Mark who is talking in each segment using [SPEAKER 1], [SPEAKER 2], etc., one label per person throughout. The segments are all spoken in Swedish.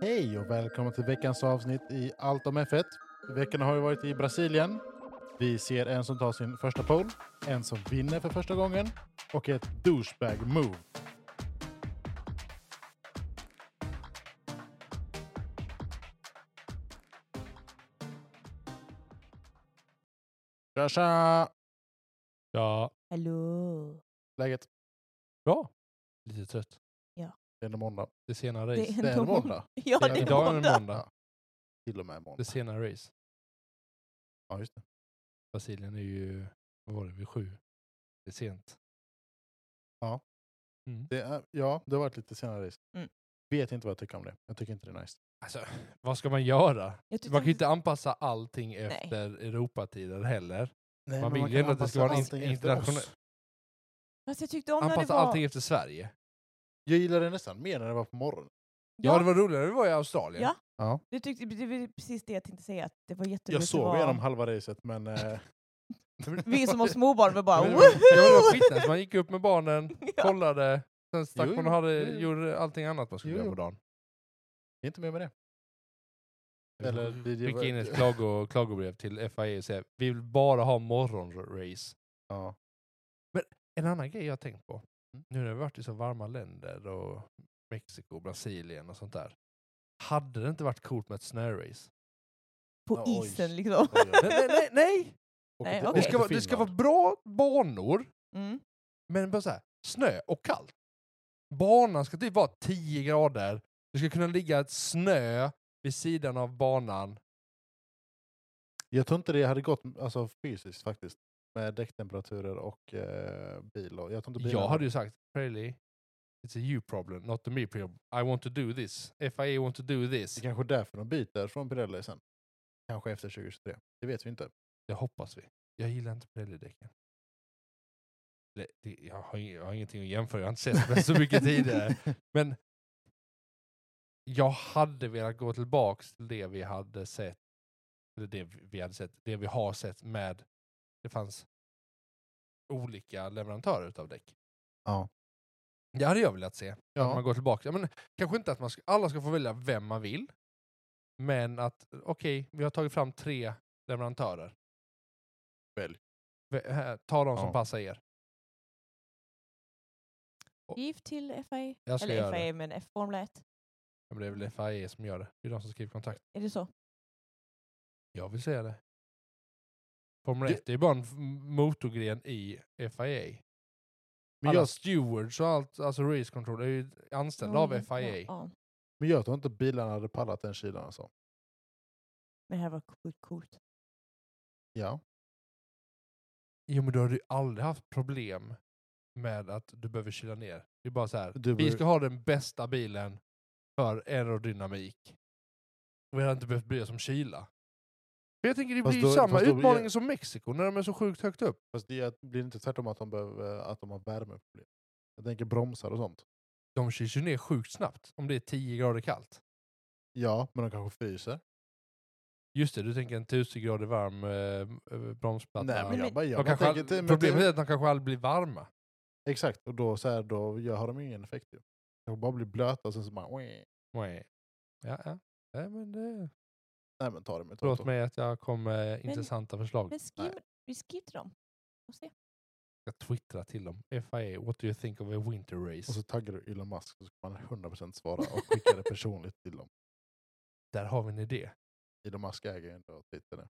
[SPEAKER 1] Hej och välkomna till veckans avsnitt i Allt om F1. Veckan har ju varit i Brasilien. Vi ser en som tar sin första pole, en som vinner för första gången och ett douchebag move. Tja, tja!
[SPEAKER 2] Ja,
[SPEAKER 3] Hallå.
[SPEAKER 1] Läget?
[SPEAKER 2] bra. Lite trött.
[SPEAKER 1] Det är ändå måndag.
[SPEAKER 2] Det är sena
[SPEAKER 3] Det
[SPEAKER 2] race.
[SPEAKER 3] är
[SPEAKER 1] Det är
[SPEAKER 3] ändå
[SPEAKER 1] ändå måndag.
[SPEAKER 3] Ja,
[SPEAKER 1] Det
[SPEAKER 3] det
[SPEAKER 1] är
[SPEAKER 3] är
[SPEAKER 2] Idag är det
[SPEAKER 3] måndag.
[SPEAKER 2] måndag.
[SPEAKER 1] Till och med
[SPEAKER 2] Det är
[SPEAKER 1] måndag.
[SPEAKER 2] sena race.
[SPEAKER 1] Ja, just det.
[SPEAKER 2] Brasilien är ju, vad var det, vid sju. Det är sent.
[SPEAKER 1] Ja.
[SPEAKER 2] Mm.
[SPEAKER 1] Det är, ja, det har varit lite senare race.
[SPEAKER 3] Mm.
[SPEAKER 1] Vet inte vad jag tycker om det. Jag tycker inte det är nice.
[SPEAKER 2] Alltså, vad ska man göra?
[SPEAKER 3] Jag tyckte
[SPEAKER 2] Man kan ju
[SPEAKER 3] inte-
[SPEAKER 2] inte anpassa allting efter Europatider heller.
[SPEAKER 1] Nej,
[SPEAKER 2] Man men vill man ju kan ändå att det ska anpassa vara en allting efter internationell- oss.
[SPEAKER 3] Fast jag tyckte om när det
[SPEAKER 2] anpassa
[SPEAKER 3] var...
[SPEAKER 2] allting efter Sverige.
[SPEAKER 1] Jag gillar det nästan mer när det var på morgonen.
[SPEAKER 2] Ja,
[SPEAKER 3] Ja,
[SPEAKER 2] det var roligare när vi var i Australien.
[SPEAKER 3] Ja.
[SPEAKER 1] Ja.
[SPEAKER 3] du tyckte, det var precis det jag tänkte säga, att det var jätteroligt
[SPEAKER 1] Jag
[SPEAKER 3] att
[SPEAKER 1] sov
[SPEAKER 3] vara-
[SPEAKER 1] igenom halva racet men... Eh,
[SPEAKER 3] Vi är som har småbarn, vi bara
[SPEAKER 2] Men det var- ja, men det var
[SPEAKER 3] woho!
[SPEAKER 2] skitnice. Man gick upp med barnen,
[SPEAKER 3] Ja.
[SPEAKER 2] kollade, sen stack
[SPEAKER 1] Jo,
[SPEAKER 2] man och hade,
[SPEAKER 1] jo, jo.
[SPEAKER 2] gjorde allting annat man skulle
[SPEAKER 1] Jo,
[SPEAKER 2] göra
[SPEAKER 1] jo.
[SPEAKER 2] på dagen.
[SPEAKER 1] det är inte mer med det. Eller
[SPEAKER 2] Eller
[SPEAKER 1] det- det var-
[SPEAKER 2] skicka in ett klago, klagobrev till FIA och säga vi vill bara ha morgonrace.
[SPEAKER 1] Ja.
[SPEAKER 2] En annan grej jag har tänkt på, nu när vi varit i så varma länder och Mexiko, Brasilien och sånt där. Hade det inte varit coolt med ett snörace?
[SPEAKER 3] På
[SPEAKER 1] Ja, oj.
[SPEAKER 3] isen liksom.
[SPEAKER 1] Oj, oj,
[SPEAKER 2] Nej,
[SPEAKER 1] oj.
[SPEAKER 2] nej, nej! nej.
[SPEAKER 1] Åker till-
[SPEAKER 3] Nej, okej.
[SPEAKER 2] Det,
[SPEAKER 1] åker
[SPEAKER 2] ska
[SPEAKER 1] till
[SPEAKER 2] vara, det ska vara
[SPEAKER 1] Finland.
[SPEAKER 2] bra banor,
[SPEAKER 3] Mm.
[SPEAKER 2] men bara så här, snö och kallt. Banan ska typ vara 10 grader, det ska kunna ligga ett snö vid sidan av banan.
[SPEAKER 1] Jag tror inte det hade gått alltså, fysiskt faktiskt. Med däcktemperaturer och eh, bil. Och, jag tror inte bilen
[SPEAKER 2] Jag hade ju sagt, Presley, it's a you problem, not a me problem. I want to do this. FIA want to do
[SPEAKER 1] Det
[SPEAKER 2] this.
[SPEAKER 1] är kanske är därför de byter från Pirelli sen. Kanske efter 2023. Det vet vi inte.
[SPEAKER 2] Det hoppas vi. Jag gillar inte Pirelli-däcken. Det, det, jag, har, ing- jag har ingenting att jämföra, jag har inte sett det så mycket tidigare. Men jag hade velat gå tillbaks till det vi hade sett, eller det vi hade sett, det vi har sett med, det fanns olika leverantörer utav däck.
[SPEAKER 1] Ja.
[SPEAKER 2] Det hade jag velat se. Att
[SPEAKER 1] Ja.
[SPEAKER 2] man går tillbaka. Ja, men, kanske inte att man ska, alla ska få välja vem man vill. Men att, okej, vi har tagit fram tre leverantörer.
[SPEAKER 1] Välj.
[SPEAKER 2] Vä- här, Ta de som
[SPEAKER 1] Ja.
[SPEAKER 2] passar er.
[SPEAKER 3] Giv till FIA.
[SPEAKER 2] Jag ska
[SPEAKER 3] Eller
[SPEAKER 2] göra det.
[SPEAKER 3] FIA, men F- E. Formel 1.
[SPEAKER 2] Ja, men det är väl FIA som gör det. Det är de som skriver kontrakt.
[SPEAKER 3] Är det så?
[SPEAKER 2] Jag vill säga det. Formel
[SPEAKER 1] Du-
[SPEAKER 2] 1 det är bara en f- motorgren i FIA.
[SPEAKER 1] Men
[SPEAKER 2] alla
[SPEAKER 1] jag-
[SPEAKER 2] stewards och allt, alltså race control, är ju anställda av
[SPEAKER 3] Mm,
[SPEAKER 2] E.
[SPEAKER 3] Ja,
[SPEAKER 2] FIA.
[SPEAKER 3] Ja.
[SPEAKER 1] Men jag tror inte bilarna hade pallat den kylan alltså.
[SPEAKER 3] Men det här var sjukt coolt.
[SPEAKER 1] Ja.
[SPEAKER 2] Jo men då har du aldrig haft problem med att du behöver kyla ner. Det är bara så här.
[SPEAKER 1] Du
[SPEAKER 2] vi
[SPEAKER 1] behöver-
[SPEAKER 2] ska ha den bästa bilen för aerodynamik. Och vi har inte behövt bry oss om kyla. För jag tänker det
[SPEAKER 1] Fast
[SPEAKER 2] blir
[SPEAKER 1] då-
[SPEAKER 2] ju samma
[SPEAKER 1] fast då-
[SPEAKER 2] utmaning som Mexiko när de är så sjukt högt upp.
[SPEAKER 1] Fast det är- blir inte tvärtom att de, behöver, eh, att de har värmeproblem. Jag tänker bromsar och sånt.
[SPEAKER 2] De kyls ju ner sjukt snabbt om det är 10 grader kallt.
[SPEAKER 1] Ja, men de kanske fryser.
[SPEAKER 2] Just det, du tänker en 1000 grader varm eh, eh, bromsplatta.
[SPEAKER 1] Nej, men
[SPEAKER 3] men-
[SPEAKER 1] jag bara, jag
[SPEAKER 2] de
[SPEAKER 1] bara
[SPEAKER 2] kanske
[SPEAKER 1] tänker,
[SPEAKER 2] all...
[SPEAKER 1] till- men
[SPEAKER 2] Problemet
[SPEAKER 1] till-
[SPEAKER 2] är att de kanske aldrig blir varma.
[SPEAKER 1] Exakt, och då, så här, då gör, har de ju ingen effekt. Ju. De bara blir blöta och sen så bara... "Wii."
[SPEAKER 2] Nej. Ja, ja. Nej, men det...
[SPEAKER 1] Nej men ta det med
[SPEAKER 2] Förlåt
[SPEAKER 1] tårtor.
[SPEAKER 2] mig att jag kom med intressanta förslag.
[SPEAKER 3] Men skriv, vi skriver till dem. Och se.
[SPEAKER 2] Jag twittrar till dem. FIA, what do you think of a winter race?
[SPEAKER 1] Och så taggar du Elon Musk så ska man 100% svara och skicka det personligt till dem.
[SPEAKER 2] där har vi en idé.
[SPEAKER 1] Elon Musk äger ju ändå Twitter nu.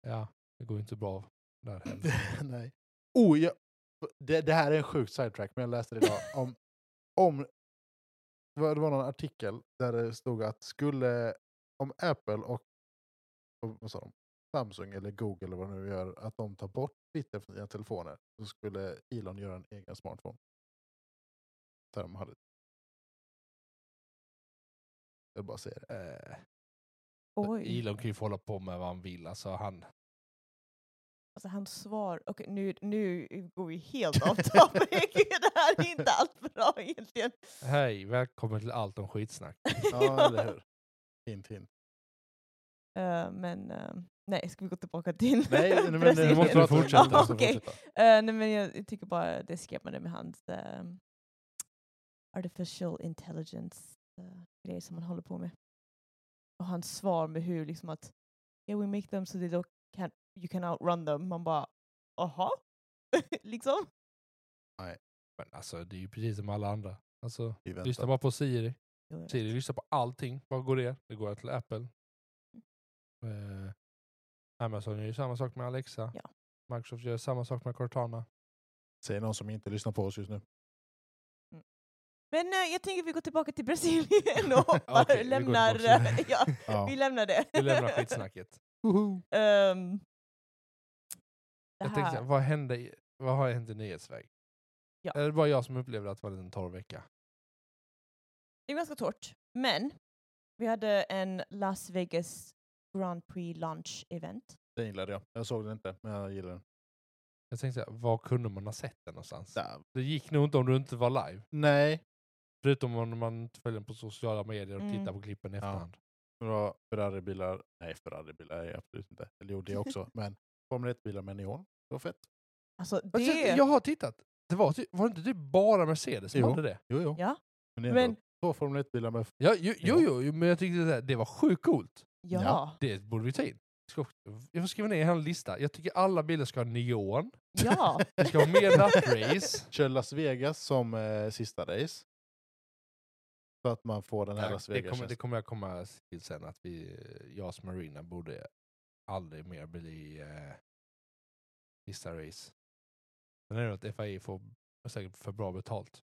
[SPEAKER 2] Ja, det går ju inte bra där heller.
[SPEAKER 1] Nej. Oh, jag, det, det här är en sjuk sidetrack, men jag läste det idag om... om det var det var någon artikel där det stod att skulle... Om Apple och, och vad sa de, Samsung eller Google eller vad de nu gör, att de tar bort Twitter från sina telefoner så skulle Elon göra en egen smartphone. Där de hade... Jag bara säger det.
[SPEAKER 2] Eh,
[SPEAKER 3] Oj.
[SPEAKER 2] Elon kan ju få hålla på med vad han vill. Alltså, han,
[SPEAKER 3] Alltså hans svar. Okej, nu, nu går vi helt av topic. det här är inte allt bra egentligen.
[SPEAKER 2] hej, välkommen till allt om skitsnack.
[SPEAKER 1] Ja, eller hur? Hint, hint.
[SPEAKER 3] Eh, men eh, nej, ska vi gå tillbaka till
[SPEAKER 1] Nej, men
[SPEAKER 3] Brasilien?
[SPEAKER 1] nu måste
[SPEAKER 2] du
[SPEAKER 1] vi
[SPEAKER 2] fortsätta.
[SPEAKER 1] fortsätta.
[SPEAKER 3] Ja, okej. Eh, nej, men jag tycker bara det skrämmande med hans ehm, artificial eh, intelligence eh, grejer som han håller på med. Och hans svar med hur liksom att yeah, we make them so they don't can't, you can outrun them. Man bara aha? liksom.
[SPEAKER 2] Men alltså det är ju precis som alla andra. Alltså,
[SPEAKER 1] Vi väntar.
[SPEAKER 2] lyssna bara på Siri.
[SPEAKER 3] Jo, jag vet.
[SPEAKER 2] Siri lyssnar på allting. Vad går det? Det går till Apple. Eh, Amazon gör ju samma sak med Alexa.
[SPEAKER 3] Ja.
[SPEAKER 2] Microsoft gör samma sak med Cortana.
[SPEAKER 1] Säger någon som inte lyssnar på oss just nu.
[SPEAKER 3] Men eh, jag tänker vi går tillbaka till Brasilien och hoppar,
[SPEAKER 2] Okej, vi går
[SPEAKER 3] lämnar,
[SPEAKER 2] tillbaka till-
[SPEAKER 3] eh, ja,
[SPEAKER 1] Ja.
[SPEAKER 3] vi lämnar det.
[SPEAKER 2] Vi lämnar skitsnacket.
[SPEAKER 3] Ehm, det
[SPEAKER 2] Jag tänkte,
[SPEAKER 3] här,
[SPEAKER 2] så här, vad, hände, i- vad har hänt i nyhetsväg?
[SPEAKER 3] Ja.
[SPEAKER 2] Är det bara jag som upplevde att det var en torr vecka?
[SPEAKER 3] det är ganska torrt, men vi hade en Las Vegas Grand Prix Lunch event.
[SPEAKER 1] Den gillade jag. Jag såg den inte, men jag gillar den.
[SPEAKER 2] Jag tänkte, så här, var kunde man ha sett den någonstans?
[SPEAKER 1] Där.
[SPEAKER 2] Det gick nog inte om du inte var live.
[SPEAKER 1] Nej.
[SPEAKER 2] Förutom om man inte följer den på sociala medier och
[SPEAKER 3] Mm.
[SPEAKER 2] tittar på klippen i efterhand.
[SPEAKER 1] Det var Ferraribilar. Nej, Ferraribilar är jag absolut inte. Eller jo, det också. men Formel 1-bilar med neon. Det var fett.
[SPEAKER 3] Alltså
[SPEAKER 2] Men sen,
[SPEAKER 3] det...
[SPEAKER 2] Jag har tittat. Det var, typ, var det inte typ bara Mercedes som
[SPEAKER 1] Jo.
[SPEAKER 2] hade det?
[SPEAKER 1] Jo, jo.
[SPEAKER 3] Ja.
[SPEAKER 1] Men, det är ändå
[SPEAKER 3] Men-
[SPEAKER 1] två Formel 1-bilar med...
[SPEAKER 2] Ja, jo, jo, jo, jo, men jag tyckte det, här, det var sjukt coolt.
[SPEAKER 3] Ja,
[SPEAKER 2] Det borde vi ta in. Jag ska också- Jag får skriva ner en hel lista. Jag tycker alla bilar ska ha neon.
[SPEAKER 3] ja.
[SPEAKER 2] Det ska vara mer nattrace.
[SPEAKER 1] Kör Las Vegas som eh, sista race. Så att man får den här Las
[SPEAKER 2] Det kommer,
[SPEAKER 1] Vegas-känslan.
[SPEAKER 2] det kommer jag komma till sen, att vi, jag som Marina borde aldrig mer bli eh, sista race. Sen är det att FAI får säkert för bra betalt.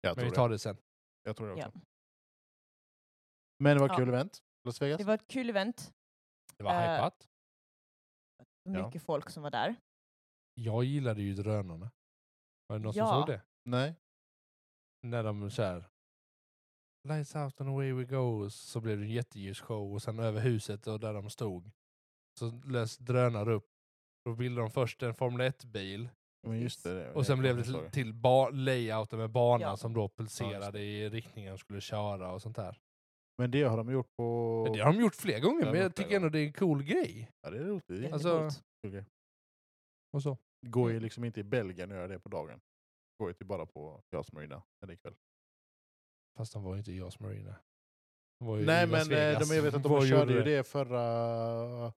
[SPEAKER 1] Jag
[SPEAKER 2] Men
[SPEAKER 1] tror
[SPEAKER 2] vi
[SPEAKER 1] det.
[SPEAKER 2] tar det sen.
[SPEAKER 1] Jag tror det
[SPEAKER 3] Ja.
[SPEAKER 1] också. Men det var ett
[SPEAKER 3] Ja.
[SPEAKER 1] kul event. Las Vegas.
[SPEAKER 3] Det var ett kul event.
[SPEAKER 2] Det var
[SPEAKER 3] Eh.
[SPEAKER 2] hypat.
[SPEAKER 1] Ja.
[SPEAKER 3] Mycket folk som var där.
[SPEAKER 2] Jag gillade ju drönarna. Var det någon som
[SPEAKER 3] Ja.
[SPEAKER 2] såg det?
[SPEAKER 1] Nej.
[SPEAKER 2] När de så här... Lights out and away we go. Så blev det en jätteljusshow och sen över huset och där de stod. Så lös drönare upp. Då bildade de först en Formel 1-bil
[SPEAKER 1] Men just det, det.
[SPEAKER 2] Och sen blev det
[SPEAKER 1] kommer jag
[SPEAKER 2] till,
[SPEAKER 1] ihåg.
[SPEAKER 2] till ba- layouten med banan
[SPEAKER 3] Ja.
[SPEAKER 2] som då
[SPEAKER 1] Ja, just
[SPEAKER 2] pulserade i riktningen de skulle köra och sånt där.
[SPEAKER 1] Men det har de gjort på...
[SPEAKER 2] Det har de gjort fler gånger,
[SPEAKER 1] Det har
[SPEAKER 2] men
[SPEAKER 1] de
[SPEAKER 2] jag
[SPEAKER 1] gjort flera
[SPEAKER 2] tycker ändå det är en cool grej.
[SPEAKER 1] Ja, det är roligt.
[SPEAKER 3] Det
[SPEAKER 1] Det
[SPEAKER 3] är
[SPEAKER 2] Alltså-
[SPEAKER 3] coolt.
[SPEAKER 2] Och så.
[SPEAKER 1] går ju liksom inte i Belgien att göra det på dagen. Går ju typ bara på Jas Marina eller ikväll.
[SPEAKER 2] Fast de var ju inte i Jas Marina. De var ju
[SPEAKER 1] Nej
[SPEAKER 2] i Las
[SPEAKER 1] men eh,
[SPEAKER 2] Vegas.
[SPEAKER 1] de, jag vet att de
[SPEAKER 2] Vad
[SPEAKER 1] körde ju
[SPEAKER 2] gjorde
[SPEAKER 1] det förra,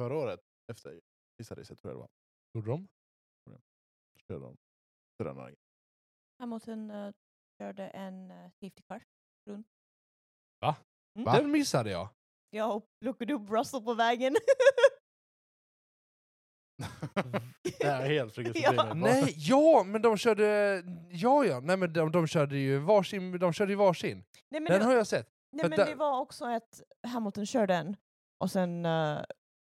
[SPEAKER 1] förra året. Efter sista racet tror jag det var.
[SPEAKER 2] Gjorde de?
[SPEAKER 1] Körde de. drönarna.
[SPEAKER 3] Hamilton uh, körde en eh, safety car.
[SPEAKER 1] Va?
[SPEAKER 2] Den missade jag.
[SPEAKER 3] Jag och plockade upp Russell på vägen.
[SPEAKER 1] det här är helt friket
[SPEAKER 3] Ja.
[SPEAKER 2] Nej, ja, men de körde... Ja, ja. Nej, men de, de körde ju varsin. De körde ju varsin.
[SPEAKER 3] nej, men
[SPEAKER 2] Den
[SPEAKER 3] det,
[SPEAKER 2] har jag sett.
[SPEAKER 3] nej, men
[SPEAKER 2] där-
[SPEAKER 3] det var också att Hamilton körde en och sen eh,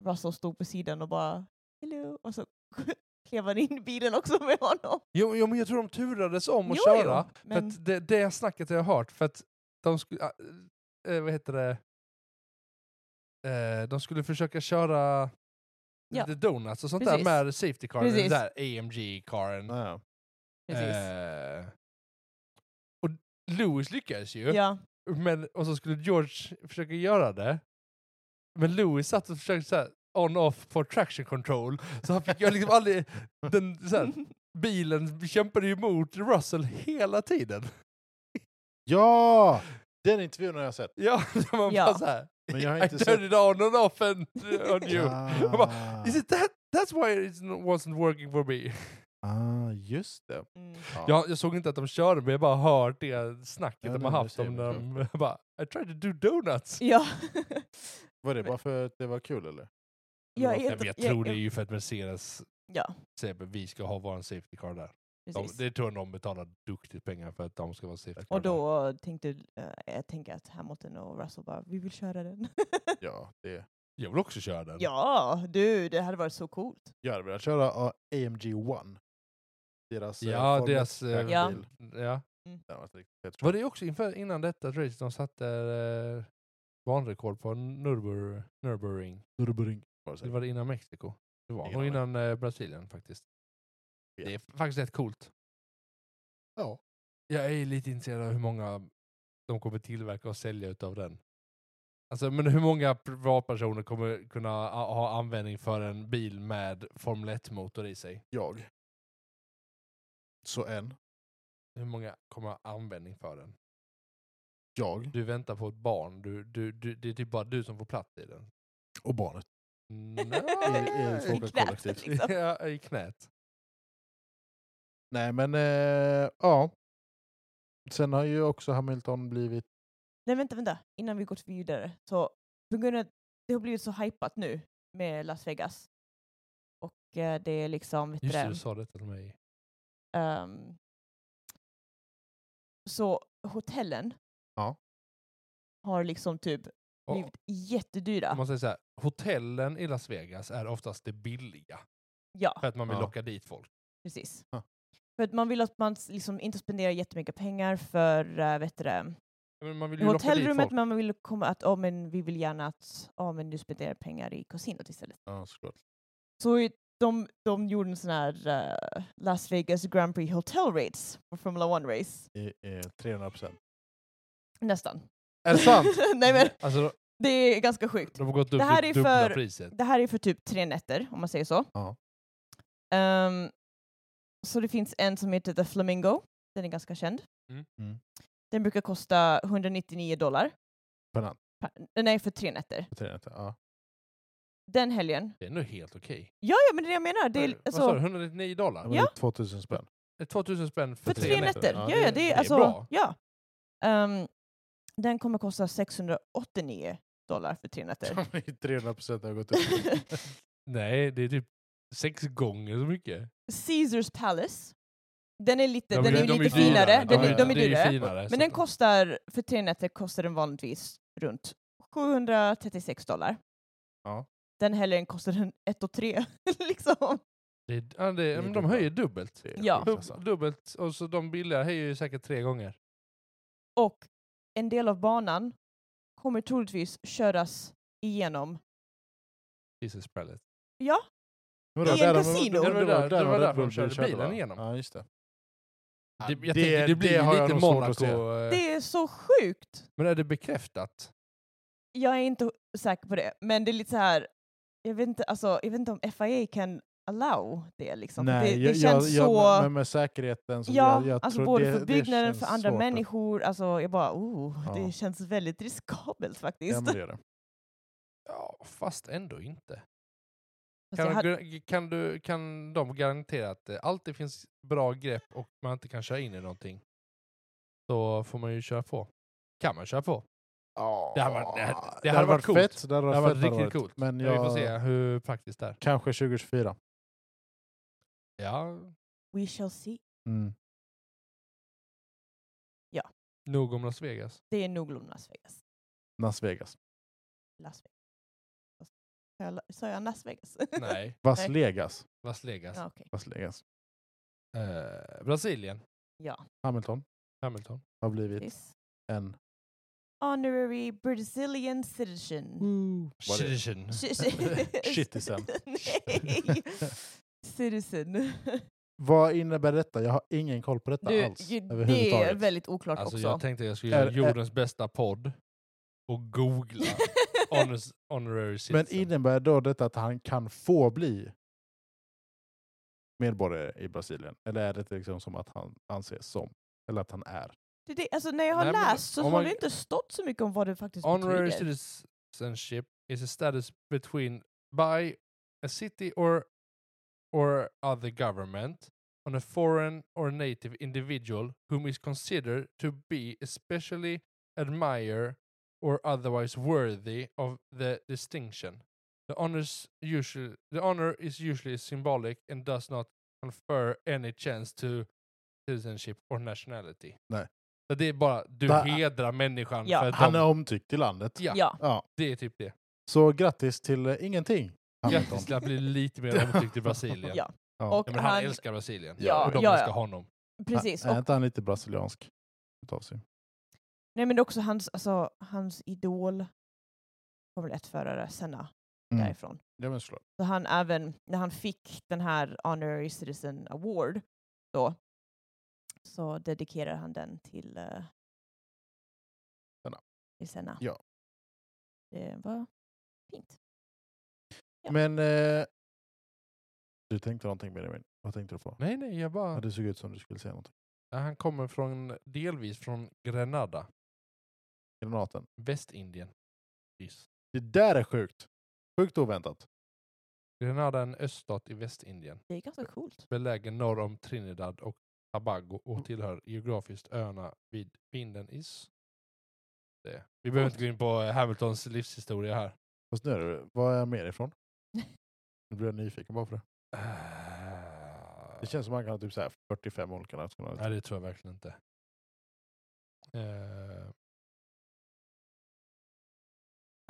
[SPEAKER 3] Russell stod på sidan och bara hello och så klev han in i bilen också med honom.
[SPEAKER 2] Jo, jo, men jag tror de turades om att
[SPEAKER 3] Jo, jo,
[SPEAKER 2] köra. För
[SPEAKER 3] men-
[SPEAKER 2] att det, det snacket har jag hört. För att de skulle... Äh, vad heter det? Eh, de skulle försöka köra
[SPEAKER 3] Ja.
[SPEAKER 2] lite donuts och sånt
[SPEAKER 3] Precis.
[SPEAKER 2] där med safety car, den
[SPEAKER 3] Precis.
[SPEAKER 2] där AMG-caren.
[SPEAKER 1] Ja,
[SPEAKER 3] Precis.
[SPEAKER 2] Eh, och Lewis lyckades ju.
[SPEAKER 3] ja.
[SPEAKER 2] Men, och så skulle George försöka göra det. Men Louis satt och försökte såhär on-off på traction control. Så han fick ju liksom aldrig... Den, såhär, bilen kämpade ju emot Russell hela tiden.
[SPEAKER 1] ja! Den intervjun har jag sett.
[SPEAKER 2] Ja, när man
[SPEAKER 3] Ja.
[SPEAKER 2] bara såhär...
[SPEAKER 1] Men jag har
[SPEAKER 2] I
[SPEAKER 1] inte sett...
[SPEAKER 2] turned it on and off and uh, on you. Jag bara,
[SPEAKER 1] Ah,
[SPEAKER 2] Is it that? That's why it wasn't working for me.
[SPEAKER 1] ah, just det.
[SPEAKER 3] Mm.
[SPEAKER 1] Ja.
[SPEAKER 2] Jag, jag såg inte att de körde, men jag bara hört det snacket
[SPEAKER 1] Ja,
[SPEAKER 2] de
[SPEAKER 1] nej,
[SPEAKER 2] har
[SPEAKER 1] men
[SPEAKER 2] haft
[SPEAKER 1] det ser
[SPEAKER 2] om när
[SPEAKER 1] man
[SPEAKER 2] de bara I tried to do donuts.
[SPEAKER 3] Ja.
[SPEAKER 1] Var det bara för att det var kul eller?
[SPEAKER 3] jag, är
[SPEAKER 2] Nej,
[SPEAKER 3] helt-
[SPEAKER 2] men jag
[SPEAKER 3] jag-
[SPEAKER 2] tror det är
[SPEAKER 3] jag-
[SPEAKER 2] ju för att Mercedes
[SPEAKER 3] Ja,
[SPEAKER 2] säger att vi ska ha vår safety car där. De,
[SPEAKER 3] precis.
[SPEAKER 2] det tror jag de betalar duktigt pengar för att de ska vara safety car
[SPEAKER 3] Och
[SPEAKER 2] där.
[SPEAKER 3] då tänkte eh, jag tänker att Hamilton och Russell bara, vi vill köra den.
[SPEAKER 1] Ja, det...
[SPEAKER 2] Jag vill också köra den.
[SPEAKER 3] ja, du, det hade varit så coolt.
[SPEAKER 1] Jag hade velat köra ah, AMG One. Deras eh,
[SPEAKER 2] Ja,
[SPEAKER 1] Formel
[SPEAKER 2] deras, eh,
[SPEAKER 1] 1-bil.
[SPEAKER 3] Ja.
[SPEAKER 2] Ja.
[SPEAKER 1] Den var riktigt fet.
[SPEAKER 2] Var det också inför, innan detta race de satte eh, banrekord på Nürburg, Nürburgring?
[SPEAKER 1] Nürburgring. Var det
[SPEAKER 2] Eller
[SPEAKER 1] säkert.
[SPEAKER 2] var det innan Mexiko? Det var
[SPEAKER 1] Ingen
[SPEAKER 2] nog
[SPEAKER 1] aning.
[SPEAKER 2] innan eh, Brasilien faktiskt.
[SPEAKER 1] Ja.
[SPEAKER 2] Det är faktiskt rätt coolt.
[SPEAKER 1] Ja.
[SPEAKER 2] Jag är lite intresserad av hur många de kommer tillverka och sälja utav den. Alltså, men hur många privatpersoner kommer kunna a- ha användning för en bil med Formel 1-motor i sig?
[SPEAKER 1] Jag. Så en.
[SPEAKER 2] Hur många kommer ha användning för den?
[SPEAKER 1] Jag
[SPEAKER 2] Du väntar på ett barn. Du, du, du, det är typ bara du som får plats i den.
[SPEAKER 1] och barnet.
[SPEAKER 2] Nej.
[SPEAKER 1] I- i fråga
[SPEAKER 3] I knät,
[SPEAKER 1] kollektivt.
[SPEAKER 3] liksom.
[SPEAKER 2] ja, I knät.
[SPEAKER 1] Nej men eh, ja. Sen har ju också Hamilton blivit...
[SPEAKER 3] Nej vänta, vänta. Innan vi går vidare. Så, på grund av att det har blivit så hypat nu med Las Vegas. Och eh, det är liksom, vet du
[SPEAKER 2] Just det,
[SPEAKER 3] det,
[SPEAKER 2] du sa detta till mig.
[SPEAKER 3] ehm, Så hotellen
[SPEAKER 1] Ja.
[SPEAKER 3] har liksom typ
[SPEAKER 2] Och,
[SPEAKER 3] blivit jättedyra.
[SPEAKER 2] om man säger så här, hotellen i Las Vegas är oftast det billiga.
[SPEAKER 3] Ja,
[SPEAKER 2] För att man vill
[SPEAKER 1] Ja.
[SPEAKER 2] locka dit folk.
[SPEAKER 3] precis.
[SPEAKER 1] Ja.
[SPEAKER 3] För att man vill att man s- liksom inte spenderar jättemycket pengar för äh, vet du det,
[SPEAKER 2] Men man vill ju locka dit
[SPEAKER 3] hotellrummet,
[SPEAKER 2] folk.
[SPEAKER 3] men man vill komma att oh, men vi vill gärna att oh, men du spenderar pengar i kasinot istället.
[SPEAKER 1] Ja, såklart.
[SPEAKER 3] Så i- de, de gjorde en sån här eh, Las Vegas Grand Prix Hotel Rates på Formula 1 Race.
[SPEAKER 1] I, eh, 300 procent.
[SPEAKER 3] Nästan.
[SPEAKER 1] Är det sant?
[SPEAKER 3] Nej men
[SPEAKER 2] Alltså, de-
[SPEAKER 3] det är ganska sjukt.
[SPEAKER 2] de har gått upp
[SPEAKER 3] Det här
[SPEAKER 2] till
[SPEAKER 3] är
[SPEAKER 2] dubbla
[SPEAKER 3] för-
[SPEAKER 2] priset.
[SPEAKER 3] Det här är för typ tre nätter, om man säger så.
[SPEAKER 1] Ja.
[SPEAKER 3] Ehm, så det finns en som heter The Flamingo. Den är ganska känd.
[SPEAKER 2] Mm.
[SPEAKER 1] Mm.
[SPEAKER 3] Den brukar kosta 199 dollar.
[SPEAKER 1] Per natt.
[SPEAKER 3] Per- Nej, för tre nätter.
[SPEAKER 1] På 300, ja.
[SPEAKER 3] Den helgen.
[SPEAKER 2] Det är nog helt okej.
[SPEAKER 3] Ja, ja, men det är det jag menar. Det är,
[SPEAKER 2] Vad sa
[SPEAKER 3] alltså,
[SPEAKER 2] du? 199 dollar?
[SPEAKER 1] Det var
[SPEAKER 3] Ja.
[SPEAKER 1] 2000 spänn.
[SPEAKER 2] Det är 2000 spänn för,
[SPEAKER 3] för tre nätter. Ja, ja, det, är, alltså,
[SPEAKER 2] bra.
[SPEAKER 3] Ja. Ehm, den kommer kosta 689 dollar för tre nätter.
[SPEAKER 1] Som i 300 procent har gått upp.
[SPEAKER 2] Nej, det är typ sex gånger så mycket.
[SPEAKER 3] Caesars Palace. Den är lite,
[SPEAKER 2] Ja, men
[SPEAKER 3] den är ju
[SPEAKER 2] de
[SPEAKER 3] lite
[SPEAKER 1] ju
[SPEAKER 3] finare.
[SPEAKER 1] dyrare.
[SPEAKER 3] Den
[SPEAKER 1] Ja,
[SPEAKER 3] är,
[SPEAKER 1] ja,
[SPEAKER 3] de är
[SPEAKER 2] det ju
[SPEAKER 3] dyrare.
[SPEAKER 2] finare, så
[SPEAKER 3] Men den
[SPEAKER 2] att-
[SPEAKER 3] kostar, för tre nätter kostar den vanligtvis runt 736 dollar.
[SPEAKER 1] Ja.
[SPEAKER 3] Den helgen kostar den 1 och 3. liksom.
[SPEAKER 2] Det är, ja, det,
[SPEAKER 1] är
[SPEAKER 2] men de
[SPEAKER 1] dubbelt.
[SPEAKER 2] höjer dubbelt.
[SPEAKER 1] Det är
[SPEAKER 3] Ja.
[SPEAKER 1] sjukt, alltså.
[SPEAKER 2] Dub- Dubbelt, och så de billiga höjer ju säkert tre gånger.
[SPEAKER 3] Och en del av banan kommer troligtvis köras
[SPEAKER 1] Eh.
[SPEAKER 3] igenom.
[SPEAKER 2] Jesus Pallet.
[SPEAKER 3] Ja,
[SPEAKER 1] Vadå,
[SPEAKER 3] I en
[SPEAKER 1] där de-
[SPEAKER 3] kasino.
[SPEAKER 1] Det var
[SPEAKER 2] Det var
[SPEAKER 1] där,
[SPEAKER 2] där- det var
[SPEAKER 1] Red
[SPEAKER 2] där de
[SPEAKER 1] Bull
[SPEAKER 2] körde
[SPEAKER 1] körde,
[SPEAKER 2] bilen
[SPEAKER 1] va?
[SPEAKER 2] igenom.
[SPEAKER 1] Ja, just det.
[SPEAKER 2] Det,
[SPEAKER 1] Ja,
[SPEAKER 2] jag tänker det blir
[SPEAKER 1] har jag
[SPEAKER 2] lite
[SPEAKER 1] nog svårt att se.
[SPEAKER 2] Monaco. eh,
[SPEAKER 3] det är så sjukt.
[SPEAKER 2] Men är det bekräftat?
[SPEAKER 3] Jag är inte säker på det, men det är lite så här. Jag vet inte, alltså, jag vet inte om FIA kan allow det. Liksom.
[SPEAKER 1] Nej,
[SPEAKER 3] det, det
[SPEAKER 1] jag-
[SPEAKER 3] känns
[SPEAKER 1] jag,
[SPEAKER 3] så...
[SPEAKER 1] Jag, men med säkerheten. Så
[SPEAKER 3] Ja,
[SPEAKER 1] jag, jag
[SPEAKER 3] alltså
[SPEAKER 1] tror
[SPEAKER 3] både
[SPEAKER 1] det,
[SPEAKER 3] för
[SPEAKER 1] det
[SPEAKER 3] byggnaden,
[SPEAKER 1] känns
[SPEAKER 3] för andra
[SPEAKER 1] svårt att-
[SPEAKER 3] människor. Alltså, jag bara, oh,
[SPEAKER 1] Ja.
[SPEAKER 3] det känns väldigt riskabelt faktiskt.
[SPEAKER 1] Ja, men det gör det.
[SPEAKER 2] Ja, fast ändå inte.
[SPEAKER 3] Fast
[SPEAKER 2] Kan,
[SPEAKER 3] Alltså, jag hade-
[SPEAKER 2] gra- kan, du, kan de garantera att det alltid finns bra grepp och man inte kan köra in i någonting? Då får man ju köra på. Kan man köra på? Det hade varit- det hade- det hade varit coolt.
[SPEAKER 1] Fett. Det hade
[SPEAKER 2] Det
[SPEAKER 1] varit,
[SPEAKER 2] har varit
[SPEAKER 1] fett hade
[SPEAKER 2] riktigt coolt.
[SPEAKER 1] Men
[SPEAKER 2] Ja, Vi får
[SPEAKER 1] jag,
[SPEAKER 2] se hur praktiskt det är.
[SPEAKER 1] kanske 2024.
[SPEAKER 2] Ja,
[SPEAKER 3] We shall see.
[SPEAKER 1] Mm.
[SPEAKER 2] nog om Las Vegas.
[SPEAKER 3] Det är nog Las Vegas.
[SPEAKER 1] Las Vegas.
[SPEAKER 3] Las Vegas. Alltså, Sa jag- Sa jag Las Vegas?
[SPEAKER 2] Nej,
[SPEAKER 1] Las
[SPEAKER 3] Nej.
[SPEAKER 1] Vegas.
[SPEAKER 2] Las Vegas.
[SPEAKER 3] ja, okej.
[SPEAKER 1] Las Vegas.
[SPEAKER 2] Eh, Brasilien,
[SPEAKER 3] ja.
[SPEAKER 1] Hamilton
[SPEAKER 2] Hamilton.
[SPEAKER 1] har blivit
[SPEAKER 3] precis.
[SPEAKER 1] en...
[SPEAKER 3] Honorary Brazilian citizen.
[SPEAKER 1] Vad är det?
[SPEAKER 2] Citizen.
[SPEAKER 3] Sh- sh-
[SPEAKER 1] Mm. Citizen.
[SPEAKER 3] Nej. Citizen.
[SPEAKER 1] Vad innebär detta? Jag har ingen koll på detta
[SPEAKER 3] Du,
[SPEAKER 1] alls.
[SPEAKER 3] ju- det
[SPEAKER 1] överhuvudtaget.
[SPEAKER 3] är väldigt oklart
[SPEAKER 2] Alltså
[SPEAKER 3] också.
[SPEAKER 2] jag tänkte jag skulle
[SPEAKER 1] Är-
[SPEAKER 2] göra
[SPEAKER 1] är-
[SPEAKER 2] jordens bästa podd och googla honors, honorary
[SPEAKER 1] Men
[SPEAKER 2] citizen.
[SPEAKER 1] innebär då detta att han kan få bli medborgare i Brasilien? Eller är det liksom som att han anses som? Eller att han är?
[SPEAKER 3] Det, är det, alltså, när jag har
[SPEAKER 2] Nej, men
[SPEAKER 3] läst så
[SPEAKER 2] om
[SPEAKER 3] har
[SPEAKER 2] man-
[SPEAKER 3] det inte stått så mycket om vad det faktiskt
[SPEAKER 2] honorary
[SPEAKER 3] betyder.
[SPEAKER 2] citizenship is a status between by a city or or other government on a foreign or native individual whom is considered to be especially admire or otherwise worthy of the distinction. The honors usually the honor is usually symbolic and does not confer any chance to citizenship or nationality.
[SPEAKER 1] Nej.
[SPEAKER 2] Så det är bara, du
[SPEAKER 1] Va-
[SPEAKER 2] hedrar människan
[SPEAKER 3] Ja.
[SPEAKER 2] för att
[SPEAKER 1] Han
[SPEAKER 2] de
[SPEAKER 1] är omtyckt i landet.
[SPEAKER 2] Ja.
[SPEAKER 3] Ja.
[SPEAKER 1] Ja.
[SPEAKER 2] det är typ det.
[SPEAKER 1] Så grattis till eh, ingenting. Hamilton.
[SPEAKER 2] Grattis till att bli lite mer omtyckt i Brasilien.
[SPEAKER 3] Ja.
[SPEAKER 1] Ja.
[SPEAKER 3] Och
[SPEAKER 2] Ja, men han,
[SPEAKER 3] han,
[SPEAKER 2] älskar Brasilien.
[SPEAKER 1] Ja,
[SPEAKER 2] och de
[SPEAKER 3] ja, ja.
[SPEAKER 2] älskar honom.
[SPEAKER 3] precis.
[SPEAKER 1] Ä- Är
[SPEAKER 3] Och,
[SPEAKER 1] inte han lite brasiliansk? Utav sig.
[SPEAKER 3] nej, men det är också hans, alltså, hans idol var väl ett förare, Senna,
[SPEAKER 1] Mm.
[SPEAKER 3] därifrån.
[SPEAKER 1] Ja, men såklart.
[SPEAKER 3] Så han även, när han fick den här Honorary Citizen Award då, så dedikerar han den till eh,
[SPEAKER 1] Senna.
[SPEAKER 3] Till Senna.
[SPEAKER 1] Ja.
[SPEAKER 3] Det var fint. Ja.
[SPEAKER 1] Men... Eh, du tänkte någonting Benjamin. Vad tänkte du på?
[SPEAKER 2] Nej, nej, jag bara...
[SPEAKER 1] Ja, det såg ut som du skulle säga någonting.
[SPEAKER 2] Ja, Han kommer från, delvis från Grenada.
[SPEAKER 1] granaten.
[SPEAKER 2] Västindien. Precis.
[SPEAKER 1] Det där är sjukt. Sjukt oväntat.
[SPEAKER 2] Grenada är en öststat i Västindien,
[SPEAKER 3] Det är ganska coolt.
[SPEAKER 2] belägen norr om Trinidad och Tobago
[SPEAKER 1] Mm.
[SPEAKER 2] och tillhör geografiskt öarna vid vinden i... s- Det. Vi behöver inte gå in på eh, Hamiltons livshistoria här.
[SPEAKER 1] Fast nu är det, vad är jag med ifrån? Nu blir jag nyfiken bara för det. Det
[SPEAKER 2] Eh,
[SPEAKER 1] känns som att man kan ha typ så här 45 olika nationaliteter.
[SPEAKER 2] Nej, det tror jag verkligen inte. Eh,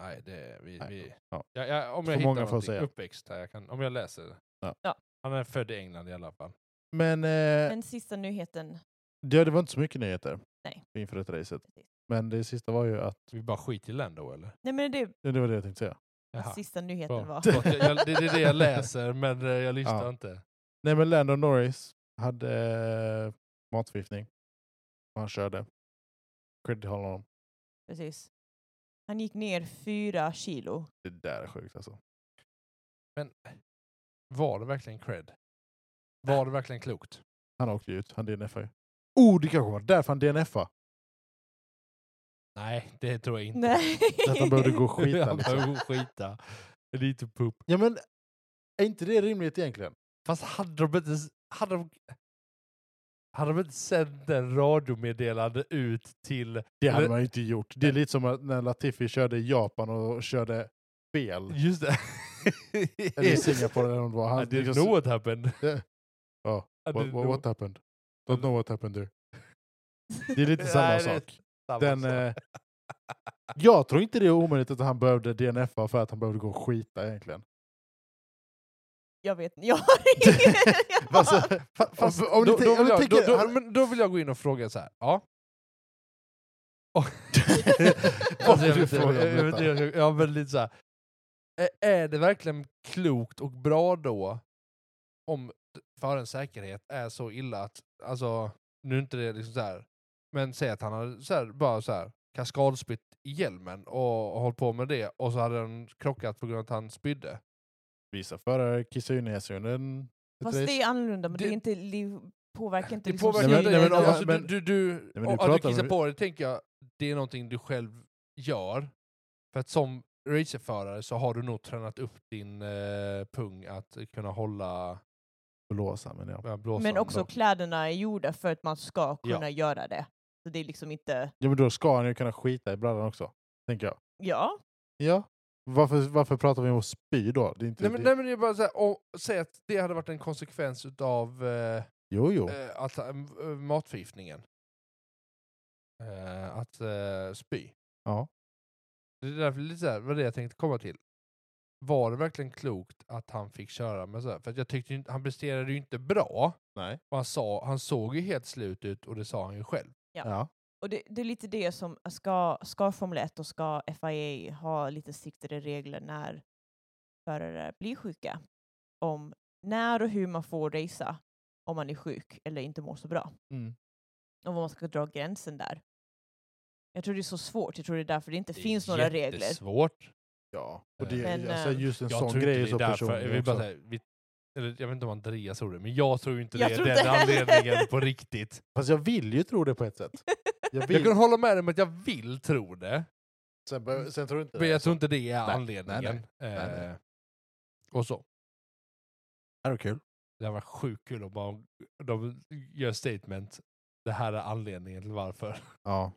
[SPEAKER 2] nej, det... Vi,
[SPEAKER 1] Nej.
[SPEAKER 2] vi,
[SPEAKER 1] Ja.
[SPEAKER 2] Ja, ja, om jag
[SPEAKER 1] Så
[SPEAKER 2] hittar
[SPEAKER 1] många får
[SPEAKER 2] någonting.
[SPEAKER 1] säga.
[SPEAKER 2] Uppväxt här, jag kan, om jag läser det.
[SPEAKER 1] Ja.
[SPEAKER 3] Ja.
[SPEAKER 2] Han är född i England i alla fall.
[SPEAKER 1] Men, eh,
[SPEAKER 3] Men sista nyheten.
[SPEAKER 1] det, det var inte så mycket nyheter
[SPEAKER 3] Nej.
[SPEAKER 1] inför detta racet.
[SPEAKER 3] Precis.
[SPEAKER 1] Men det sista var ju att,
[SPEAKER 2] Så vi bara skiter i Lando eller?
[SPEAKER 3] Nej men det är
[SPEAKER 1] ja, det var det jag tänkte säga.
[SPEAKER 3] vad
[SPEAKER 2] Jaha.
[SPEAKER 3] sista nyheten
[SPEAKER 2] Bra.
[SPEAKER 3] var.
[SPEAKER 2] Förlåt, jag, jag, det det är det jag läser, men eh, jag lyssnar
[SPEAKER 1] Ja.
[SPEAKER 2] inte.
[SPEAKER 1] Nej men Lando Norris hade eh, matförgiftning. Och Han körde. Credit till honom.
[SPEAKER 3] Precis. Han gick ner fyra kilo.
[SPEAKER 1] Det där är sjukt alltså.
[SPEAKER 2] Men var det verkligen cred? Var det verkligen klokt?
[SPEAKER 1] Han åkte ju ut, han DNFade ju. Oh, det kanske var därför han DNFade.
[SPEAKER 2] Nej, det tror jag inte.
[SPEAKER 3] Nej.
[SPEAKER 1] Detta började gå och skita
[SPEAKER 2] jag
[SPEAKER 1] liksom.
[SPEAKER 2] behöver skita. Lite poop.
[SPEAKER 1] Ja men, är inte det rimligt egentligen?
[SPEAKER 2] Fast hade de inte... Hade de, hade de inte sänt den radiomeddelande ut till...
[SPEAKER 1] Det hade
[SPEAKER 2] Men-
[SPEAKER 1] man ju inte gjort. Det är lite som att när Latifi körde i Japan och körde fel.
[SPEAKER 2] Just det.
[SPEAKER 1] Eller i Singapore eller vad det var.
[SPEAKER 2] I
[SPEAKER 1] Han,
[SPEAKER 2] didn't
[SPEAKER 1] liksom,
[SPEAKER 2] know what happened.
[SPEAKER 1] Yeah. Ja,
[SPEAKER 2] I
[SPEAKER 1] what,
[SPEAKER 2] didn't
[SPEAKER 1] what,
[SPEAKER 2] know-
[SPEAKER 1] what happened? Don't know what happened there. Det är lite samma
[SPEAKER 2] Nej, det är
[SPEAKER 1] sak.
[SPEAKER 2] samma
[SPEAKER 1] Den,
[SPEAKER 2] sak.
[SPEAKER 1] eh, jag tror inte det är omöjligt att han behövde DNFa för att han behövde gå och skita egentligen.
[SPEAKER 3] Jag vet inte. Jag
[SPEAKER 1] Alltså,
[SPEAKER 3] har
[SPEAKER 1] fa- fast, om, om,
[SPEAKER 2] då,
[SPEAKER 1] du
[SPEAKER 2] då,
[SPEAKER 1] tänker- om
[SPEAKER 2] vill
[SPEAKER 1] du
[SPEAKER 2] jag,
[SPEAKER 1] tänker...
[SPEAKER 2] då, då,
[SPEAKER 1] han-
[SPEAKER 2] men då vill jag gå in och fråga så här. Ja. Och-
[SPEAKER 1] Varför
[SPEAKER 2] alltså, jag,
[SPEAKER 1] du
[SPEAKER 2] vet, inte,
[SPEAKER 1] frågar om
[SPEAKER 2] jag, vet,
[SPEAKER 1] detta?
[SPEAKER 2] jag, jag, jag, lite så här. Ä- Är det verkligen klokt och bra då om d- för en säkerhet är så illa att, alltså, nu är inte det liksom så här, men säg att han hade så här, bara så här kaskadspytt i hjälmen och, och hållit på med det och så hade den krockat på grund av att han spydde.
[SPEAKER 1] Vissa förare kissar ju ner sig under en... ett
[SPEAKER 3] Fast
[SPEAKER 1] race.
[SPEAKER 3] det är annorlunda, men det,
[SPEAKER 2] Det-
[SPEAKER 3] är inte, liv- påverkar inte
[SPEAKER 2] Det
[SPEAKER 3] liksom
[SPEAKER 2] påverkar
[SPEAKER 1] Nej,
[SPEAKER 2] inte
[SPEAKER 1] men- nej,
[SPEAKER 2] dig.
[SPEAKER 1] men-
[SPEAKER 2] alltså,
[SPEAKER 1] men-
[SPEAKER 2] du, du,
[SPEAKER 1] men
[SPEAKER 2] du,
[SPEAKER 1] nu
[SPEAKER 2] och, att
[SPEAKER 1] pratar
[SPEAKER 2] du
[SPEAKER 1] vi-
[SPEAKER 2] kissar på dig tänker jag, det är någonting du själv gör. För att som racerförare så har du nog tränat upp din eh, pung att kunna hålla
[SPEAKER 1] Blåsa, men ja.
[SPEAKER 2] eh, blåsan.
[SPEAKER 3] Men också
[SPEAKER 2] då.
[SPEAKER 3] kläderna är gjorda för att man ska
[SPEAKER 2] Ja.
[SPEAKER 3] kunna göra det. Så det är liksom inte...
[SPEAKER 1] ja, men då ska han ju kunna skita i brallan också, tänker jag.
[SPEAKER 3] Ja,
[SPEAKER 1] Ja. Varför, varför pratar vi om att spy då? Det är inte,
[SPEAKER 2] Nej men,
[SPEAKER 1] det,
[SPEAKER 2] nej men det är bara så här, och säg att det hade varit en konsekvens utav eh,
[SPEAKER 1] Jo, jo.
[SPEAKER 2] eh, att, eh, matförgiftningen. Eh, att eh, spy.
[SPEAKER 1] Ja.
[SPEAKER 2] Det är därför lite så här, vad det jag tänkte komma till. Var det verkligen klokt att han fick köra med så här? För att jag tyckte ju inte, han presterade ju inte bra.
[SPEAKER 1] Nej.
[SPEAKER 2] Och han, sa, han såg ju helt slut ut och det sa han ju själv.
[SPEAKER 3] Ja.
[SPEAKER 1] Ja.
[SPEAKER 3] och det, det är lite det som ska, ska Formel 1 och ska FIA ha lite striktare regler när förare blir sjuka. Om när och hur man får racea om man är sjuk eller inte mår så bra.
[SPEAKER 1] Mm.
[SPEAKER 3] Och var man ska dra gränsen där. Jag tror det är så svårt, jag tror det är därför det inte
[SPEAKER 2] Det är
[SPEAKER 3] finns några regler.
[SPEAKER 2] jättesvårt.
[SPEAKER 1] ja. Och det,
[SPEAKER 3] Men,
[SPEAKER 1] alltså,
[SPEAKER 3] eh,
[SPEAKER 1] just en
[SPEAKER 2] Jag
[SPEAKER 1] sån
[SPEAKER 2] tror inte
[SPEAKER 1] grej är
[SPEAKER 2] det
[SPEAKER 1] så
[SPEAKER 2] är därför.
[SPEAKER 1] personlig.
[SPEAKER 2] Jag, vill bara
[SPEAKER 1] också.
[SPEAKER 2] säga, vi, eller, jag vet inte om Andreas tror det, men jag tror ju inte
[SPEAKER 3] Jag
[SPEAKER 2] det
[SPEAKER 3] tror
[SPEAKER 2] är
[SPEAKER 3] inte
[SPEAKER 2] den
[SPEAKER 3] heller.
[SPEAKER 2] anledningen på riktigt.
[SPEAKER 1] Fast jag vill ju tro det på ett sätt. Jag vill.
[SPEAKER 2] Jag kan hålla med dig om att jag vill tro det,
[SPEAKER 1] sen, behöver- sen tror jag inte
[SPEAKER 2] men jag
[SPEAKER 1] alltså.
[SPEAKER 2] tror inte det är
[SPEAKER 1] nej,
[SPEAKER 2] anledningen.
[SPEAKER 1] nej, nej.
[SPEAKER 2] Eh, och så.
[SPEAKER 1] Det var kul.
[SPEAKER 2] Det var sjukt kul om man, de gör statement. Det här är anledningen till varför.
[SPEAKER 1] Ja.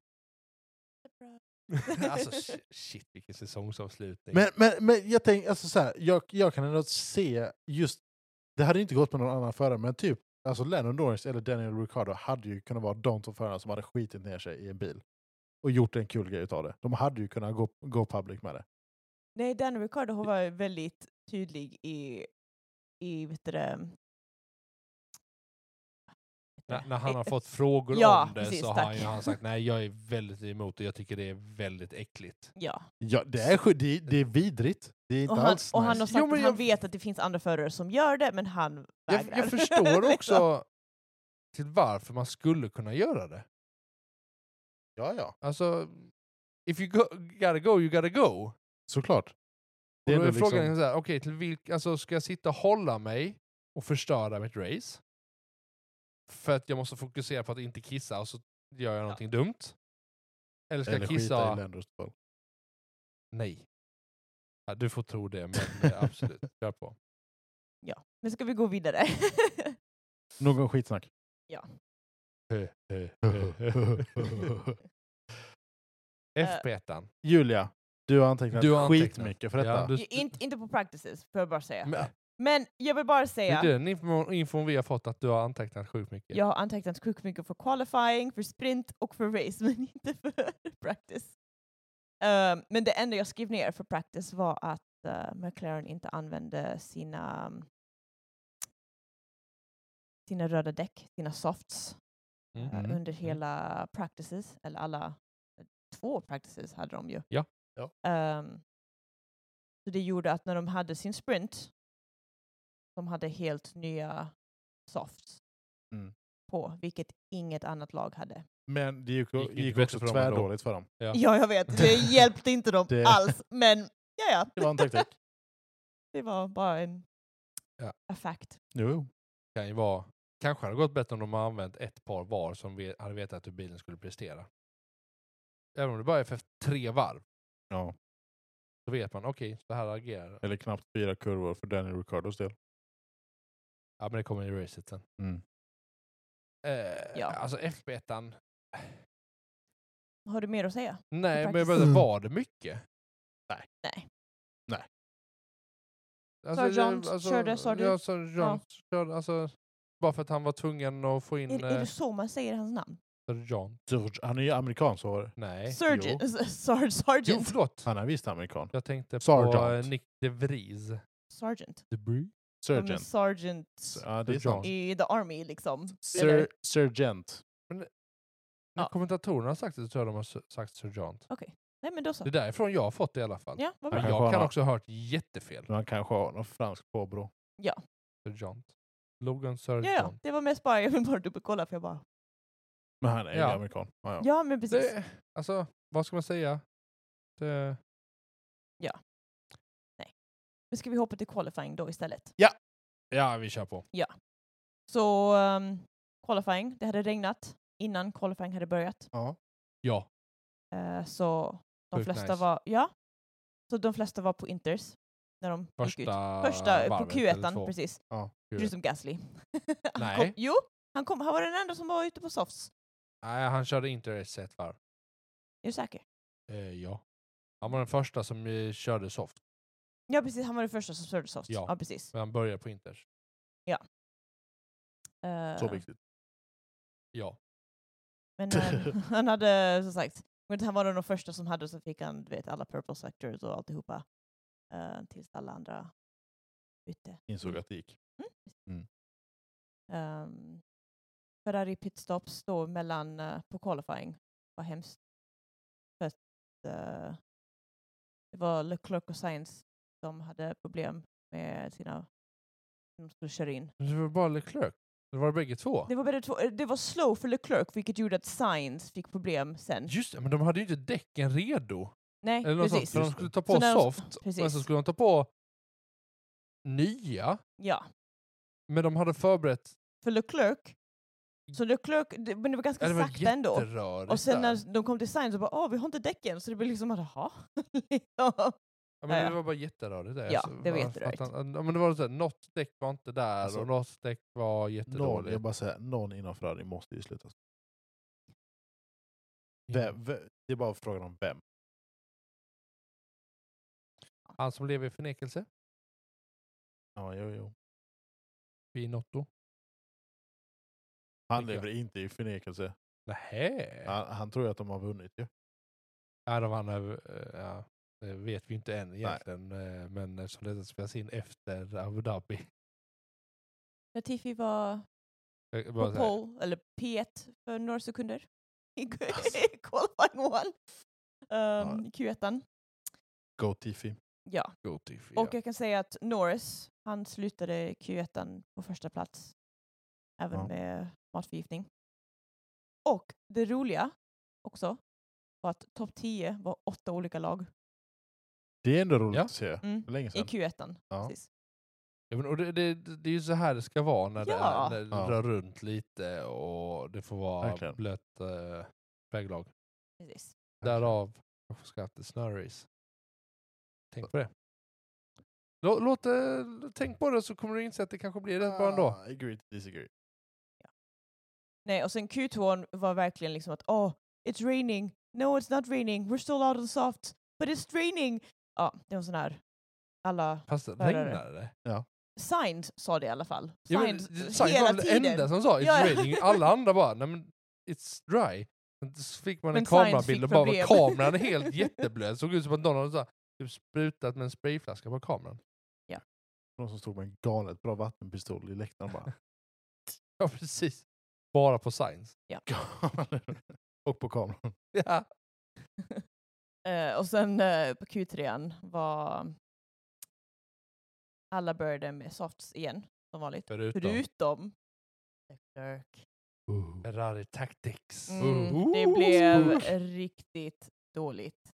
[SPEAKER 2] alltså sh- shit vilken säsongsavslutning.
[SPEAKER 1] Men, men, men jag tänker, alltså så här, jag, jag kan ändå se just, det hade inte gått med någon annan förare, men typ alltså Lennon Norris eller Daniel Ricciardo hade ju kunnat vara de två förarna som hade skitit ner sig i en bil och gjort en kul grej utav det. De hade ju kunnat gå, gå public med det.
[SPEAKER 3] Nej, Dan Ricardo har varit väldigt tydlig i, i vet du det,
[SPEAKER 2] när, när han har
[SPEAKER 3] Eh,
[SPEAKER 2] fått frågor
[SPEAKER 3] Ja,
[SPEAKER 2] om det
[SPEAKER 3] precis,
[SPEAKER 2] så har
[SPEAKER 3] tack.
[SPEAKER 2] han, ju- han har sagt nej jag är väldigt emot det, jag tycker det är väldigt äckligt.
[SPEAKER 3] Ja,
[SPEAKER 1] Ja, det är, sjuk- det, det är vidrigt. Det är inte
[SPEAKER 3] och han,
[SPEAKER 1] alls
[SPEAKER 3] och
[SPEAKER 1] nice.
[SPEAKER 3] han har sagt
[SPEAKER 2] Jo, men
[SPEAKER 3] att
[SPEAKER 2] jag-
[SPEAKER 3] han vet att det finns andra förare som gör det, men han vägrar.
[SPEAKER 2] Jag, jag förstår
[SPEAKER 3] Liksom.
[SPEAKER 2] också till varför man skulle kunna göra det.
[SPEAKER 1] Ja, ja.
[SPEAKER 2] Alltså, if you go, gotta go, you gotta go.
[SPEAKER 1] Såklart.
[SPEAKER 2] Och då är
[SPEAKER 1] ändå liksom
[SPEAKER 2] frågan liksom så här, okej, till vilk, alltså, ska jag sitta och hålla mig och förstöra mitt race? För att jag måste fokusera på att inte kissa och så gör jag någonting dumt. Eller ska
[SPEAKER 1] Eller skita i
[SPEAKER 2] kissa?
[SPEAKER 1] Lando i så fall.
[SPEAKER 2] Nej. Ja, du får tro det, men eh, absolut. Kör på.
[SPEAKER 3] Men ska vi gå vidare?
[SPEAKER 1] Någon skitsnack.
[SPEAKER 3] Eh.
[SPEAKER 2] FP1.
[SPEAKER 1] Julia, du har antecknat
[SPEAKER 2] Du har antecknat.
[SPEAKER 1] skitmycket för detta.
[SPEAKER 2] Ja, du-
[SPEAKER 3] Ju- inte, inte på practices, får jag bara säga.
[SPEAKER 1] Mm.
[SPEAKER 3] Men,
[SPEAKER 2] Men,
[SPEAKER 3] jag vill bara
[SPEAKER 2] det är
[SPEAKER 3] säga,
[SPEAKER 2] den info- infon vi har fått att du har antecknat sjukt mycket.
[SPEAKER 3] jag har antecknat sjukt mycket för qualifying, för sprint och för race, men inte för practice. Ehm, men det enda jag skrev ner för practice var att eh, McLaren inte använde sina mm, sina röda däck, sina softs.
[SPEAKER 2] Mm.
[SPEAKER 3] eh,
[SPEAKER 1] Mm.
[SPEAKER 3] under hela practices, eller alla eh, två practices hade de ju.
[SPEAKER 2] Ja.
[SPEAKER 1] Ja.
[SPEAKER 3] Ehm, så det gjorde att när de hade sin sprint, de hade helt nya softs
[SPEAKER 1] Mm.
[SPEAKER 3] på, vilket inget annat lag hade.
[SPEAKER 1] Men det gick,
[SPEAKER 2] Gick
[SPEAKER 1] gick,
[SPEAKER 2] inte bättre
[SPEAKER 1] också
[SPEAKER 2] för dem ändå.
[SPEAKER 1] tvärdåligt för dem.
[SPEAKER 2] Ja.
[SPEAKER 3] Ja, jag vet. Det hjälpte inte dem
[SPEAKER 1] Det-
[SPEAKER 3] alls, men ja, ja.
[SPEAKER 1] Det var en taktik.
[SPEAKER 3] Det var bara en
[SPEAKER 2] Ja.
[SPEAKER 3] a fact.
[SPEAKER 1] Jo.
[SPEAKER 2] Kan ju vara, kanske hade det gått bättre om de hade använt ett par var som vi hade vetat hur bilen skulle prestera. Även om det bara är för tre varv,
[SPEAKER 1] Ja.
[SPEAKER 2] så vet man okej, så här agerar den.
[SPEAKER 1] Eller knappt fyra kurvor för Daniel Ricardos del.
[SPEAKER 2] Ja, men det kommer i racet sen.
[SPEAKER 1] Mm.
[SPEAKER 2] Eh,
[SPEAKER 3] Ja.
[SPEAKER 2] Alltså FB1.
[SPEAKER 3] Har du mer att säga?
[SPEAKER 2] Nej, men jag
[SPEAKER 3] faktiskt-
[SPEAKER 2] menar, var det mycket?
[SPEAKER 3] Nej.
[SPEAKER 1] Nej.
[SPEAKER 3] Sir Johns körde, sa du?
[SPEAKER 2] Alltså, Ja, Sir Johns körde. Alltså, bara för att han var tvungen att få in
[SPEAKER 3] Är, är
[SPEAKER 2] eh,
[SPEAKER 3] det så man säger hans namn?
[SPEAKER 2] Sir John.
[SPEAKER 1] George, han är ju amerikan så var det.
[SPEAKER 2] Nej.
[SPEAKER 3] Sergeant.
[SPEAKER 1] Eh, jo.
[SPEAKER 3] Sar-
[SPEAKER 2] Jo,
[SPEAKER 3] Sergeant.
[SPEAKER 2] förlåt.
[SPEAKER 1] Han är visst amerikan.
[SPEAKER 2] Jag tänkte på
[SPEAKER 1] Sergeant.
[SPEAKER 2] eh, Nick de Vries.
[SPEAKER 3] Sergeant.
[SPEAKER 2] De Vries?
[SPEAKER 3] De är
[SPEAKER 1] Sergeant.
[SPEAKER 3] sergeant.
[SPEAKER 1] Ja, det är sant.
[SPEAKER 3] i the army liksom.
[SPEAKER 1] Sir, sergeant.
[SPEAKER 2] När
[SPEAKER 3] Ja.
[SPEAKER 2] kommentatorerna har sagt det så tror jag de har s- sagt Sir John.
[SPEAKER 3] Nej men då så.
[SPEAKER 2] Det är därifrån jag har fått det i alla fall.
[SPEAKER 3] Ja, vad
[SPEAKER 2] Men
[SPEAKER 3] bra.
[SPEAKER 1] kanske
[SPEAKER 2] jag
[SPEAKER 1] han
[SPEAKER 2] kan
[SPEAKER 1] har-
[SPEAKER 2] också ha hört jättefel.
[SPEAKER 1] Men han kanske har någon fransk påbrå.
[SPEAKER 2] Sir John. Logan Sir
[SPEAKER 3] Ja, ja,
[SPEAKER 2] John.
[SPEAKER 3] det var mest bara, jag vill bara dubbelkolla för jag bara,
[SPEAKER 1] Men han är ju
[SPEAKER 2] Ja.
[SPEAKER 1] amerikan. Ja, ja.
[SPEAKER 3] ja men precis.
[SPEAKER 2] Det, alltså, vad ska man säga? Det,
[SPEAKER 3] Men ska vi hoppa till qualifying då istället?
[SPEAKER 2] ja, vi kör på.
[SPEAKER 3] Så ehm, qualifying, det hade regnat innan qualifying hade börjat.
[SPEAKER 1] ja.
[SPEAKER 2] Ja.
[SPEAKER 3] Eh, så de
[SPEAKER 2] Sjukt
[SPEAKER 3] flesta
[SPEAKER 2] nice.
[SPEAKER 3] var, ja. Så de flesta var på Inters när de gick ut.
[SPEAKER 2] Första,
[SPEAKER 3] Första på
[SPEAKER 2] varvet eller
[SPEAKER 3] Q1,
[SPEAKER 2] två.
[SPEAKER 3] precis.
[SPEAKER 1] Ja,
[SPEAKER 2] Q1.
[SPEAKER 3] Förutom Gasly. han
[SPEAKER 2] Nej.
[SPEAKER 3] Kom, jo, han, kom, han var den enda som var ute på softs.
[SPEAKER 2] Nej, han körde inte race ett varv.
[SPEAKER 3] Är du säker?
[SPEAKER 2] Eh, ja. Han var den första som eh, körde soft,
[SPEAKER 3] Ja precis, han var den första som körde softs.
[SPEAKER 2] Ja.
[SPEAKER 3] Ja, precis.
[SPEAKER 2] men han började på Inters.
[SPEAKER 3] Eh,
[SPEAKER 1] Så viktigt.
[SPEAKER 2] Ja.
[SPEAKER 3] Men han, han hade som sagt, men han var nog den första som hade så fick han du vet, alla purple sectors och alltihopa. Uh, tills alla andra bytte.
[SPEAKER 2] Mm.
[SPEAKER 1] Insåg att det gick.
[SPEAKER 3] Um, Ferrari pitstops då mellan eh, på qualifying var hemskt. För att eh, det var Leclerc och Sainz som hade problem med sina de skulle köra in.
[SPEAKER 2] Men Det var bara Leclerc. Det var bägge två.
[SPEAKER 3] Det var, bägge två, eh, det var slow för Leclerc vilket gjorde att Sainz fick problem sen.
[SPEAKER 2] Just det, men de hade ju inte däcken redo.
[SPEAKER 3] Nej,
[SPEAKER 2] Eller något sånt,
[SPEAKER 3] precis.
[SPEAKER 2] för de
[SPEAKER 1] Just
[SPEAKER 2] skulle
[SPEAKER 1] det.
[SPEAKER 2] ta på
[SPEAKER 3] Så när de-
[SPEAKER 2] soft,
[SPEAKER 3] precis.
[SPEAKER 2] men så skulle de ta på nya,
[SPEAKER 3] Ja,
[SPEAKER 2] men de hade förberett...
[SPEAKER 3] för Leclerc. Så Leclerc, det, men det var ganska
[SPEAKER 2] Ja, det var
[SPEAKER 3] sakta ändå.
[SPEAKER 2] jätterörigt
[SPEAKER 3] Och sen
[SPEAKER 2] där.
[SPEAKER 3] när de kom till Sainz så bara åh, vi har inte däcken. Så det blev liksom att jaha. Liksom.
[SPEAKER 2] Ja, men
[SPEAKER 3] Ja,
[SPEAKER 2] det
[SPEAKER 3] ja.
[SPEAKER 2] var bara jätterörigt. Där.
[SPEAKER 3] Ja,
[SPEAKER 2] alltså.
[SPEAKER 3] det var
[SPEAKER 2] Att
[SPEAKER 3] jätterörigt.
[SPEAKER 2] han- ja, men det var så här, något däck var inte där
[SPEAKER 1] Alltså,
[SPEAKER 2] och något däck var
[SPEAKER 1] Någon,
[SPEAKER 2] jättedåligt.
[SPEAKER 1] jag bara säger, någon inom Ferrari måste ju sluta.
[SPEAKER 2] Ja.
[SPEAKER 1] Vem, vem, det är bara frågan om vem.
[SPEAKER 2] Han som lever i förnekelse,
[SPEAKER 1] Ja, jo, jo.
[SPEAKER 2] Pinotto.
[SPEAKER 1] Han
[SPEAKER 2] Tycker jag.
[SPEAKER 1] lever inte i förnekelse.
[SPEAKER 2] Nähä? Ja.
[SPEAKER 1] Han, han tror ju att de har vunnit ju.
[SPEAKER 2] de vann, över- eh, ja, det vet vi inte än egentligen, eh, men eftersom det spelas in efter Abu Dhabi.
[SPEAKER 3] Latifi var
[SPEAKER 2] Jag eh, bara
[SPEAKER 3] på
[SPEAKER 2] så här,
[SPEAKER 3] pole, eller P1 för några sekunder i
[SPEAKER 1] Alltså.
[SPEAKER 3] qualifying one. Um, Q1.
[SPEAKER 1] Go Tiffy.
[SPEAKER 3] Ja.
[SPEAKER 2] go Tiff,
[SPEAKER 3] och jag kan säga att Norris, han slutade Q1 på första plats, även
[SPEAKER 1] Ja.
[SPEAKER 3] med matförgiftning. Och det roliga också var att topp 10 var åtta olika lag
[SPEAKER 1] Det är ändå roligt
[SPEAKER 2] Ja.
[SPEAKER 1] att se.
[SPEAKER 3] mm.
[SPEAKER 1] För länge
[SPEAKER 3] i
[SPEAKER 1] sedan.
[SPEAKER 3] Q1.
[SPEAKER 1] Ja.
[SPEAKER 3] Precis.
[SPEAKER 2] Ja, men, och det, det, det är ju så här det ska vara när
[SPEAKER 3] Ja.
[SPEAKER 2] det, är, när det
[SPEAKER 1] Ja.
[SPEAKER 2] rör runt lite och det får vara
[SPEAKER 1] Verkligen.
[SPEAKER 2] blött eh, väglag.
[SPEAKER 3] Precis.
[SPEAKER 2] Därav varför ska jag inte snörrace? Tänk på det. Lå- Låt, eh, tänk på det så kommer du inse att det kanske blir rätt bra ändå.
[SPEAKER 1] Ah, Agree to disagree.
[SPEAKER 3] Nej, och sen Q2 var verkligen liksom att åh, it's raining, no it's not raining, we're still out on soft, but it's raining. Ja, det var sån här, alla,
[SPEAKER 2] Fast det
[SPEAKER 3] Hörare.
[SPEAKER 2] regnade det?
[SPEAKER 3] Signs sa det i alla fall.
[SPEAKER 2] Ja, men
[SPEAKER 3] Signs,
[SPEAKER 2] det-
[SPEAKER 3] hela
[SPEAKER 2] Seinfeld var den enda
[SPEAKER 3] tiden.
[SPEAKER 2] som sa it's
[SPEAKER 3] Ja, ja.
[SPEAKER 2] raining. Alla andra bara, nej men it's dry. Men Så fick man en
[SPEAKER 3] Men Seinfeld
[SPEAKER 2] kamerabild och
[SPEAKER 3] fick
[SPEAKER 2] bara
[SPEAKER 3] problem.
[SPEAKER 2] var kameran är helt jätteblöt. Såg ut som att någon hade så här, typ sprutat med en sprayflaska på kameran.
[SPEAKER 1] Någon som stod med en galet bra vattenpistol i läktaren bara.
[SPEAKER 2] Ja precis. Bara på science.
[SPEAKER 1] "Galen." och på kameran.
[SPEAKER 2] Ja.
[SPEAKER 3] Eh, och sen eh, på Q3 var alla började med softs igen, som vanligt.
[SPEAKER 2] Förutom
[SPEAKER 3] Förutom Leclerc.
[SPEAKER 1] Uh.
[SPEAKER 2] Ferrari Tactics.
[SPEAKER 3] Mm,
[SPEAKER 1] Oh,
[SPEAKER 3] det blev
[SPEAKER 1] spook.
[SPEAKER 3] riktigt dåligt.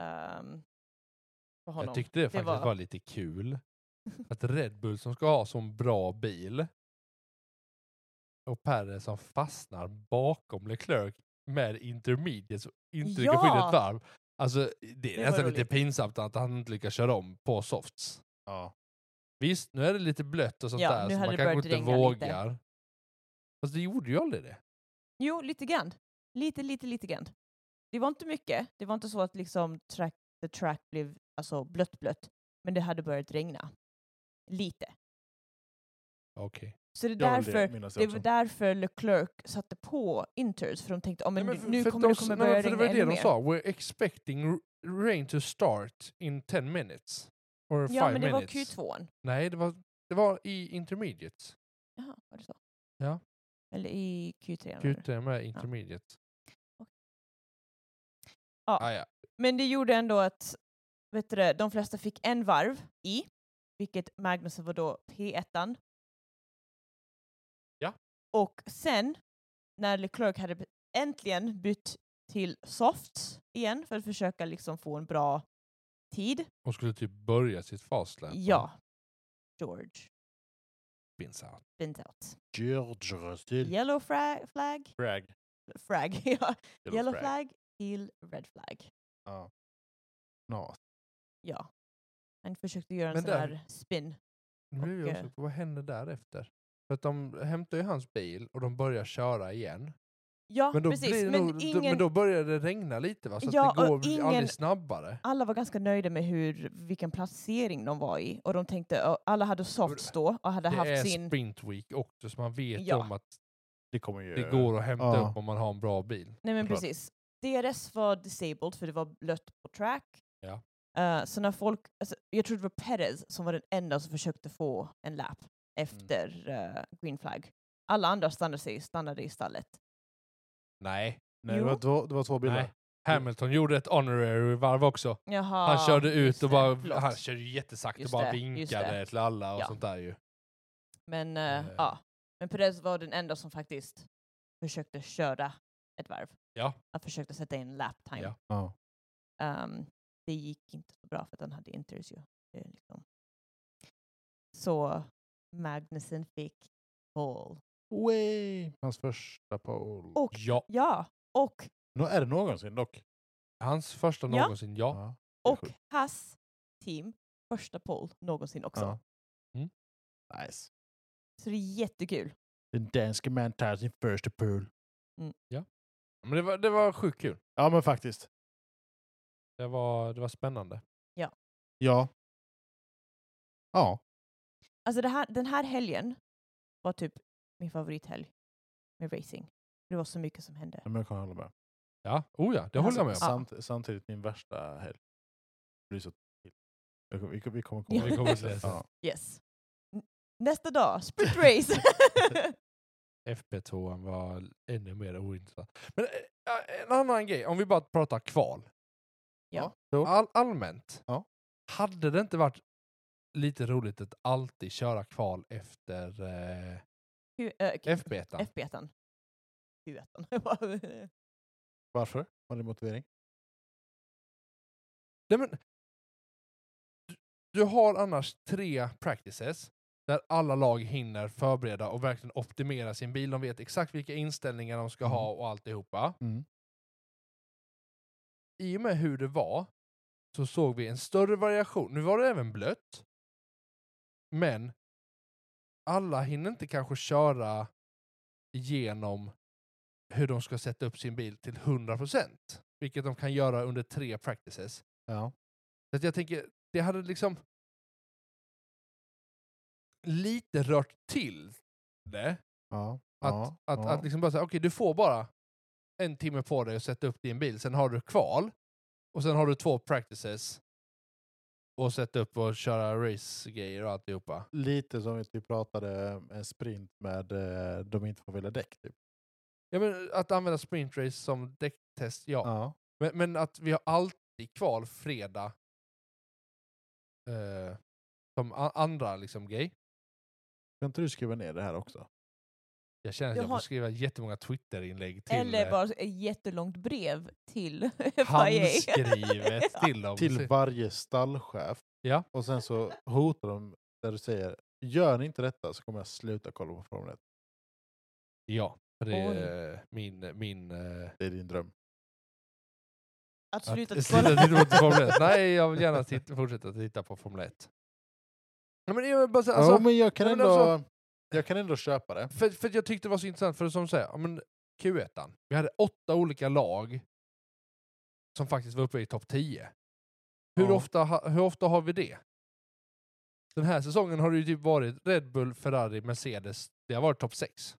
[SPEAKER 3] ehm, för honom.
[SPEAKER 2] Jag tyckte det faktiskt
[SPEAKER 3] var-
[SPEAKER 2] var... lite kul. Att Red Bull som ska ha sån bra bil och Perez som fastnar bakom Leclerc med intermediates och inte lyckas få in
[SPEAKER 3] Ja!
[SPEAKER 2] ett varv. Alltså, det är
[SPEAKER 3] var
[SPEAKER 2] nästan lite
[SPEAKER 3] roligt.
[SPEAKER 2] pinsamt att han inte lyckas köra om på softs.
[SPEAKER 1] Ja.
[SPEAKER 2] Visst, nu är det lite blött och sånt
[SPEAKER 3] Ja,
[SPEAKER 2] där
[SPEAKER 3] nu
[SPEAKER 2] så
[SPEAKER 3] hade
[SPEAKER 2] man
[SPEAKER 3] det
[SPEAKER 2] kanske
[SPEAKER 3] börjat
[SPEAKER 2] inte
[SPEAKER 3] regna lite.
[SPEAKER 2] vågar. Fast det gjorde ju aldrig det.
[SPEAKER 3] Jo, lite grann. Lite, lite, lite grann. Det var inte mycket. Det var inte så att liksom track, the track blev alltså, blött, blött. Men det hade börjat regna. Lite.
[SPEAKER 2] Okej.
[SPEAKER 3] Så det är
[SPEAKER 1] Det var väl
[SPEAKER 3] därför
[SPEAKER 1] det, minns jag
[SPEAKER 3] Det
[SPEAKER 1] också.
[SPEAKER 3] var därför Leclerc satte på Inters, för de tänkte oh, men
[SPEAKER 2] Nej, men för-
[SPEAKER 3] nu
[SPEAKER 2] för
[SPEAKER 3] kommer
[SPEAKER 2] de
[SPEAKER 3] det
[SPEAKER 2] s-
[SPEAKER 3] kommer
[SPEAKER 2] nej, för
[SPEAKER 3] börja regna
[SPEAKER 2] Det var det
[SPEAKER 3] ännu
[SPEAKER 2] de
[SPEAKER 3] mer.
[SPEAKER 2] sa, we're expecting r- rain to start in 10 minutes. Or
[SPEAKER 3] Ja,
[SPEAKER 2] 5
[SPEAKER 3] men det var
[SPEAKER 2] minutes.
[SPEAKER 3] Q2.
[SPEAKER 2] Nej, det var, det var i intermediate.
[SPEAKER 3] Jaha, var det så?
[SPEAKER 2] Ja.
[SPEAKER 3] Eller i Q3. menar du?
[SPEAKER 2] Q3 med intermediate.
[SPEAKER 3] Ja.
[SPEAKER 2] Ah, ja.
[SPEAKER 3] Men det gjorde ändå att vet du, det, de flesta fick en varv i, vilket Magnussen var då P1.
[SPEAKER 2] Ja.
[SPEAKER 3] Och sen, när Leclerc hade b- äntligen bytt till softs igen för att försöka liksom få en bra tid.
[SPEAKER 2] Och skulle typ börja sitt fastlap.
[SPEAKER 3] Ja. George
[SPEAKER 2] Spins out.
[SPEAKER 3] bent out.
[SPEAKER 1] George Russell.
[SPEAKER 3] Yellow fra- flag.
[SPEAKER 1] Bragg.
[SPEAKER 3] Frag. ja.
[SPEAKER 1] Yellow
[SPEAKER 3] Yellow
[SPEAKER 1] frag.
[SPEAKER 3] flag till red flag.
[SPEAKER 1] Ja. Nas.
[SPEAKER 3] Ja. Han försökte göra en
[SPEAKER 2] Men
[SPEAKER 3] sån
[SPEAKER 2] där-
[SPEAKER 3] här spin.
[SPEAKER 2] Nu blir jag
[SPEAKER 3] Och, eh,
[SPEAKER 2] osäker på vad hände därefter? För att de hämtar ju hans bil och de börjar köra igen.
[SPEAKER 3] Ja,
[SPEAKER 2] Men då,
[SPEAKER 3] precis.
[SPEAKER 2] blir det
[SPEAKER 3] Men,
[SPEAKER 2] nog,
[SPEAKER 3] ingen,
[SPEAKER 2] då, men då börjar det regna lite va? Så
[SPEAKER 3] Ja,
[SPEAKER 2] att
[SPEAKER 3] och
[SPEAKER 2] det går
[SPEAKER 3] ingen-
[SPEAKER 2] aldrig snabbare.
[SPEAKER 3] alla var ganska nöjda med hur, vilken placering de var i. Och de tänkte, och alla hade softs då och hade
[SPEAKER 2] Det är
[SPEAKER 3] haft sin...
[SPEAKER 2] sprint week också så man vet
[SPEAKER 3] Ja.
[SPEAKER 2] om att
[SPEAKER 1] Det kommer ju...
[SPEAKER 2] det går att hämta
[SPEAKER 1] Ja.
[SPEAKER 2] upp om man har en bra bil.
[SPEAKER 3] Nej men
[SPEAKER 1] Klart.
[SPEAKER 3] precis. DRS var disabled för det var blött på track.
[SPEAKER 2] Ja.
[SPEAKER 3] Eh, så när folk, alltså, jag tror det var Perez som var den enda som försökte få en lap efter
[SPEAKER 2] Mm.
[SPEAKER 3] eh, green flag. Alla andra stannade, sig, stannade i stallet.
[SPEAKER 2] Nej.
[SPEAKER 1] Nej, det var
[SPEAKER 3] Jo.
[SPEAKER 1] två, det var två bilder.
[SPEAKER 2] Nej. Hamilton gjorde ett honorary varv också.
[SPEAKER 3] Jaha,
[SPEAKER 2] Han körde
[SPEAKER 3] just
[SPEAKER 2] ut och
[SPEAKER 3] det,
[SPEAKER 2] bara,
[SPEAKER 3] förlåt.
[SPEAKER 2] han körde jättesakta och
[SPEAKER 3] Just
[SPEAKER 2] bara
[SPEAKER 3] det, just
[SPEAKER 2] vinkade
[SPEAKER 3] det.
[SPEAKER 2] till alla och
[SPEAKER 3] Ja.
[SPEAKER 2] sånt där ju.
[SPEAKER 3] Men eh,
[SPEAKER 2] Eh.
[SPEAKER 3] ja, men Perez var den enda som faktiskt försökte köra ett varv.
[SPEAKER 2] Ja.
[SPEAKER 3] Han försökte sätta in lap time.
[SPEAKER 2] Ja.
[SPEAKER 1] Ja.
[SPEAKER 3] Ehm, det gick inte så bra för att han hade interview. Det är liksom. Så Magnussen fick pole.
[SPEAKER 1] Way. Hans första pole.
[SPEAKER 3] Och
[SPEAKER 2] Ja,
[SPEAKER 3] ja, och,
[SPEAKER 1] Nå, är det någonsin dock?
[SPEAKER 2] hans första
[SPEAKER 3] Ja.
[SPEAKER 2] någonsin, ja.
[SPEAKER 1] det är
[SPEAKER 3] och
[SPEAKER 1] sjukt.
[SPEAKER 3] hans team första pole någonsin också.
[SPEAKER 1] Ja.
[SPEAKER 2] Mm.
[SPEAKER 1] Nice.
[SPEAKER 3] Så det är jättekul.
[SPEAKER 1] Den danske man tar sin första pole.
[SPEAKER 2] Men det var, det var sjukt kul.
[SPEAKER 1] Ja, men faktiskt.
[SPEAKER 2] Det var, det var spännande.
[SPEAKER 1] Ja. Ja.
[SPEAKER 3] Alltså det här, den här helgen var typ min favorithelg med racing. Det var så mycket som hände.
[SPEAKER 1] Men jag kan hålla med.
[SPEAKER 2] Ja, oh ja, det håller jag med om.
[SPEAKER 1] Samt, Samtidigt min värsta helg. Det blir så till. Jag kommer- Vi kommer vi kommer
[SPEAKER 3] Ja.
[SPEAKER 1] komma
[SPEAKER 3] Vi
[SPEAKER 2] kommer till det sen.
[SPEAKER 1] Ja.
[SPEAKER 3] Yes. N- Nästa dag, sprint race!
[SPEAKER 2] FP2 an var ännu mer ointressant. Men eh, en annan grej, om vi bara pratar kval.
[SPEAKER 3] Ja.
[SPEAKER 1] Jo.
[SPEAKER 2] All, allmänt.
[SPEAKER 1] Ja.
[SPEAKER 2] Hade det inte varit lite roligt att alltid köra kval efter eh,
[SPEAKER 3] Q- eh, Q-
[SPEAKER 2] FB1? an?
[SPEAKER 3] FB1. Q1.
[SPEAKER 1] Varför? Var det motivering?
[SPEAKER 2] Nej, men, du, du har annars tre practices där alla lag hinner förbereda och verkligen optimera sin bil. De vet exakt vilka inställningar de ska ha och alltihopa.
[SPEAKER 1] Mm.
[SPEAKER 2] i och med hur det var så såg vi en större variation. Nu var det även blött. Men alla hinner inte kanske köra igenom hur de ska sätta upp sin bil till 100%. Vilket de kan göra under tre practices.
[SPEAKER 1] Ja.
[SPEAKER 2] Så att jag tänker, det hade liksom lite rört till det.
[SPEAKER 1] Ja.
[SPEAKER 2] Att,
[SPEAKER 1] ja,
[SPEAKER 2] att,
[SPEAKER 1] ja.
[SPEAKER 2] att liksom bara säga, okej du får bara en timme på dig att sätta upp din bil, sen har du kval, och sen har du två practices, och sätta upp och köra race-grejer och alltihopa.
[SPEAKER 1] Lite som vi typ pratade en sprint med eh, de inte får välja däck. Typ.
[SPEAKER 2] Ja, men att använda sprintrace som däcktest, ja.
[SPEAKER 1] Ja.
[SPEAKER 2] Men, men att vi har alltid kval fredag eh, som a- andra liksom grej.
[SPEAKER 1] Kan inte du skriva ner det här också?
[SPEAKER 2] Jag känner att
[SPEAKER 3] Jag
[SPEAKER 2] jag
[SPEAKER 3] har-
[SPEAKER 2] får skriva jättemånga Twitterinlägg till
[SPEAKER 3] Eller
[SPEAKER 2] eh,
[SPEAKER 3] bara ett jättelångt brev till FIA.
[SPEAKER 2] handskrivet
[SPEAKER 3] Ja.
[SPEAKER 2] till dem.
[SPEAKER 1] Till varje stallchef.
[SPEAKER 2] Ja.
[SPEAKER 1] Och sen så hotar de där du säger gör ni inte detta så kommer jag sluta kolla på Formel 1.
[SPEAKER 2] Ja, för det är eh, min... min eh,
[SPEAKER 1] Det är din dröm.
[SPEAKER 3] Att sluta
[SPEAKER 2] att,
[SPEAKER 3] att
[SPEAKER 2] sluta
[SPEAKER 3] kolla.
[SPEAKER 2] titta på Formel 1. Nej, jag vill gärna titta, fortsätta titta på Formel 1. Ja, men jag, bara, så- alltså,
[SPEAKER 1] ja, men jag kan,
[SPEAKER 2] nej, men
[SPEAKER 1] ändå,
[SPEAKER 2] alltså-
[SPEAKER 1] jag kan ändå köpa det.
[SPEAKER 2] för, för jag tyckte det var så intressant, för som du säger, ja, men Q1, vi hade åtta olika lag som faktiskt var uppe i topp 10. Hur,
[SPEAKER 1] Ja.
[SPEAKER 2] ofta, ha- hur ofta har vi det? Den här säsongen har det ju typ varit Red Bull, Ferrari, Mercedes. Det har varit topp 6.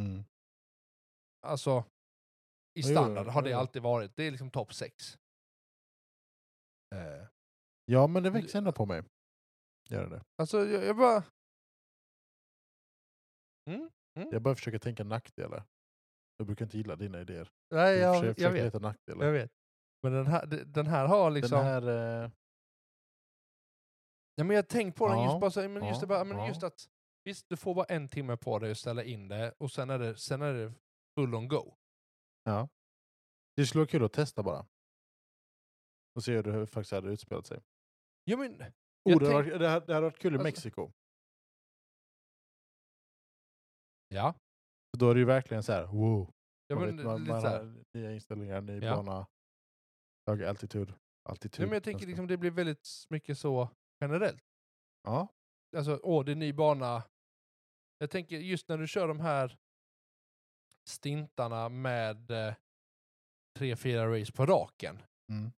[SPEAKER 1] Mm.
[SPEAKER 2] alltså i
[SPEAKER 1] Ja, jo,
[SPEAKER 2] standard
[SPEAKER 1] jo,
[SPEAKER 2] har
[SPEAKER 1] jo,
[SPEAKER 2] det
[SPEAKER 1] jo.
[SPEAKER 2] alltid varit. Det är liksom topp 6. Eh,
[SPEAKER 1] Ja, men det växer ändå på mig. Gör det.
[SPEAKER 2] alltså jag, jag bara...
[SPEAKER 1] Jag bara försöker tänka nackdelar. Jag brukar inte gilla dina idéer.
[SPEAKER 2] Nej,
[SPEAKER 1] Jag,
[SPEAKER 2] jag,
[SPEAKER 1] försöker,
[SPEAKER 2] jag,
[SPEAKER 1] försöker
[SPEAKER 2] vet.
[SPEAKER 1] leta nackdelar.
[SPEAKER 2] Jag vet. Men den här, de- den här har liksom...
[SPEAKER 1] Den här... Eh,
[SPEAKER 2] ja, men jag har tänkt på den
[SPEAKER 1] Ja,
[SPEAKER 2] just, bara, så, här, men
[SPEAKER 1] ja,
[SPEAKER 2] just, det, bara, men
[SPEAKER 1] ja.
[SPEAKER 2] just att visst, du får bara en timme på dig att ställa in det och sen är det, sen är det full on go.
[SPEAKER 1] ja. Det skulle vara kul att testa bara. Och se hur det faktiskt hade utspelat sig.
[SPEAKER 2] Ja, men,
[SPEAKER 1] Oh,
[SPEAKER 2] Jag
[SPEAKER 1] det, hade
[SPEAKER 2] tänk-
[SPEAKER 1] varit, det, hade, det hade varit kul i
[SPEAKER 2] Alltså-
[SPEAKER 1] Mexiko.
[SPEAKER 2] ja.
[SPEAKER 1] För Då är det ju verkligen så här, wow.
[SPEAKER 2] ja
[SPEAKER 1] man
[SPEAKER 2] men,
[SPEAKER 1] vet, man,
[SPEAKER 2] lite
[SPEAKER 1] man
[SPEAKER 2] så här.
[SPEAKER 1] har nya inställningar, ny
[SPEAKER 2] Ja.
[SPEAKER 1] bana, hög altitud. altitud.
[SPEAKER 2] Ja, men jag tänker
[SPEAKER 1] typ nästan.
[SPEAKER 2] liksom det blir väldigt mycket så generellt.
[SPEAKER 1] Ja,
[SPEAKER 2] alltså, åh, det är ny bana. Jag tänker just när du kör de här stintarna med eh, tre, fyra race på raken.
[SPEAKER 1] Mm.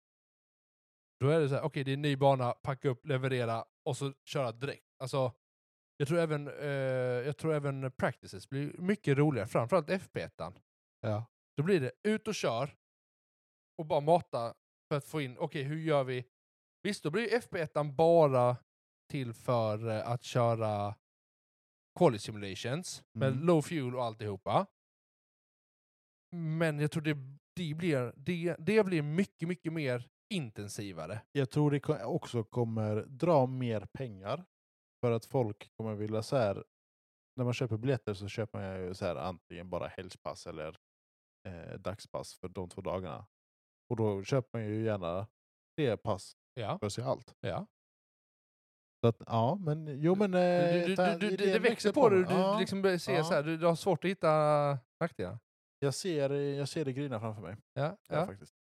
[SPEAKER 2] Då är det så här, okej, det är ny bana, packa upp, leverera och så köra direkt. Alltså, jag tror även, eh, jag tror även practices blir mycket roligare, framförallt FP1.
[SPEAKER 1] Ja.
[SPEAKER 2] Då blir det ut och kör och bara mata för att få in, okej, hur gör vi? Visst, då blir ju FP1 bara till för eh, att köra quality simulations med
[SPEAKER 1] Mm.
[SPEAKER 2] low fuel och alltihopa. Men jag tror det, det, blir, det, det blir mycket, mycket mer intensivare.
[SPEAKER 1] jag tror det ko- också kommer dra mer pengar. För att folk kommer vilja så här, när man köper biljetter så köper man ju så här antingen bara helgpass eller eh, dagspass för de två dagarna. Och då köper man ju gärna tre pass
[SPEAKER 2] Ja,
[SPEAKER 1] för sig allt.
[SPEAKER 2] ja.
[SPEAKER 1] Så att, ja, men jo men... eh,
[SPEAKER 2] Du, du,
[SPEAKER 1] ta-
[SPEAKER 2] du, du, det, det
[SPEAKER 1] idén
[SPEAKER 2] växer på dig,
[SPEAKER 1] mig.
[SPEAKER 2] du, du
[SPEAKER 1] Ja,
[SPEAKER 2] liksom börjar se
[SPEAKER 1] ja.
[SPEAKER 2] så här, du, du har svårt att hitta nackdelar.
[SPEAKER 1] jag, ser, jag ser det gryna framför mig.
[SPEAKER 2] Ja,
[SPEAKER 1] Ja.
[SPEAKER 2] ja.
[SPEAKER 1] faktiskt.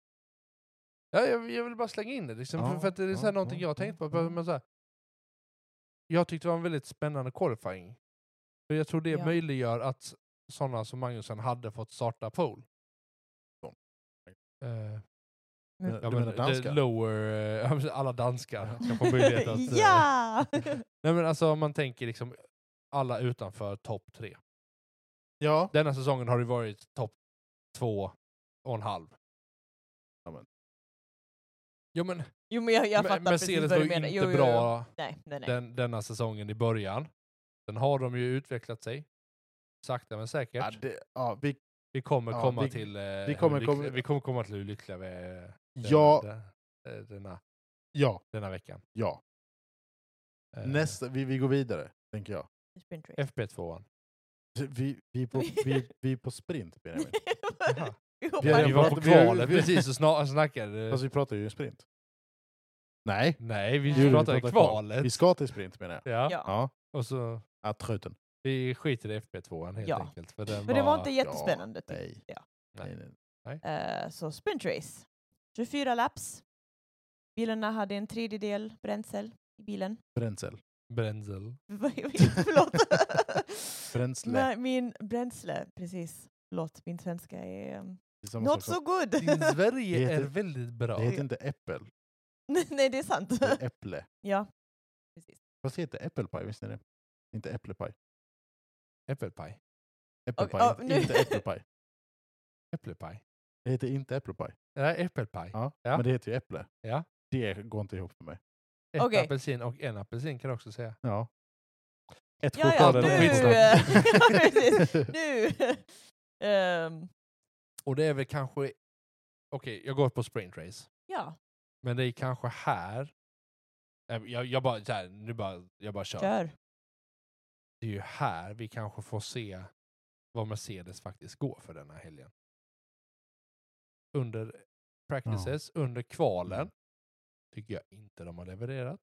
[SPEAKER 2] Ja, jag, jag vill bara slänga in det, liksom,
[SPEAKER 1] Ja,
[SPEAKER 2] för, för att det är så här
[SPEAKER 1] ja,
[SPEAKER 2] någonting
[SPEAKER 1] ja,
[SPEAKER 2] jag har tänkt
[SPEAKER 1] ja,
[SPEAKER 2] på.
[SPEAKER 1] ja.
[SPEAKER 2] Men så här, jag tyckte det var en väldigt spännande qualifying. För jag tror det
[SPEAKER 3] Ja.
[SPEAKER 2] möjliggör att sådana som Magnusson hade fått starta pole. Eh,
[SPEAKER 1] Men,
[SPEAKER 2] ja,
[SPEAKER 1] du
[SPEAKER 2] men
[SPEAKER 1] menar danska?
[SPEAKER 2] det lower, eh, ja, men alla danskar ska få möjlighet att... eh,
[SPEAKER 3] ja!
[SPEAKER 2] Nej, men alltså, om man tänker liksom alla utanför topp tre.
[SPEAKER 1] ja.
[SPEAKER 2] Denna säsongen har det varit topp två och en halv.
[SPEAKER 1] Ja, men-
[SPEAKER 2] Jo, men
[SPEAKER 3] Jo men jag, jag
[SPEAKER 2] Me-
[SPEAKER 3] fattar precis
[SPEAKER 2] Mercedes
[SPEAKER 3] vad
[SPEAKER 2] var
[SPEAKER 3] du
[SPEAKER 2] ju
[SPEAKER 3] menar.
[SPEAKER 2] inte
[SPEAKER 3] jo, jo, jo.
[SPEAKER 2] bra
[SPEAKER 3] Nej, nej, nej.
[SPEAKER 2] Den, denna säsongen i början. Sen har de ju utvecklat sig. Sakta men säkert.
[SPEAKER 1] Ja, det, ja, vi,
[SPEAKER 2] vi kommer
[SPEAKER 1] ja,
[SPEAKER 2] komma
[SPEAKER 1] vi-
[SPEAKER 2] till eh,
[SPEAKER 1] vi kommer
[SPEAKER 2] hur
[SPEAKER 1] komma-
[SPEAKER 2] lyckliga, vi kommer komma till hur lyckliga vi är denna,
[SPEAKER 1] ja,
[SPEAKER 2] de- eh, denna,
[SPEAKER 1] ja,
[SPEAKER 2] denna veckan.
[SPEAKER 1] ja.
[SPEAKER 2] Eh,
[SPEAKER 1] Nästa, vi, vi går vidare, tänker jag.
[SPEAKER 3] Sprint race.
[SPEAKER 2] FP2an.
[SPEAKER 1] Vi, vi, är på, vi, vi är på sprint, Benjamin.
[SPEAKER 2] Jaha.
[SPEAKER 3] Vi
[SPEAKER 1] Vi
[SPEAKER 3] hoppar
[SPEAKER 1] har-
[SPEAKER 2] Vi
[SPEAKER 1] redan
[SPEAKER 2] var på
[SPEAKER 1] pratat- vi har-
[SPEAKER 2] kvalet
[SPEAKER 1] vi- Alltså,
[SPEAKER 2] precis och sna- snackade.
[SPEAKER 1] Fast vi pratar ju sprint. Nej.
[SPEAKER 2] Nej, vi
[SPEAKER 3] Jo, vi
[SPEAKER 2] pratade kvalet.
[SPEAKER 1] Vi ska till sprint, menar jag.
[SPEAKER 2] Ja.
[SPEAKER 3] Ja.
[SPEAKER 1] Ja,
[SPEAKER 2] Och så,
[SPEAKER 1] ja tröten.
[SPEAKER 2] vi skiter i FP2an helt
[SPEAKER 3] Ja.
[SPEAKER 2] enkelt. För den
[SPEAKER 3] Men det var inte
[SPEAKER 1] Ja,
[SPEAKER 3] jättespännande. tyckte
[SPEAKER 1] nej.
[SPEAKER 3] jag.
[SPEAKER 1] Nej, nej.
[SPEAKER 3] Eh, så sprint race. 24 laps. Bilarna hade en tredjedel bränsel i bilen.
[SPEAKER 1] Bränsel.
[SPEAKER 2] Bränsel.
[SPEAKER 3] Förlåt.
[SPEAKER 1] Bränsle.
[SPEAKER 3] Nej, min bränsle, precis. Förlåt, min svenska är um,
[SPEAKER 1] Det är samma
[SPEAKER 3] not
[SPEAKER 1] sak
[SPEAKER 3] so good.
[SPEAKER 2] Din
[SPEAKER 1] Det
[SPEAKER 2] Sverige är
[SPEAKER 1] heter-
[SPEAKER 2] väldigt
[SPEAKER 1] som-
[SPEAKER 2] bra.
[SPEAKER 1] Det heter inte äppel,
[SPEAKER 3] Nej, det är sant.
[SPEAKER 1] det är äpple.
[SPEAKER 3] ja. Precis.
[SPEAKER 1] Fast det heter äppelpaj, visst är det? Inte äpplepaj.
[SPEAKER 2] Äppelpaj.
[SPEAKER 1] Äppelpaj,
[SPEAKER 3] ja, nu-
[SPEAKER 1] inte äpplepaj.
[SPEAKER 2] Äppelpaj.
[SPEAKER 1] Det heter inte äppelpaj.
[SPEAKER 2] Nej, äppelpaj.
[SPEAKER 1] Ja,
[SPEAKER 2] Ja.
[SPEAKER 1] Men det heter ju äpple.
[SPEAKER 2] Ja.
[SPEAKER 1] Det går inte ihop för mig.
[SPEAKER 2] Ett
[SPEAKER 3] Okej.
[SPEAKER 2] apelsin och en apelsin kan jag också säga.
[SPEAKER 1] Ja. Ett
[SPEAKER 3] Ja, ja,
[SPEAKER 1] chokladen och
[SPEAKER 2] nu-
[SPEAKER 1] skitsnack.
[SPEAKER 3] Ja, precis. Nu! Ehm,
[SPEAKER 2] Och det är väl kanske... Okej, jag går på sprintrace.
[SPEAKER 3] ja,
[SPEAKER 2] Men det är kanske här... Nej, Jag, jag, bara, så här, nu bara, jag bara kör.
[SPEAKER 3] kör.
[SPEAKER 2] Det är ju här vi kanske får se vad Mercedes faktiskt går för denna helgen. Under practices, under kvalen,
[SPEAKER 1] Mm.
[SPEAKER 2] tycker jag inte de har levererat.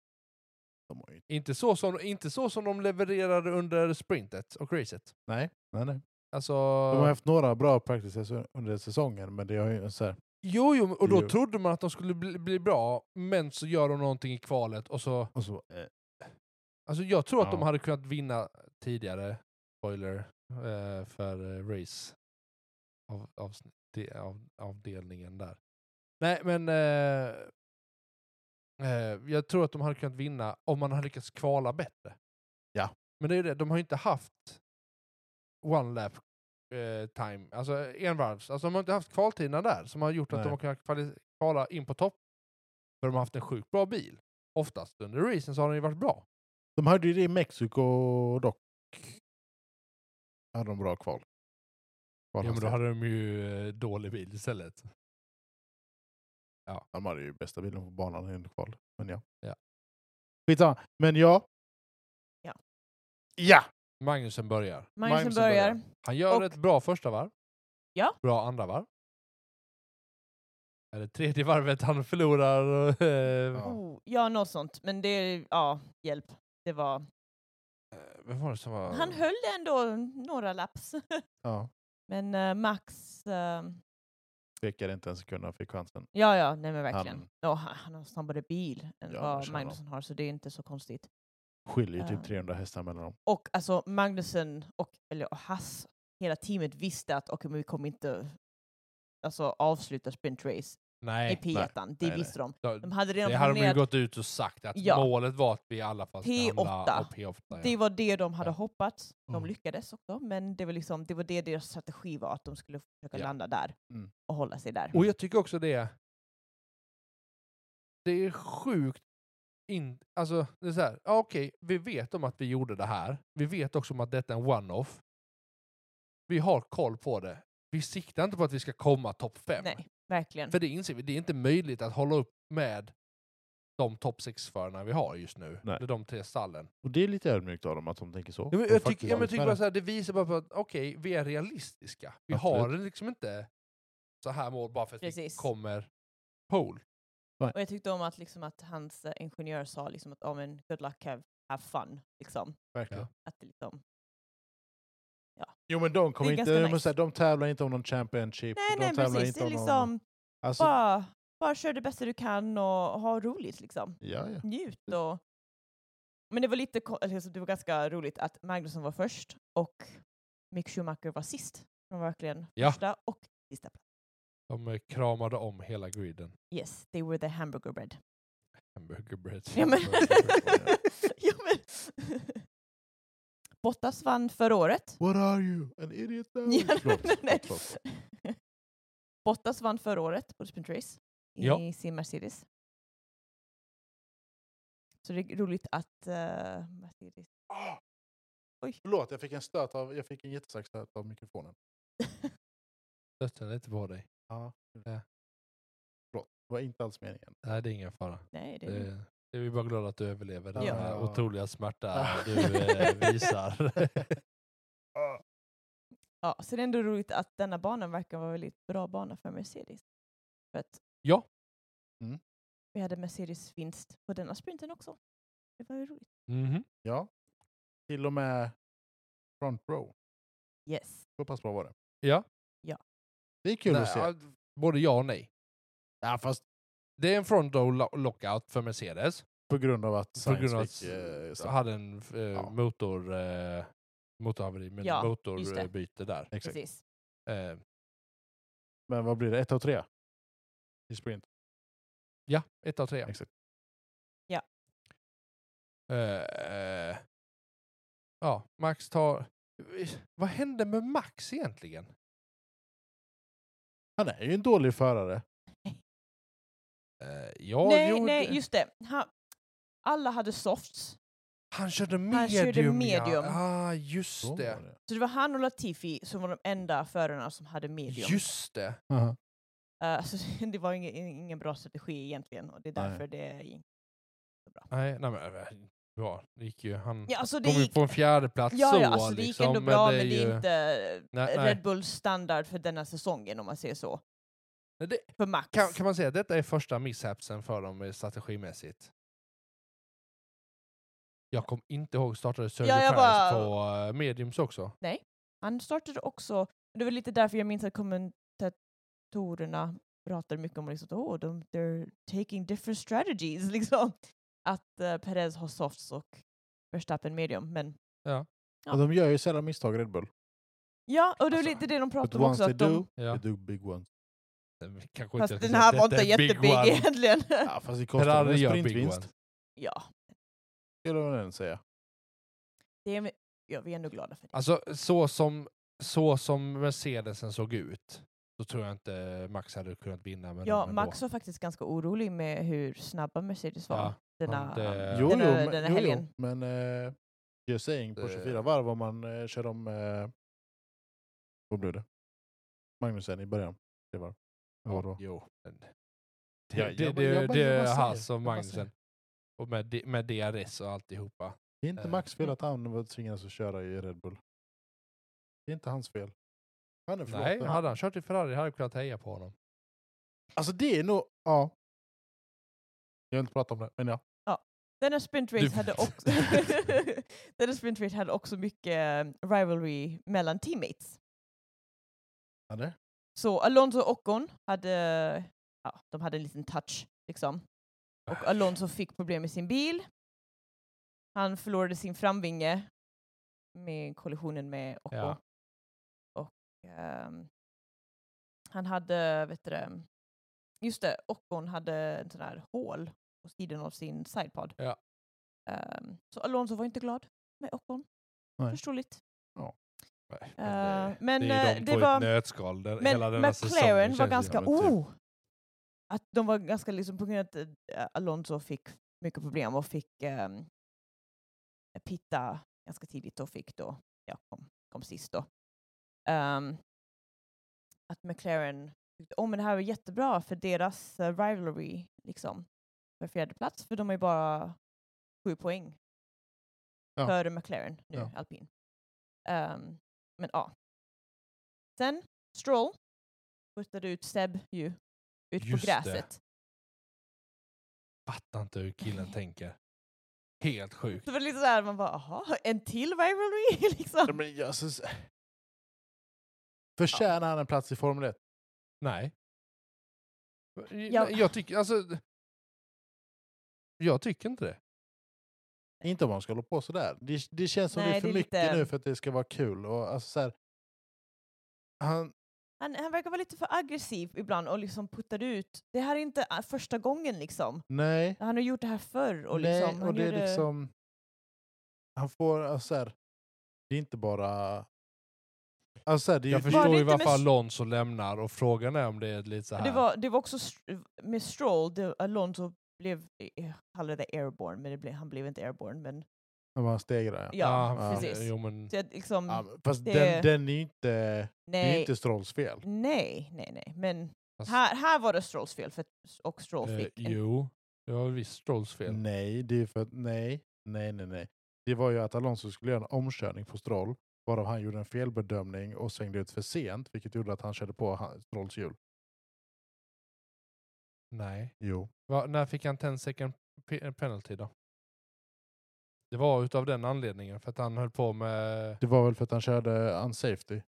[SPEAKER 1] De har ju-
[SPEAKER 2] Inte så som, inte så som de levererade under sprintet och racet.
[SPEAKER 1] Nej, nej, nej.
[SPEAKER 2] Alltså,
[SPEAKER 1] De har haft några bra practices under säsongen, men det har ju så här,
[SPEAKER 2] jo, jo, och då
[SPEAKER 1] Jo.
[SPEAKER 2] trodde man att de skulle bli, bli bra, men så gör de någonting i kvalet och så...
[SPEAKER 1] och så, eh,
[SPEAKER 2] Alltså jag tror att de
[SPEAKER 1] Ja.
[SPEAKER 2] hade kunnat vinna tidigare, spoiler, eh, för eh, race av, avsnitt, de, av, avdelningen där. Nej men eh, eh, jag tror att de hade kunnat vinna om man hade lyckats kvala bättre.
[SPEAKER 1] Ja.
[SPEAKER 2] Men det är ju det, de har ju inte haft one lap eh, time, alltså envarvs. Alltså de har inte haft kvaltiderna där som har gjort att
[SPEAKER 1] Nej.
[SPEAKER 2] de har kunnat kvali- kvala in på topp. För de har haft en sjukt bra bil. Oftast under racen så har den ju varit bra.
[SPEAKER 1] de hade ju det i Mexiko dock. Hade de bra kval.
[SPEAKER 2] Ja, men då
[SPEAKER 1] Kvalhastighet.
[SPEAKER 2] hade de ju eh, dålig bil istället.
[SPEAKER 1] De hade ju bästa bilen på banan i en kval. Men ja.
[SPEAKER 2] Ja.
[SPEAKER 1] Skitsamma. Men ja.
[SPEAKER 3] Ja.
[SPEAKER 1] Ja!
[SPEAKER 2] Magnusen börjar.
[SPEAKER 3] Magnusen
[SPEAKER 1] Magnusen
[SPEAKER 3] börjar.
[SPEAKER 1] börjar.
[SPEAKER 2] Han gör
[SPEAKER 3] Och-
[SPEAKER 2] ett bra första varv.
[SPEAKER 3] Ja.
[SPEAKER 2] Bra andra varv. Är det tredje varvet han förlorar? eh,
[SPEAKER 1] Ja.
[SPEAKER 3] Oh, ja, något sånt. Men det, ja, hjälp. Det var...
[SPEAKER 2] eh, Vem var det som var...
[SPEAKER 3] Han höll ändå några laps.
[SPEAKER 1] ja.
[SPEAKER 3] Men eh, Max... eh,
[SPEAKER 1] Tvekade inte en sekund när han fick chansen.
[SPEAKER 3] ja, ja, nej men verkligen.
[SPEAKER 1] Han-
[SPEAKER 3] Han, han, han har snabbare bil än
[SPEAKER 1] Ja, det
[SPEAKER 3] vad
[SPEAKER 1] kör
[SPEAKER 3] Magnusson har, så det är inte så konstigt.
[SPEAKER 1] Skiljer ju
[SPEAKER 3] Ja.
[SPEAKER 1] typ 300 hästar mellan dem.
[SPEAKER 3] Och alltså Magnussen och, eller, och Hass, hela teamet visste att okay, men vi kommer inte alltså, avsluta sprintrace i
[SPEAKER 2] Nej,
[SPEAKER 3] P1. Det
[SPEAKER 1] nej, nej.
[SPEAKER 3] visste de.
[SPEAKER 2] då-
[SPEAKER 3] De hade redan
[SPEAKER 2] det hade de ju
[SPEAKER 3] planerat
[SPEAKER 2] gått ut och sagt att
[SPEAKER 3] Ja.
[SPEAKER 2] målet var att vi i alla fall ska
[SPEAKER 3] P8.
[SPEAKER 2] hamna på P8. Ja.
[SPEAKER 3] Det var det de hade
[SPEAKER 2] Ja.
[SPEAKER 3] hoppats. De
[SPEAKER 1] Mm.
[SPEAKER 3] lyckades också, men det var, liksom, det var det deras strategi var, att de skulle försöka
[SPEAKER 2] Ja.
[SPEAKER 3] landa där
[SPEAKER 1] Mm.
[SPEAKER 3] och hålla sig där.
[SPEAKER 2] Och jag tycker också det... Det är sjukt... In, alltså, det är så här, ja, okej, vi vet om att vi gjorde det här. Vi vet också om att detta är en one-off. Vi har koll på det. Vi siktar inte på att vi ska komma topp fem.
[SPEAKER 3] Nej, verkligen.
[SPEAKER 2] För det inser vi, det är inte möjligt att hålla upp med de topp sex förarna vi har just nu.
[SPEAKER 1] Nej.
[SPEAKER 2] Det är de tre stallen.
[SPEAKER 1] Och det är lite ödmjukt av dem att de tänker så.
[SPEAKER 2] Ja, men
[SPEAKER 1] De
[SPEAKER 2] jag
[SPEAKER 1] faktiskt
[SPEAKER 2] tycker, ja, men
[SPEAKER 1] har
[SPEAKER 2] jag tycker
[SPEAKER 1] lyssnat.
[SPEAKER 2] bara så här, det visar bara på att okej, vi är realistiska. Vi
[SPEAKER 1] Absolut.
[SPEAKER 2] har liksom inte så här mål bara för att
[SPEAKER 3] Precis.
[SPEAKER 2] vi kommer pole.
[SPEAKER 3] Och jag tyckte om att, liksom, att hans eh, ingenjör sa liksom, att oh, men, good luck, have, have fun. Liksom.
[SPEAKER 1] Verkligen.
[SPEAKER 3] Att det, liksom,
[SPEAKER 1] Jo men de kommer
[SPEAKER 3] Det är
[SPEAKER 1] inte,
[SPEAKER 3] ganska
[SPEAKER 1] de,
[SPEAKER 3] nice.
[SPEAKER 1] måste säga, de tävlar inte om någon
[SPEAKER 2] Typ,
[SPEAKER 1] championship.
[SPEAKER 3] nej,
[SPEAKER 1] de
[SPEAKER 3] nej,
[SPEAKER 1] tävlar
[SPEAKER 3] precis.
[SPEAKER 1] inte
[SPEAKER 3] Det är
[SPEAKER 1] om någon-
[SPEAKER 3] liksom,
[SPEAKER 1] Alltså,
[SPEAKER 3] bara, bara kör det bästa du kan och ha roligt. Liksom.
[SPEAKER 1] ja, ja.
[SPEAKER 3] Njut och... Men det var lite ko- eller, alltså, det var ganska roligt att Magnusson var först och Mick Schumacher var sist. De var verkligen
[SPEAKER 2] Ja.
[SPEAKER 3] första och sista plats.
[SPEAKER 2] De eh, kramade om hela griden.
[SPEAKER 3] Yes, they were the hamburger bread.
[SPEAKER 2] Hamburger bread.
[SPEAKER 3] Ja men...
[SPEAKER 2] Hamburger bread.
[SPEAKER 3] ja, men. Bottas vann förra året.
[SPEAKER 1] What are you? An idiot
[SPEAKER 2] Mm,
[SPEAKER 1] now?
[SPEAKER 3] Ja, nej,
[SPEAKER 1] Förlåt,
[SPEAKER 3] nej, nej.
[SPEAKER 1] förlåt, förlåt.
[SPEAKER 3] Bottas vann förra året på sprintrace i
[SPEAKER 2] Ja.
[SPEAKER 3] sin Mercedes. Så det är roligt att eh, Mercedes...
[SPEAKER 1] Ah! Förlåt, jag fick en stöt av, jag fick en jättestark stöt av mikrofonen.
[SPEAKER 2] Stötte den lite på dig?
[SPEAKER 1] Ja.
[SPEAKER 2] Ja.
[SPEAKER 1] Förlåt, det var inte alls meningen.
[SPEAKER 2] Nej, det är ingen fara.
[SPEAKER 3] Nej, det är
[SPEAKER 2] Det, det är vi bara glada att du överlever den
[SPEAKER 3] Ja.
[SPEAKER 2] här otroliga smärta
[SPEAKER 1] Ja.
[SPEAKER 2] du eh, visar.
[SPEAKER 1] Ah.
[SPEAKER 3] Ja, så det är ändå roligt att denna banan verkar vara en väldigt bra bana för Mercedes. För att
[SPEAKER 2] Ja.
[SPEAKER 1] Mm.
[SPEAKER 3] vi hade Mercedes vinst på denna sprinten också. Det var ju roligt.
[SPEAKER 2] Mhm.
[SPEAKER 1] Ja. Till och med front row.
[SPEAKER 3] Yes.
[SPEAKER 1] Så pass bra var det.
[SPEAKER 2] Ja.
[SPEAKER 3] Ja.
[SPEAKER 1] Det är kul
[SPEAKER 2] Nej,
[SPEAKER 1] att se.
[SPEAKER 2] ja, Både ja och nej.
[SPEAKER 1] Ja, fast
[SPEAKER 2] Det är en front row lo- lockout för Mercedes.
[SPEAKER 1] på grund av att Sainz
[SPEAKER 2] grund av
[SPEAKER 1] fick...
[SPEAKER 2] att-
[SPEAKER 1] eh,
[SPEAKER 2] Så
[SPEAKER 1] straff.
[SPEAKER 2] hade en eh,
[SPEAKER 1] Ja.
[SPEAKER 2] motor, eh, motorhaveri, men
[SPEAKER 3] Ja, just det.
[SPEAKER 2] motorbyte där.
[SPEAKER 1] Exakt.
[SPEAKER 3] Precis.
[SPEAKER 2] Eh,
[SPEAKER 1] Men vad blir det? Ett och tre? I sprint?
[SPEAKER 2] ja, ett av tre.
[SPEAKER 1] Exakt.
[SPEAKER 2] Eh, eh, ja, Max tar... Vad hände med Max egentligen?
[SPEAKER 1] Han är ju en dålig förare.
[SPEAKER 2] Eh, ja,
[SPEAKER 3] nej,
[SPEAKER 2] jo, det-
[SPEAKER 3] nej, just det. Han, alla hade softs.
[SPEAKER 2] han körde medium.
[SPEAKER 3] Han körde
[SPEAKER 2] Ja.
[SPEAKER 3] medium.
[SPEAKER 2] Ah, just
[SPEAKER 1] Så
[SPEAKER 2] det.
[SPEAKER 1] var det.
[SPEAKER 3] Så det var han och Latifi som var de enda förarna som hade medium.
[SPEAKER 2] Just det.
[SPEAKER 1] Aha.
[SPEAKER 3] Eh, så det var ingen, ingen bra strategi egentligen och det är
[SPEAKER 1] Nej.
[SPEAKER 3] därför det gick så bra.
[SPEAKER 2] Nej, nej men eh, bra. Det gick ju. Han
[SPEAKER 3] Ja, alltså det
[SPEAKER 2] kom ju
[SPEAKER 3] gick,
[SPEAKER 2] på en fjärde plats
[SPEAKER 3] ja,
[SPEAKER 2] så.
[SPEAKER 3] ja, alltså det gick
[SPEAKER 2] liksom,
[SPEAKER 3] ändå bra men det är,
[SPEAKER 2] ju-
[SPEAKER 3] inte
[SPEAKER 2] Nej, nej.
[SPEAKER 3] Red Bulls standard för denna säsongen om man säger så.
[SPEAKER 2] Nej, det-
[SPEAKER 3] För Max.
[SPEAKER 2] Kan, kan man säga att detta är första misshapsen för dem eh, strategimässigt? Jag kom inte ihåg, startade Sergio
[SPEAKER 3] Ja, jag
[SPEAKER 2] Perez
[SPEAKER 3] bara-
[SPEAKER 2] på eh, mediums också?
[SPEAKER 3] Han startade också, det var lite därför jag minns att kommentatorerna pratade mycket om liksom, oh, de, they're taking different strategies. Liksom. Att eh, Perez har softs och Verstappen medium. Men Ja.
[SPEAKER 1] Och de gör ju sällan misstag, Red Bull.
[SPEAKER 3] ja, och det var
[SPEAKER 2] Alltså,
[SPEAKER 3] lite det de
[SPEAKER 1] But
[SPEAKER 3] pratade om
[SPEAKER 1] once
[SPEAKER 3] också.
[SPEAKER 1] they
[SPEAKER 3] Att de,
[SPEAKER 1] do,
[SPEAKER 3] Eh.
[SPEAKER 2] Ja.
[SPEAKER 1] they do big ones.
[SPEAKER 2] Kanske
[SPEAKER 3] fast
[SPEAKER 2] inte
[SPEAKER 3] den här var
[SPEAKER 2] detta
[SPEAKER 3] inte
[SPEAKER 2] är big
[SPEAKER 3] jättebig
[SPEAKER 2] one.
[SPEAKER 3] egentligen.
[SPEAKER 1] Ja, fast det kostar
[SPEAKER 2] Ferrari
[SPEAKER 1] en
[SPEAKER 2] gör big one.
[SPEAKER 1] sprintvinst,
[SPEAKER 3] ja,
[SPEAKER 1] skulle jag ändå säga.
[SPEAKER 3] det är, ja, vi är ändå glada för det.
[SPEAKER 2] Alltså så som, så som Mercedesen såg ut, så tror jag inte Max hade kunnat vinna med
[SPEAKER 3] Ja,
[SPEAKER 2] dem
[SPEAKER 3] Max var faktiskt ganska orolig med hur snabba Mercedes var
[SPEAKER 2] Ja,
[SPEAKER 3] denna,
[SPEAKER 2] det-
[SPEAKER 1] Jo, jo,
[SPEAKER 3] denna,
[SPEAKER 1] men,
[SPEAKER 3] denna
[SPEAKER 1] jo,
[SPEAKER 3] helgen.
[SPEAKER 1] jo, men eh, you're saying på
[SPEAKER 2] Eh.
[SPEAKER 1] 24 varv om man eh, kör om... Eh, vad blev det? Magnusen i början. Det var. Ja,
[SPEAKER 2] ändå.
[SPEAKER 1] då.
[SPEAKER 2] Jo. men-
[SPEAKER 1] Ja,
[SPEAKER 2] Det,
[SPEAKER 1] jag
[SPEAKER 2] det,
[SPEAKER 1] bara- jag
[SPEAKER 2] det,
[SPEAKER 1] bara-
[SPEAKER 2] det
[SPEAKER 1] jag bara
[SPEAKER 2] är
[SPEAKER 1] säger,
[SPEAKER 2] Haas och
[SPEAKER 1] jag bara
[SPEAKER 2] Magnusen. Och med, di- med DRS och alltihopa.
[SPEAKER 1] Det är inte
[SPEAKER 2] Eh.
[SPEAKER 1] Max
[SPEAKER 3] mm.
[SPEAKER 1] fel att han var tvingad att köra i Red Bull. Det är inte hans fel. Han är
[SPEAKER 2] Nej,
[SPEAKER 1] förlåten.
[SPEAKER 2] hade han kört i Ferrari hade jag kunnat heja på honom.
[SPEAKER 1] Alltså det är nog... Ja. Jag vill inte prata om det, men ja.
[SPEAKER 3] Denna sprint race
[SPEAKER 2] Du-
[SPEAKER 3] hade också, denna sprint race hade också mycket eh, rivalry mellan teammates.
[SPEAKER 1] Hade?
[SPEAKER 3] Så Alonso och Ocon hade, ja, de hade en liten touch liksom.
[SPEAKER 2] Ah.
[SPEAKER 3] Och Alonso fick problem med sin bil. Han förlorade sin framvinge med kollisionen med Ocon.
[SPEAKER 2] Ja.
[SPEAKER 3] Och, ehm, han hade, vet du det, just det, Ocon hade en sån här hål på sidan av sin sidepod.
[SPEAKER 2] Ja.
[SPEAKER 3] Ehm, så Alonso var inte glad med Ocon.
[SPEAKER 1] Nej.
[SPEAKER 3] Förståeligt.
[SPEAKER 2] Nej,
[SPEAKER 3] Eh,
[SPEAKER 2] men det-
[SPEAKER 3] men,
[SPEAKER 2] det är ju de
[SPEAKER 3] eh, det
[SPEAKER 2] två i
[SPEAKER 3] var-
[SPEAKER 2] ett nötskal. Den, hela
[SPEAKER 3] Men
[SPEAKER 2] denna säsongen
[SPEAKER 3] McLaren
[SPEAKER 2] känns
[SPEAKER 3] var
[SPEAKER 2] det
[SPEAKER 3] ganska,
[SPEAKER 2] som ett typ-
[SPEAKER 3] oh! Att de var ganska liksom, på grund av att eh, Alonso fick mycket problem och fick ehm, pitta ganska tidigt och fick då, ja, kom, kom sist då. Ehm, att McLaren tyckte, oh men det här var jättebra för deras eh, rivalry liksom, för fjärde plats för de är bara sju poäng
[SPEAKER 1] Ja.
[SPEAKER 3] före McLaren nu,
[SPEAKER 1] Ja.
[SPEAKER 3] alpin. Ehm, men ja. Sen Stroll puttade ut Seb ju ut
[SPEAKER 2] Just
[SPEAKER 3] på
[SPEAKER 2] det.
[SPEAKER 3] gräset.
[SPEAKER 2] Fattar inte hur killen tänker. Helt sjukt.
[SPEAKER 3] Så var det lite såhär, man bara aha, en till rivalry liksom.
[SPEAKER 1] Ja, men jösses. Förtjänar han en plats i Formel 1?
[SPEAKER 2] Nej.
[SPEAKER 3] Ja.
[SPEAKER 2] Jag tycker, alltså... Jag tycker inte det.
[SPEAKER 1] Inte om man ska hålla på sådär. Det, det känns som det
[SPEAKER 3] Nej,
[SPEAKER 1] är för
[SPEAKER 3] det är
[SPEAKER 1] mycket
[SPEAKER 3] lite-
[SPEAKER 1] nu för att det ska vara kul. Och alltså så här, han,
[SPEAKER 3] Han, han verkar vara lite för aggressiv ibland och liksom puttade ut. Det här är inte ah, första gången liksom.
[SPEAKER 1] nej,
[SPEAKER 3] Han har gjort det här förr och
[SPEAKER 1] nej,
[SPEAKER 3] liksom. Han
[SPEAKER 1] och det är
[SPEAKER 3] gjorde-
[SPEAKER 1] liksom... Han får, alltså så här, det är inte bara... Alltså så här, det är
[SPEAKER 2] Jag
[SPEAKER 1] ju,
[SPEAKER 3] Var
[SPEAKER 2] förstår
[SPEAKER 3] det
[SPEAKER 2] ju
[SPEAKER 3] inte
[SPEAKER 2] varför
[SPEAKER 3] med-
[SPEAKER 2] Alonso lämnar och frågan är om det är lite så här.
[SPEAKER 3] det, var, det var också Str- med Stroll, det, Alonso blev, jag kallade det airborne, men det blev, han blev inte airborne. Men
[SPEAKER 1] när man stegrar. Ja.
[SPEAKER 3] ja,
[SPEAKER 1] ja.
[SPEAKER 3] precis.
[SPEAKER 2] Ah, eh, Jo, men,
[SPEAKER 3] Så jag, liksom,
[SPEAKER 1] Ja, men fast den,
[SPEAKER 3] det-
[SPEAKER 1] den är ju inte, det är ju
[SPEAKER 3] nej,
[SPEAKER 1] inte Strolls fel.
[SPEAKER 3] nej, nej, nej. Men
[SPEAKER 2] fast,
[SPEAKER 3] här, här var det Strolls fel för, att- och Stroll
[SPEAKER 2] eh,
[SPEAKER 3] fick en
[SPEAKER 2] jo, det var visst Strolls fel.
[SPEAKER 1] Nej, det är för att nej, nej, nej, nej. Det var ju att Alonso skulle göra en omkörning på Stroll, varav han gjorde en felbedömning och svängde ut för sent, vilket gjorde att han körde på han- Strolls hjul.
[SPEAKER 2] Nej.
[SPEAKER 1] Jo.
[SPEAKER 2] Va, när fick han 10 second pe- penalty då? Det var utav den anledningen, för att han höll på med...
[SPEAKER 1] Det var väl för att han körde unsafety.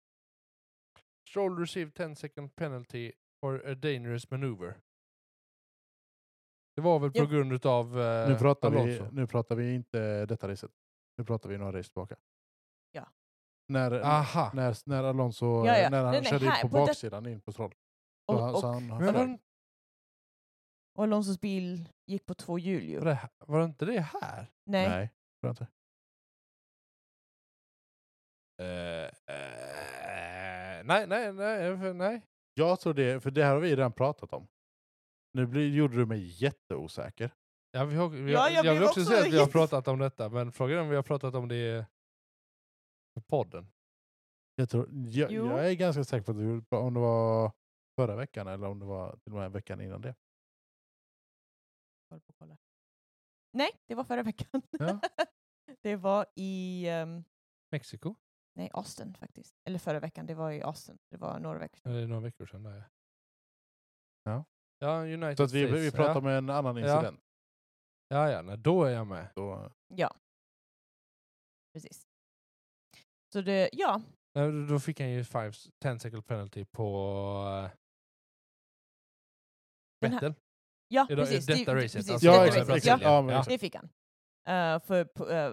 [SPEAKER 2] Stroll received 10 second penalty for a dangerous maneuver. Det var väl på
[SPEAKER 3] Ja.
[SPEAKER 2] grund utav eh,
[SPEAKER 1] Nu pratar, vi,
[SPEAKER 2] Alonso.
[SPEAKER 1] nu pratar vi inte detta racet. Nu pratar vi några race tillbaka.
[SPEAKER 3] Ja.
[SPEAKER 1] När,
[SPEAKER 2] Aha.
[SPEAKER 1] när, när Alonso
[SPEAKER 3] Ja, ja.
[SPEAKER 1] När han
[SPEAKER 3] Nej, nej,
[SPEAKER 1] körde in
[SPEAKER 3] här,
[SPEAKER 1] på
[SPEAKER 3] på det-
[SPEAKER 1] baksidan in på troll. Så han,
[SPEAKER 3] Och,
[SPEAKER 1] så
[SPEAKER 3] och,
[SPEAKER 1] han,
[SPEAKER 2] Men var,
[SPEAKER 1] flög.
[SPEAKER 2] den-
[SPEAKER 3] och Alonsos bil gick på två hjul ju.
[SPEAKER 2] var, det, var det inte det här?
[SPEAKER 3] Nej.
[SPEAKER 1] Nej, tror jag inte.
[SPEAKER 2] Eh, eh, nej, nej, nej, för- nej.
[SPEAKER 1] Jag tror det, för det här har vi redan pratat om. Nu blir, gjorde du mig jätteosäker.
[SPEAKER 2] Ja, vi har, vi
[SPEAKER 3] Ja,
[SPEAKER 2] har,
[SPEAKER 3] jag
[SPEAKER 2] jag,
[SPEAKER 3] blev
[SPEAKER 2] vill också
[SPEAKER 3] också
[SPEAKER 2] säga att vi har
[SPEAKER 3] jätte-
[SPEAKER 2] pratat om detta, men frågan är om vi har pratat om det i podden.
[SPEAKER 1] Jag, tror, jag,
[SPEAKER 3] Jo.
[SPEAKER 1] jag är ganska säker på att du, gjorde- om det var förra veckan eller om det var till och med veckan innan det.
[SPEAKER 3] Kolla på, kolla. Nej, det var förra veckan.
[SPEAKER 1] Ja.
[SPEAKER 3] det var i ehm,
[SPEAKER 2] Mexiko?
[SPEAKER 3] nej, Austin faktiskt. Eller förra veckan, det var i Austin. Det var några veckor sedan.
[SPEAKER 2] Eller det är några veckor sedan. Där.
[SPEAKER 1] Ja.
[SPEAKER 2] ja, United
[SPEAKER 1] Så att vi,
[SPEAKER 2] States.
[SPEAKER 1] vi pratar
[SPEAKER 2] ja.
[SPEAKER 1] om en annan
[SPEAKER 2] Ja.
[SPEAKER 1] incident.
[SPEAKER 2] Ja, ja, nej, då är jag med.
[SPEAKER 1] Då,
[SPEAKER 3] Ja. Precis. Så det, ja.
[SPEAKER 2] Nej, då- då fick han ju 10 second penalty på... Uh,
[SPEAKER 3] Den här-
[SPEAKER 2] Vettel.
[SPEAKER 3] Ja,
[SPEAKER 2] I dag- i
[SPEAKER 3] precis.
[SPEAKER 2] detta racet,
[SPEAKER 3] precis,
[SPEAKER 2] alltså.
[SPEAKER 3] detta
[SPEAKER 1] ja,
[SPEAKER 2] det
[SPEAKER 1] exakt.
[SPEAKER 2] var
[SPEAKER 3] racet,
[SPEAKER 1] exakt.
[SPEAKER 3] ja,
[SPEAKER 2] Brasilien.
[SPEAKER 1] Ja, men
[SPEAKER 2] Ja.
[SPEAKER 1] exakt.
[SPEAKER 3] det fick han. Eh, för pu- eh,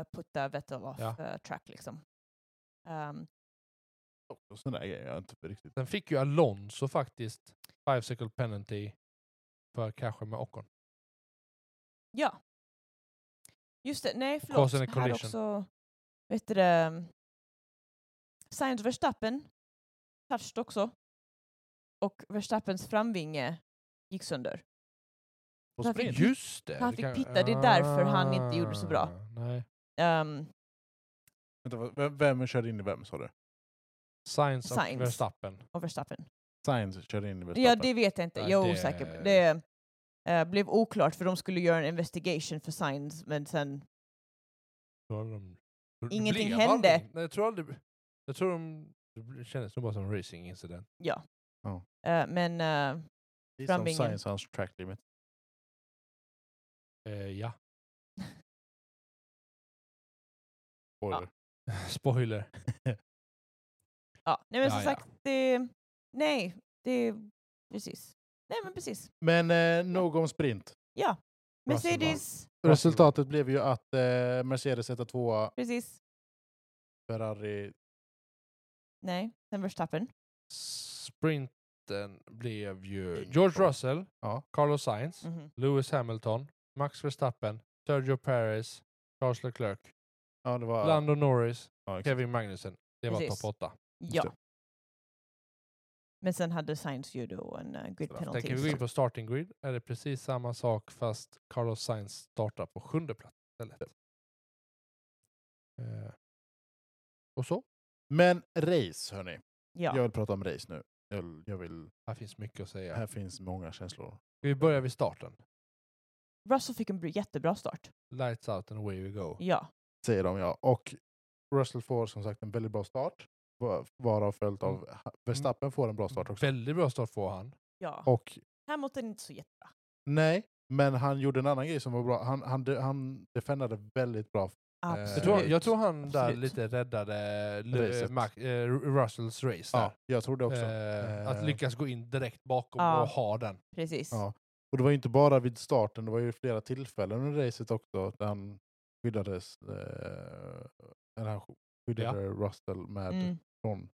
[SPEAKER 3] eh, putta Vettel off
[SPEAKER 2] Ja.
[SPEAKER 3] eh, track liksom. Ehm,
[SPEAKER 1] Och sådana där grejer. Jag är inte riktigt.
[SPEAKER 2] Sen fick ju Alonso faktiskt 5 second penalty för kanske med Ocon.
[SPEAKER 3] ja. Just det, nej förlåt.
[SPEAKER 2] Cause and a
[SPEAKER 3] Här
[SPEAKER 2] collision.
[SPEAKER 3] också, vet du det, Science Verstappen touched också. Och Verstappens framvinge gick sönder.
[SPEAKER 1] Och
[SPEAKER 3] Varför
[SPEAKER 1] sprint.
[SPEAKER 2] Just det!
[SPEAKER 3] Han
[SPEAKER 2] det
[SPEAKER 3] fick
[SPEAKER 2] kan-
[SPEAKER 3] pitta, det är därför han inte gjorde så bra.
[SPEAKER 2] Ah, Nej.
[SPEAKER 3] Ehm,
[SPEAKER 1] Vänta, vad- vem, vem körde in i vem sa du?
[SPEAKER 2] Sainz och
[SPEAKER 3] Sainz.
[SPEAKER 2] Verstappen.
[SPEAKER 3] och Verstappen.
[SPEAKER 1] Sainz körde in i
[SPEAKER 3] Ja,
[SPEAKER 1] Verstappen.
[SPEAKER 3] det vet jag inte.
[SPEAKER 2] Ja,
[SPEAKER 3] Jag är
[SPEAKER 2] det-
[SPEAKER 3] osäker. Det eh, blev oklart för de skulle göra en investigation för Science men sen
[SPEAKER 2] Då har de- det
[SPEAKER 3] Ingenting
[SPEAKER 2] blev
[SPEAKER 3] hände.
[SPEAKER 2] aldrig- Nej, jag tror aldrig... Jag tror de... Det kändes nog bara som en racing-incident.
[SPEAKER 3] Ja.
[SPEAKER 1] Ja.
[SPEAKER 3] Eh, men eh,
[SPEAKER 1] Det är
[SPEAKER 3] framvingen.
[SPEAKER 1] som Sainz och hans track limit.
[SPEAKER 2] Eh, ja.
[SPEAKER 1] Spoiler.
[SPEAKER 2] Spoiler.
[SPEAKER 3] ja, nej men som
[SPEAKER 2] Ja, ja.
[SPEAKER 3] sagt, det, nej, det, precis. Nej men precis.
[SPEAKER 1] Men eh, nog om sprint.
[SPEAKER 3] Ja.
[SPEAKER 2] Russell vann.
[SPEAKER 3] Mercedes,
[SPEAKER 2] Russell
[SPEAKER 1] Resultatet blev ju att eh, Mercedes sätter tvåa,
[SPEAKER 3] precis.
[SPEAKER 1] Ferrari...
[SPEAKER 3] Nej, sen Verstappen.
[SPEAKER 2] Sprinten blev ju
[SPEAKER 1] Ingen
[SPEAKER 2] George
[SPEAKER 1] koll.
[SPEAKER 2] Russell,
[SPEAKER 1] Ja. Mm.
[SPEAKER 2] Carlos Sainz,
[SPEAKER 3] Mhm.
[SPEAKER 2] Lewis Hamilton, Max Verstappen, Sergio Perez, Charles Leclerc,
[SPEAKER 1] Ja, det var...
[SPEAKER 2] Lando Norris,
[SPEAKER 1] ja, exakt.
[SPEAKER 2] Kevin Magnussen. Det var
[SPEAKER 3] Precis.
[SPEAKER 2] topp 8.
[SPEAKER 1] Just
[SPEAKER 3] Ja.
[SPEAKER 1] det.
[SPEAKER 3] Men sen hade Science ju då en uh, grid
[SPEAKER 1] Straff.
[SPEAKER 3] penalty.
[SPEAKER 2] Sen kan vi gå in på starting grid. Är det precis samma sak fast Carlos Sainz startar på sjunde plats istället. Eh, Och så.
[SPEAKER 1] Men race, hörni.
[SPEAKER 3] Ja.
[SPEAKER 1] Jag vill prata om race nu. Jag vill, jag vill,
[SPEAKER 2] Här finns mycket att säga.
[SPEAKER 1] Här finns många känslor.
[SPEAKER 2] Vi börjar vid starten.
[SPEAKER 3] Russell fick en br- jättebra start.
[SPEAKER 2] Lights out and away we go.
[SPEAKER 3] Ja.
[SPEAKER 1] Säger de, ja. Och Russell får som sagt en väldigt bra start. va- Varav följt
[SPEAKER 2] Mm.
[SPEAKER 1] av... Verstappen får en bra start också.
[SPEAKER 2] Väldigt bra start får han.
[SPEAKER 3] ja.
[SPEAKER 1] Och
[SPEAKER 3] Hamilton inte så jättebra.
[SPEAKER 1] nej, men han gjorde en annan grej som var bra. Han, han, de- han defendade väldigt bra.
[SPEAKER 3] Absolut.
[SPEAKER 2] Eh, Jag tror, jag tror han där
[SPEAKER 1] Absolut.
[SPEAKER 2] lite räddade
[SPEAKER 1] Racet.
[SPEAKER 2] Lu- Mac, eh, Russells race där.
[SPEAKER 1] Ja, jag tror det också.
[SPEAKER 2] Eh, att
[SPEAKER 1] Eh.
[SPEAKER 2] lyckas gå in direkt bakom
[SPEAKER 3] Ja.
[SPEAKER 2] och ha den.
[SPEAKER 3] Precis.
[SPEAKER 1] Ja. Och det var ju inte bara vid starten, det var ju flera tillfällen under racet också där han skyddades, eh, eller han skyddade Russell med
[SPEAKER 3] Mm.
[SPEAKER 1] från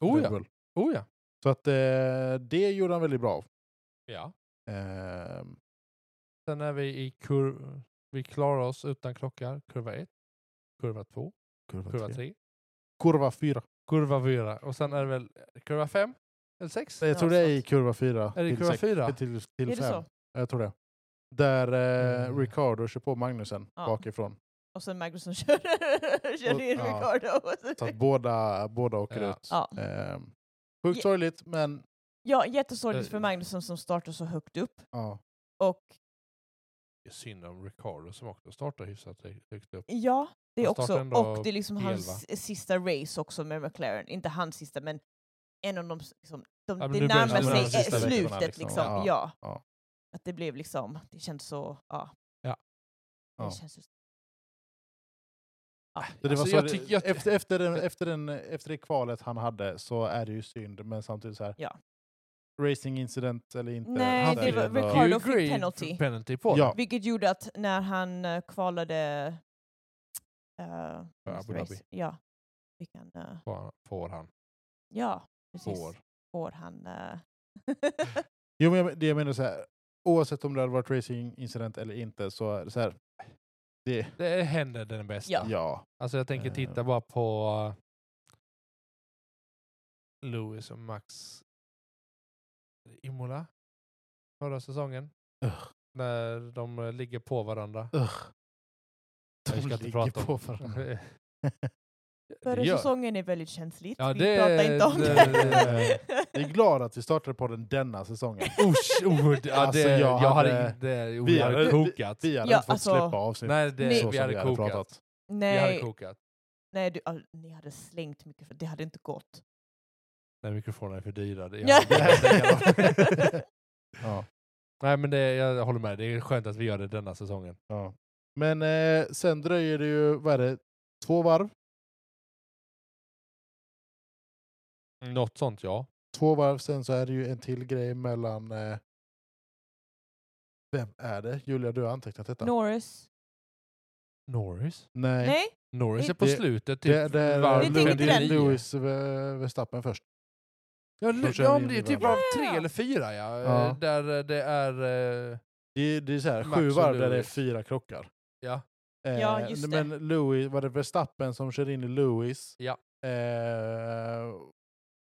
[SPEAKER 2] Oh
[SPEAKER 1] Red
[SPEAKER 2] ja.
[SPEAKER 1] Bull.
[SPEAKER 2] Oh ja.
[SPEAKER 1] Så att eh, det gjorde han väldigt bra.
[SPEAKER 2] ja.
[SPEAKER 1] Eh,
[SPEAKER 2] Sen är vi i kurv... Vi klarar oss utan klockar. Kurva 1, kurva 2,
[SPEAKER 1] kurva,
[SPEAKER 2] kurva
[SPEAKER 1] tre.
[SPEAKER 2] 3,
[SPEAKER 1] kurva fyra.
[SPEAKER 2] kurva 4 och sen är det väl eh, kurva 5 eller 6?
[SPEAKER 1] Nej, jag tror
[SPEAKER 3] Ja,
[SPEAKER 1] det är i
[SPEAKER 3] sant.
[SPEAKER 1] kurva fyra.
[SPEAKER 2] Är det
[SPEAKER 1] till
[SPEAKER 2] kurva
[SPEAKER 1] sex-
[SPEAKER 2] fyra?
[SPEAKER 1] eh, Till, till
[SPEAKER 3] Är det
[SPEAKER 1] fem.
[SPEAKER 3] så?
[SPEAKER 1] Jag tror det. Där eh,
[SPEAKER 2] Mm.
[SPEAKER 1] Ricardo kör på Magnusen
[SPEAKER 3] Ja.
[SPEAKER 1] bakifrån.
[SPEAKER 3] Och sen Magnusson kör, kör
[SPEAKER 1] Och-
[SPEAKER 3] in
[SPEAKER 1] ja.
[SPEAKER 3] Ricardo. och så-
[SPEAKER 1] Så att båda, båda åker
[SPEAKER 2] Ja.
[SPEAKER 1] ut.
[SPEAKER 3] Ja.
[SPEAKER 1] Eh, sjukt
[SPEAKER 3] Ja.
[SPEAKER 1] sorgligt, men
[SPEAKER 3] Ja, jättesorgligt för
[SPEAKER 2] Eh,
[SPEAKER 3] Magnusson som startar så högt upp.
[SPEAKER 1] ja.
[SPEAKER 3] Och
[SPEAKER 2] Synd om Ricardo som också startar hyfsat högt upp.
[SPEAKER 3] ja, det är
[SPEAKER 2] Han startar
[SPEAKER 3] också,
[SPEAKER 2] ändå
[SPEAKER 3] och det är liksom
[SPEAKER 2] fel,
[SPEAKER 3] hans sista race också med McLaren. Inte hans sista, men en av de, s- liksom, de
[SPEAKER 2] Ja, men
[SPEAKER 3] det
[SPEAKER 2] nu börjar
[SPEAKER 3] närmar
[SPEAKER 1] det
[SPEAKER 3] sig
[SPEAKER 1] de sista
[SPEAKER 3] eh,
[SPEAKER 1] veckorna,
[SPEAKER 3] slutet
[SPEAKER 1] liksom.
[SPEAKER 3] liksom.
[SPEAKER 1] Ja,
[SPEAKER 3] Ja,
[SPEAKER 1] ja.
[SPEAKER 3] Att det blev liksom, det känns så, ja.
[SPEAKER 2] Ja.
[SPEAKER 1] Ja.
[SPEAKER 3] Det känns just,
[SPEAKER 1] Så det
[SPEAKER 2] Alltså,
[SPEAKER 1] var så
[SPEAKER 2] jag
[SPEAKER 1] det-
[SPEAKER 2] tycker jag-
[SPEAKER 1] efter, efter, den, efter, den, efter det kvalet han hade så är det ju synd, men samtidigt så här.
[SPEAKER 3] Ja.
[SPEAKER 1] racing incident eller inte.
[SPEAKER 3] Nej,
[SPEAKER 1] Han
[SPEAKER 3] det
[SPEAKER 1] fick
[SPEAKER 3] var-
[SPEAKER 1] bara-
[SPEAKER 3] Ricardo
[SPEAKER 2] You
[SPEAKER 3] fick
[SPEAKER 2] agree
[SPEAKER 3] penalty.
[SPEAKER 2] penalty på
[SPEAKER 1] Ja.
[SPEAKER 3] Vilket gjorde att när han eh, kvalade... eh,
[SPEAKER 2] För
[SPEAKER 3] Mr.
[SPEAKER 2] Abu
[SPEAKER 3] Race,
[SPEAKER 2] Dhabi.
[SPEAKER 3] Ja. Fick han, eh,
[SPEAKER 2] Får- Får han.
[SPEAKER 3] ja, precis.
[SPEAKER 2] Får.
[SPEAKER 3] Får han... eh,
[SPEAKER 1] Jo, men jag, det jag menar så här, oavsett om det hade varit racing incident eller inte så är det så här. Det,
[SPEAKER 2] Det händer den bästa.
[SPEAKER 1] ja.
[SPEAKER 3] Ja.
[SPEAKER 2] Alltså jag tänker
[SPEAKER 1] Eh.
[SPEAKER 2] titta bara på eh, Lewis och Max Imola förra säsongen.
[SPEAKER 1] Ugh.
[SPEAKER 2] När de eh, ligger på varandra.
[SPEAKER 1] Ugh.
[SPEAKER 2] Vi ska inte prata om-
[SPEAKER 1] på varandra.
[SPEAKER 3] Förra
[SPEAKER 2] Gör-
[SPEAKER 3] säsongen är väldigt känsligt.
[SPEAKER 2] Ja,
[SPEAKER 3] Vi
[SPEAKER 2] det-
[SPEAKER 3] pratar inte om
[SPEAKER 2] det-
[SPEAKER 3] det. eh,
[SPEAKER 1] Jag är glad att vi startade podden denna säsongen.
[SPEAKER 2] Usch, oh, det, ja,
[SPEAKER 1] Alltså,
[SPEAKER 2] det, jag,
[SPEAKER 1] jag
[SPEAKER 2] hade
[SPEAKER 1] hade-
[SPEAKER 2] inte... Oh,
[SPEAKER 1] vi
[SPEAKER 2] vi hade
[SPEAKER 1] hade-
[SPEAKER 2] kokat.
[SPEAKER 1] Vi hade
[SPEAKER 3] Ja,
[SPEAKER 1] inte fått
[SPEAKER 3] alltså,
[SPEAKER 1] släppa avsnitt
[SPEAKER 2] Nej, det,
[SPEAKER 3] Nej.
[SPEAKER 1] så
[SPEAKER 2] vi
[SPEAKER 1] som
[SPEAKER 2] hade kokat.
[SPEAKER 1] pratat.
[SPEAKER 2] Vi hade
[SPEAKER 3] Nej,
[SPEAKER 2] kokat.
[SPEAKER 3] nej du, all, ni hade slängt mycket för det hade inte gått.
[SPEAKER 2] Nej, mikrofonerna är för dyra. Det-
[SPEAKER 3] Ja.
[SPEAKER 2] jag- jag stänger dem.
[SPEAKER 1] Ja,
[SPEAKER 2] Nej, men det, jag håller med. Det är skönt att vi gör det denna säsongen.
[SPEAKER 1] ja. Men eh, sen dröjer det ju, vad är det, två varv?
[SPEAKER 2] Något sånt, ja.
[SPEAKER 1] Två varv, sen så är det ju en till grej mellan... Eh, vem är det? Julia, du har antecknat detta?
[SPEAKER 3] Norris?
[SPEAKER 2] Norris?
[SPEAKER 1] Nej.
[SPEAKER 3] Nej?
[SPEAKER 2] Norris är
[SPEAKER 3] Det-
[SPEAKER 2] på slutet. Typ,
[SPEAKER 1] det, det är
[SPEAKER 2] varv
[SPEAKER 3] Vi tänker inte
[SPEAKER 1] Lewis,
[SPEAKER 3] den.
[SPEAKER 2] 59.
[SPEAKER 1] Lewis eh, Verstappen först.
[SPEAKER 2] Ja,
[SPEAKER 1] De
[SPEAKER 2] Lu-
[SPEAKER 1] kör
[SPEAKER 2] ja
[SPEAKER 1] in
[SPEAKER 2] men det
[SPEAKER 1] i
[SPEAKER 2] är typ
[SPEAKER 1] varandra.
[SPEAKER 2] av tre
[SPEAKER 3] Ja.
[SPEAKER 2] eller fyra ja.
[SPEAKER 1] Ja.
[SPEAKER 2] Eh, Där eh, det är... eh,
[SPEAKER 1] Det är, det är så här,
[SPEAKER 2] Max
[SPEAKER 1] sju
[SPEAKER 2] och
[SPEAKER 1] varv där det är
[SPEAKER 2] Lewis.
[SPEAKER 1] fyra krockar.
[SPEAKER 2] Ja.
[SPEAKER 1] Eh,
[SPEAKER 3] Ja, just det.
[SPEAKER 1] Men Louis, var det Verstappen som kör in i Lewis?
[SPEAKER 2] Ja.
[SPEAKER 1] Eh,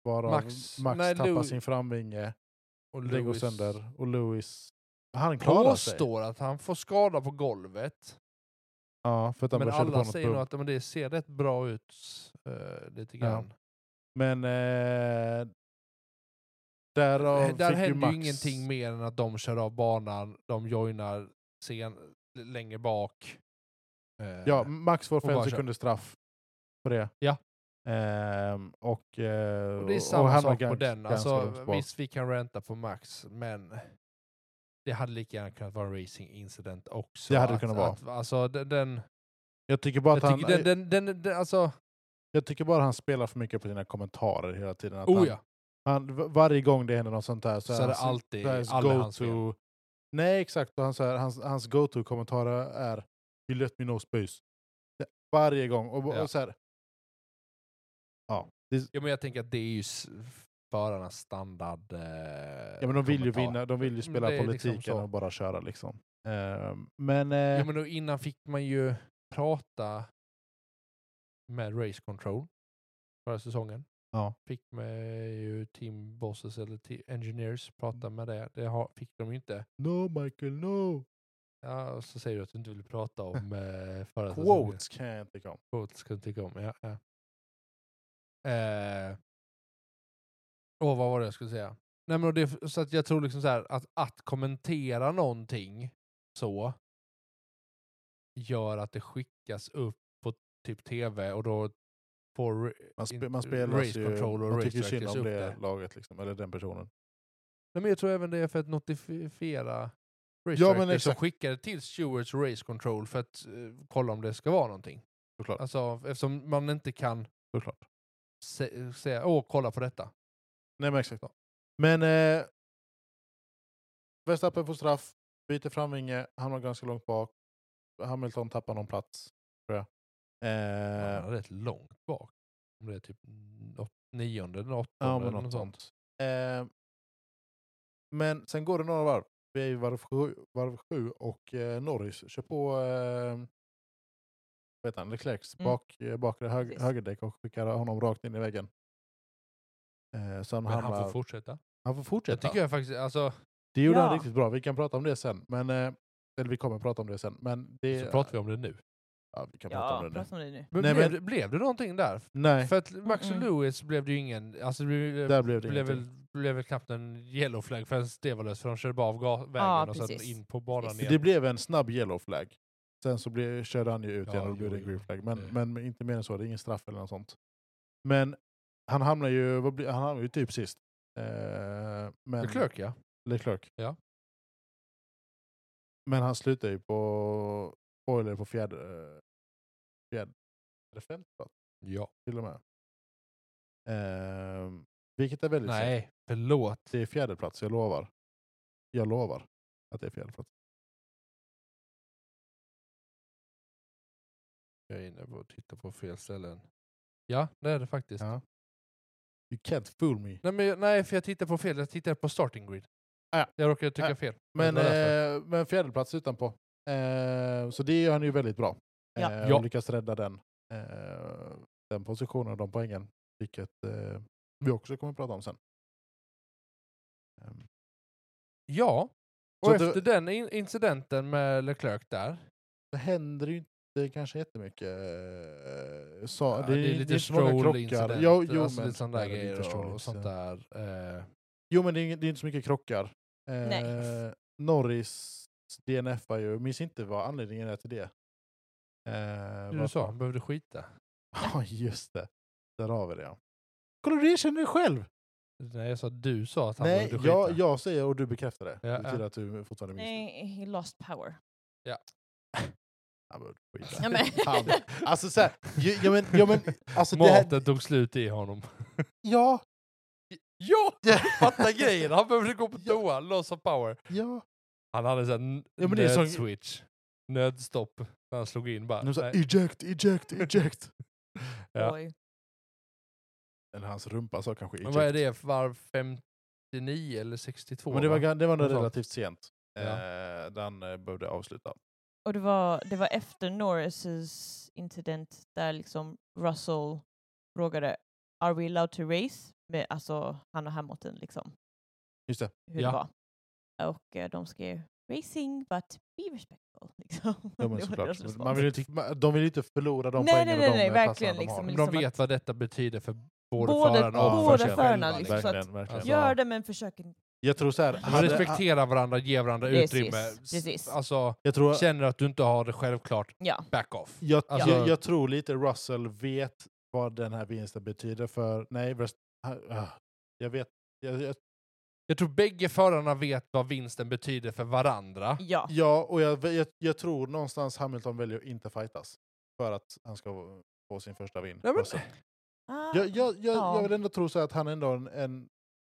[SPEAKER 1] varav
[SPEAKER 2] Max-
[SPEAKER 1] Max,
[SPEAKER 2] nej,
[SPEAKER 1] tappar
[SPEAKER 2] Lewis-
[SPEAKER 1] sin framvinge,
[SPEAKER 2] Och
[SPEAKER 1] det går
[SPEAKER 2] Lewis
[SPEAKER 1] sönder och Lewis han klarar sig.
[SPEAKER 2] Påstår att han får skada på golvet.
[SPEAKER 1] Ja, för att han
[SPEAKER 2] Men
[SPEAKER 1] bara körde på
[SPEAKER 2] alla
[SPEAKER 1] något
[SPEAKER 2] säger nog
[SPEAKER 1] bump.
[SPEAKER 2] att men det ser rätt bra ut. eh, lite
[SPEAKER 1] Ja.
[SPEAKER 2] grann.
[SPEAKER 1] Men eh, därav
[SPEAKER 2] Eh, Där
[SPEAKER 1] fick ju
[SPEAKER 2] händer
[SPEAKER 1] Max...
[SPEAKER 2] ju ingenting mer än att de kör av banan, de joinar sen, längre bak. Eh,
[SPEAKER 1] Ja, Max får
[SPEAKER 2] Och bara
[SPEAKER 1] fem
[SPEAKER 2] kör.
[SPEAKER 1] sekunder straff på det.
[SPEAKER 2] Ja.
[SPEAKER 1] Ehm, och, eh,
[SPEAKER 2] och det är
[SPEAKER 1] och
[SPEAKER 2] samma
[SPEAKER 1] han var
[SPEAKER 2] sak på
[SPEAKER 1] gans-
[SPEAKER 2] den.
[SPEAKER 1] ganska
[SPEAKER 2] Alltså,
[SPEAKER 1] långt bak.
[SPEAKER 2] visst, vi kan ränta på Max, men det hade lika gärna kunnat vara en racing incident också.
[SPEAKER 1] Det hade det
[SPEAKER 2] att,
[SPEAKER 1] kunnat vara.
[SPEAKER 2] Att, alltså, den, den,
[SPEAKER 1] jag, tycker bara
[SPEAKER 2] jag
[SPEAKER 1] att han,
[SPEAKER 2] tycker den, den, den, den alltså,
[SPEAKER 1] jag tycker bara han spelar för mycket på sina kommentarer hela tiden. Att
[SPEAKER 2] oh
[SPEAKER 1] han,
[SPEAKER 2] ja,
[SPEAKER 1] han, v- varje gång det händer något sånt där så,
[SPEAKER 2] så är det
[SPEAKER 1] hans-
[SPEAKER 2] alltid,
[SPEAKER 1] så är hans
[SPEAKER 2] aldrig hans fel.
[SPEAKER 1] go-to... Nej, exakt. Och han, så här, hans hans go-to-kommentarer är You let me know space. Det- Varje gång. Och, och
[SPEAKER 2] Ja.
[SPEAKER 1] så här, ja, det,
[SPEAKER 2] Ja, men jag tänker att det är ju s- förarnas standard eh,
[SPEAKER 1] ja, men de vill ju
[SPEAKER 2] kommentar.
[SPEAKER 1] vinna, de vill ju
[SPEAKER 2] Men
[SPEAKER 1] spela
[SPEAKER 2] det är liksom
[SPEAKER 1] politiken
[SPEAKER 2] så.
[SPEAKER 1] och bara köra liksom. Ehm, men... eh,
[SPEAKER 2] Ja, men då innan fick man ju prata med Race Control förra säsongen.
[SPEAKER 1] Ja.
[SPEAKER 2] Fick med ju team bosses eller te- engineers
[SPEAKER 1] Mm.
[SPEAKER 2] prata med det. Det har, fick de ju inte.
[SPEAKER 1] No Michael, no!
[SPEAKER 2] Ja, och så säger du att du inte vill prata om eh, förra säsongen.
[SPEAKER 1] Quotes kan jag inte komma
[SPEAKER 2] Quotes kan du tycka om. Ja, ja. Eh, och vad var det jag skulle säga? Nej, men och det, så att jag tror liksom så här, att, att kommentera någonting så gör att det skickas upp på typ tv och då får re-
[SPEAKER 1] Man, spe,
[SPEAKER 2] in-
[SPEAKER 1] man spelar
[SPEAKER 2] race
[SPEAKER 1] ju,
[SPEAKER 2] control och
[SPEAKER 1] man
[SPEAKER 2] race
[SPEAKER 1] tycker synd
[SPEAKER 2] directors
[SPEAKER 1] om
[SPEAKER 2] upp
[SPEAKER 1] det
[SPEAKER 2] det.
[SPEAKER 1] laget, liksom, eller den personen.
[SPEAKER 2] Nej, men jag tror även det är för att notifiera race
[SPEAKER 1] Ja, men
[SPEAKER 2] directors som
[SPEAKER 1] exakt.
[SPEAKER 2] skickar det till Stewards race control för att eh, kolla om det ska vara någonting.
[SPEAKER 1] Såklart.
[SPEAKER 2] Alltså eftersom man inte kan
[SPEAKER 1] Såklart.
[SPEAKER 2] sä- säga åh kolla på detta.
[SPEAKER 1] Nej men exakt. Men eh, Verstappen får straff, byter framvinge, hamnar ganska långt bak. Hamilton tappar någon plats, tror jag.
[SPEAKER 2] Han
[SPEAKER 1] Eh,
[SPEAKER 2] är rätt långt bak. Om det är typ åt, nionde eller åttonde
[SPEAKER 1] ja,
[SPEAKER 2] eller
[SPEAKER 1] men något sånt. Eh, men sen går det några varv. Vi är i varv sju, varv sju och eh, Norris kör på eh, vad heter han, Leclercs
[SPEAKER 3] Mm.
[SPEAKER 1] bak, eh, bakre hög,
[SPEAKER 3] Precis.
[SPEAKER 1] högerdäck och skickar honom rakt in i väggen. Eh, så han,
[SPEAKER 2] Men han
[SPEAKER 1] hamnar,
[SPEAKER 2] får fortsätta.
[SPEAKER 1] han får
[SPEAKER 2] Jag
[SPEAKER 1] fortsätta.
[SPEAKER 2] tycker jag faktiskt, alltså,
[SPEAKER 1] Det gjorde
[SPEAKER 3] Ja.
[SPEAKER 1] han riktigt bra. Vi kan prata om det sen. Men, eh, eller vi kommer prata om det sen. Men det,
[SPEAKER 2] så pratar vi om det nu.
[SPEAKER 1] ja, vi kan prata
[SPEAKER 3] Ja,
[SPEAKER 1] om det nu.
[SPEAKER 3] prata om det nu.
[SPEAKER 2] Men
[SPEAKER 1] Nej,
[SPEAKER 2] blev,
[SPEAKER 1] men-
[SPEAKER 2] det- blev det någonting där?
[SPEAKER 1] Nej,
[SPEAKER 2] För att Max och
[SPEAKER 3] Mm-mm.
[SPEAKER 2] Lewis blev det ju ingen, alltså det blev,
[SPEAKER 1] där blev det
[SPEAKER 2] blev, väl,
[SPEAKER 1] ingenting.
[SPEAKER 2] blev väl knappt en yellow flag förrän det var löst, för de körde bara av ga- vägen
[SPEAKER 3] Ja,
[SPEAKER 2] och sen
[SPEAKER 3] precis.
[SPEAKER 2] in på banan
[SPEAKER 3] Precis.
[SPEAKER 2] igen.
[SPEAKER 1] Det blev en snabb yellow flag. Sen så blev, körde han ju ut
[SPEAKER 2] Ja,
[SPEAKER 1] igen och då
[SPEAKER 2] jo,
[SPEAKER 1] blev det en
[SPEAKER 2] jo.
[SPEAKER 1] green flag. Men,
[SPEAKER 2] Det-
[SPEAKER 1] men inte mer än så. Det är ingen straff eller något sånt. Men han hamnar ju, vad blir, han hamnar ju typ sist. Eh, men,
[SPEAKER 2] Leclerc ja.
[SPEAKER 1] Leclerc.
[SPEAKER 2] Ja.
[SPEAKER 1] Men han slutar ju på spoiler på fjärde... eh, Fjärde? Eller femte plats
[SPEAKER 2] ja.
[SPEAKER 1] till och med. Ehm, Vilket är väldigt sent.
[SPEAKER 2] Nej, förlåt.
[SPEAKER 1] Det är fjärde plats, jag lovar. Jag lovar att det är fjärde plats.
[SPEAKER 2] Jag är inne på att titta på fel ställen. Ja, det är det faktiskt.
[SPEAKER 1] Ja. You can't fool me.
[SPEAKER 2] Nej, men, nej, för jag tittar på fel. Jag tittar på starting grid.
[SPEAKER 1] Ah, ja.
[SPEAKER 2] Jag råkade trycka
[SPEAKER 1] Ah,
[SPEAKER 2] fel.
[SPEAKER 1] Men,
[SPEAKER 2] det var därför.
[SPEAKER 1] eh, men fjärde plats utanpå. Eh, så det gör han ju väldigt bra.
[SPEAKER 3] Ja.
[SPEAKER 1] Eh, och
[SPEAKER 2] Ja.
[SPEAKER 1] lyckas rädda den, eh, den positionen och de poängen. Vilket eh, vi också kommer att prata om sen. Ehm,
[SPEAKER 2] ja,
[SPEAKER 1] så
[SPEAKER 2] och
[SPEAKER 1] att det-
[SPEAKER 2] efter den in- incidenten med Leclerc där.
[SPEAKER 1] det händer ju inte kanske jättemycket. eh, Så,
[SPEAKER 2] Ja, det, är lite
[SPEAKER 1] inte så många krockar.
[SPEAKER 2] stroll-incident.
[SPEAKER 1] Jo, jo,
[SPEAKER 2] alltså
[SPEAKER 1] men
[SPEAKER 2] lite sådana där
[SPEAKER 1] det är lite
[SPEAKER 2] grejer och,
[SPEAKER 1] stroll-incident.
[SPEAKER 2] och sånt där. Eh,
[SPEAKER 1] Jo, men det är, ing- det är inte så mycket krockar. Eh,
[SPEAKER 3] Nej.
[SPEAKER 1] Norris DNF var ju, minns inte vad anledningen är till det. Eh,
[SPEAKER 2] du
[SPEAKER 1] varför-
[SPEAKER 2] sa, han behövde skita.
[SPEAKER 1] Ja, just det. Där har vi det. ja. Kolla, du erkänner det själv!
[SPEAKER 2] Nej, jag sa du sa att han
[SPEAKER 1] Nej,
[SPEAKER 2] behövde skita.
[SPEAKER 1] jag, jag säger och du bekräftar det.
[SPEAKER 2] Ja,
[SPEAKER 1] det betyder
[SPEAKER 2] ja.
[SPEAKER 1] att du fortfarande minns det.
[SPEAKER 3] Nej, he lost power.
[SPEAKER 1] Han behövde
[SPEAKER 3] Ja,
[SPEAKER 1] skita.
[SPEAKER 3] men.
[SPEAKER 1] Han, alltså så här, ju- ja men, ja men alltså det
[SPEAKER 2] Maten
[SPEAKER 1] här,
[SPEAKER 2] tog slut i honom.
[SPEAKER 1] ja,
[SPEAKER 2] Ja! Fatta grejen, han behövde gå på toa, loss of power.
[SPEAKER 1] ja.
[SPEAKER 2] Han hade sån
[SPEAKER 1] Ja, men det är så-
[SPEAKER 2] nödswitch, nödstopp, när han slog in bara.
[SPEAKER 1] Nu så här,
[SPEAKER 2] nej.
[SPEAKER 1] eject, eject, eject.
[SPEAKER 2] Ja.
[SPEAKER 3] Oj.
[SPEAKER 1] Eller hans rumpa sa kanske
[SPEAKER 2] Men
[SPEAKER 1] eject.
[SPEAKER 2] vad är det, för varv 59 eller 62?
[SPEAKER 1] typ Men det var,
[SPEAKER 2] va?
[SPEAKER 1] ga- det var nog
[SPEAKER 2] Något sånt.
[SPEAKER 1] relativt sent.
[SPEAKER 2] Ja.
[SPEAKER 1] Eh, den eh, behövde avsluta.
[SPEAKER 3] Och det var, det var efter Norris incident där liksom Russell frågade Are we allowed to race? Med, alltså han och Hamilton liksom,
[SPEAKER 1] Just det.
[SPEAKER 3] hur
[SPEAKER 2] Ja.
[SPEAKER 3] det var. Och eh, de skrev Racing but be respectful. Liksom.
[SPEAKER 1] Ja,
[SPEAKER 3] Det var
[SPEAKER 1] men såklart.
[SPEAKER 3] deras respons.
[SPEAKER 1] Man vill ju inte, man- de vill ju inte förlora de
[SPEAKER 3] Nej,
[SPEAKER 1] poängen
[SPEAKER 3] nej,
[SPEAKER 1] och
[SPEAKER 3] nej,
[SPEAKER 1] de
[SPEAKER 3] nej,
[SPEAKER 1] eh,
[SPEAKER 3] verkligen,
[SPEAKER 1] tassarna de har.
[SPEAKER 3] liksom.
[SPEAKER 2] Men
[SPEAKER 3] liksom
[SPEAKER 2] de
[SPEAKER 3] att-
[SPEAKER 2] vet vad detta betyder för både,
[SPEAKER 3] Både-
[SPEAKER 2] förarna och
[SPEAKER 1] båda
[SPEAKER 2] sig
[SPEAKER 3] förarna,
[SPEAKER 2] själva,
[SPEAKER 3] liksom, så att-
[SPEAKER 1] Verkligen, verkligen.
[SPEAKER 2] Alltså,
[SPEAKER 3] Gör det men försök inte.
[SPEAKER 1] Jag tror så här,
[SPEAKER 3] Man
[SPEAKER 2] Man
[SPEAKER 1] hade-
[SPEAKER 2] respekterar varandra, ger varandra
[SPEAKER 3] Precis,
[SPEAKER 2] utrymme. S-
[SPEAKER 3] precis.
[SPEAKER 2] Alltså,
[SPEAKER 1] jag tror,
[SPEAKER 2] känner att du inte har det självklart,
[SPEAKER 3] Ja,
[SPEAKER 2] back off.
[SPEAKER 1] jag,
[SPEAKER 2] Alltså-
[SPEAKER 1] jag, jag tror lite Russell vet vad den här vinsten betyder för... Nej, rest, ah, jag vet. Jag, jag,
[SPEAKER 2] Jag tror bägge förarna vet vad vinsten betyder för varandra.
[SPEAKER 3] ja.
[SPEAKER 1] ja, och jag, jag, jag tror någonstans Hamilton väljer att inte fightas för att han ska få sin första vinn.
[SPEAKER 2] Nej, men-
[SPEAKER 1] Russell.
[SPEAKER 3] Ah,
[SPEAKER 1] Jag, jag, jag,
[SPEAKER 3] Ja.
[SPEAKER 1] jag vill ändå tro så här att han ändå har en... en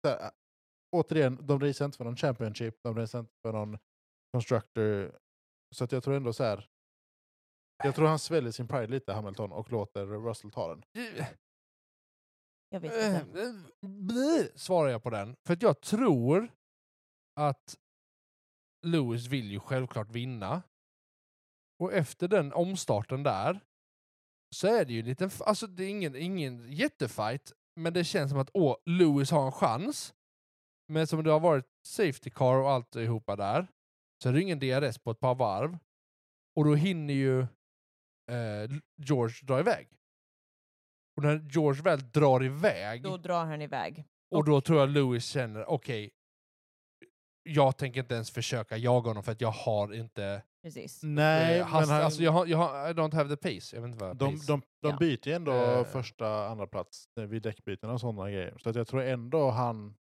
[SPEAKER 1] så här, äh, återigen, de racear inte för någon Championship, de racear inte för någon Constructor. Så att jag tror ändå så här... Jag tror han sväljer sin pride lite, Hamilton, och låter Russell ta den.
[SPEAKER 3] jag vet
[SPEAKER 2] Eh,
[SPEAKER 3] inte.
[SPEAKER 2] eh, bleh, Svarar jag på den. För att jag tror att Lewis vill ju självklart vinna. Och efter den omstarten där så är det ju en liten, f- alltså det är ingen, ingen jättefight, men det känns som att åh, Lewis har en chans. Men som det har varit safety car och alltihopa där, så är det ingen DRS på ett par varv. Och då hinner ju eh, George dra iväg. Och när George väl drar iväg,
[SPEAKER 3] Då drar han iväg.
[SPEAKER 2] och då tror jag Lewis känner, okej, jag tänker inte ens försöka jaga honom för att jag har inte...
[SPEAKER 3] Precis.
[SPEAKER 1] Nej,
[SPEAKER 2] eh, hast,
[SPEAKER 1] men han,
[SPEAKER 2] alltså jag har, jag har, I don't have the pace. Jag vet inte vad
[SPEAKER 1] de,
[SPEAKER 2] pace.
[SPEAKER 1] de, de
[SPEAKER 3] Ja.
[SPEAKER 1] byter ju ändå
[SPEAKER 2] Eh.
[SPEAKER 1] första andra plats eh, vid däckbyten och sådana grejer. Så att jag tror ändå han...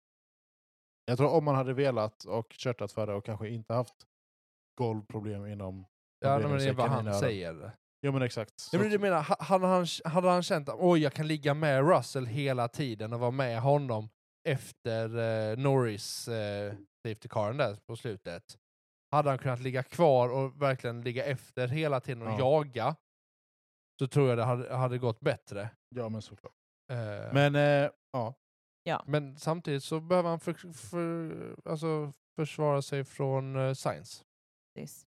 [SPEAKER 1] Jag tror om man hade velat och körtat för det och kanske inte haft golvproblem inom...
[SPEAKER 2] ja, nej, men det är
[SPEAKER 1] Problemsäcken
[SPEAKER 2] vad
[SPEAKER 1] i
[SPEAKER 2] han
[SPEAKER 1] nöden.
[SPEAKER 2] säger.
[SPEAKER 1] Jo men exakt. Så
[SPEAKER 2] Jag
[SPEAKER 1] att-
[SPEAKER 2] men, du menar, ha- hade han, hade han känt att oj, jag kan ligga med Russell hela tiden och vara med honom efter eh, Norris eh, safety caren där på slutet. Hade han kunnat ligga kvar och verkligen ligga efter hela tiden och
[SPEAKER 1] Ja.
[SPEAKER 2] jaga så tror jag det hade, hade gått bättre.
[SPEAKER 1] Ja men såklart.
[SPEAKER 2] Eh,
[SPEAKER 1] Men eh, ja,
[SPEAKER 2] Men samtidigt så behöver han för, för, alltså försvara sig från uh, Science.
[SPEAKER 3] Precis.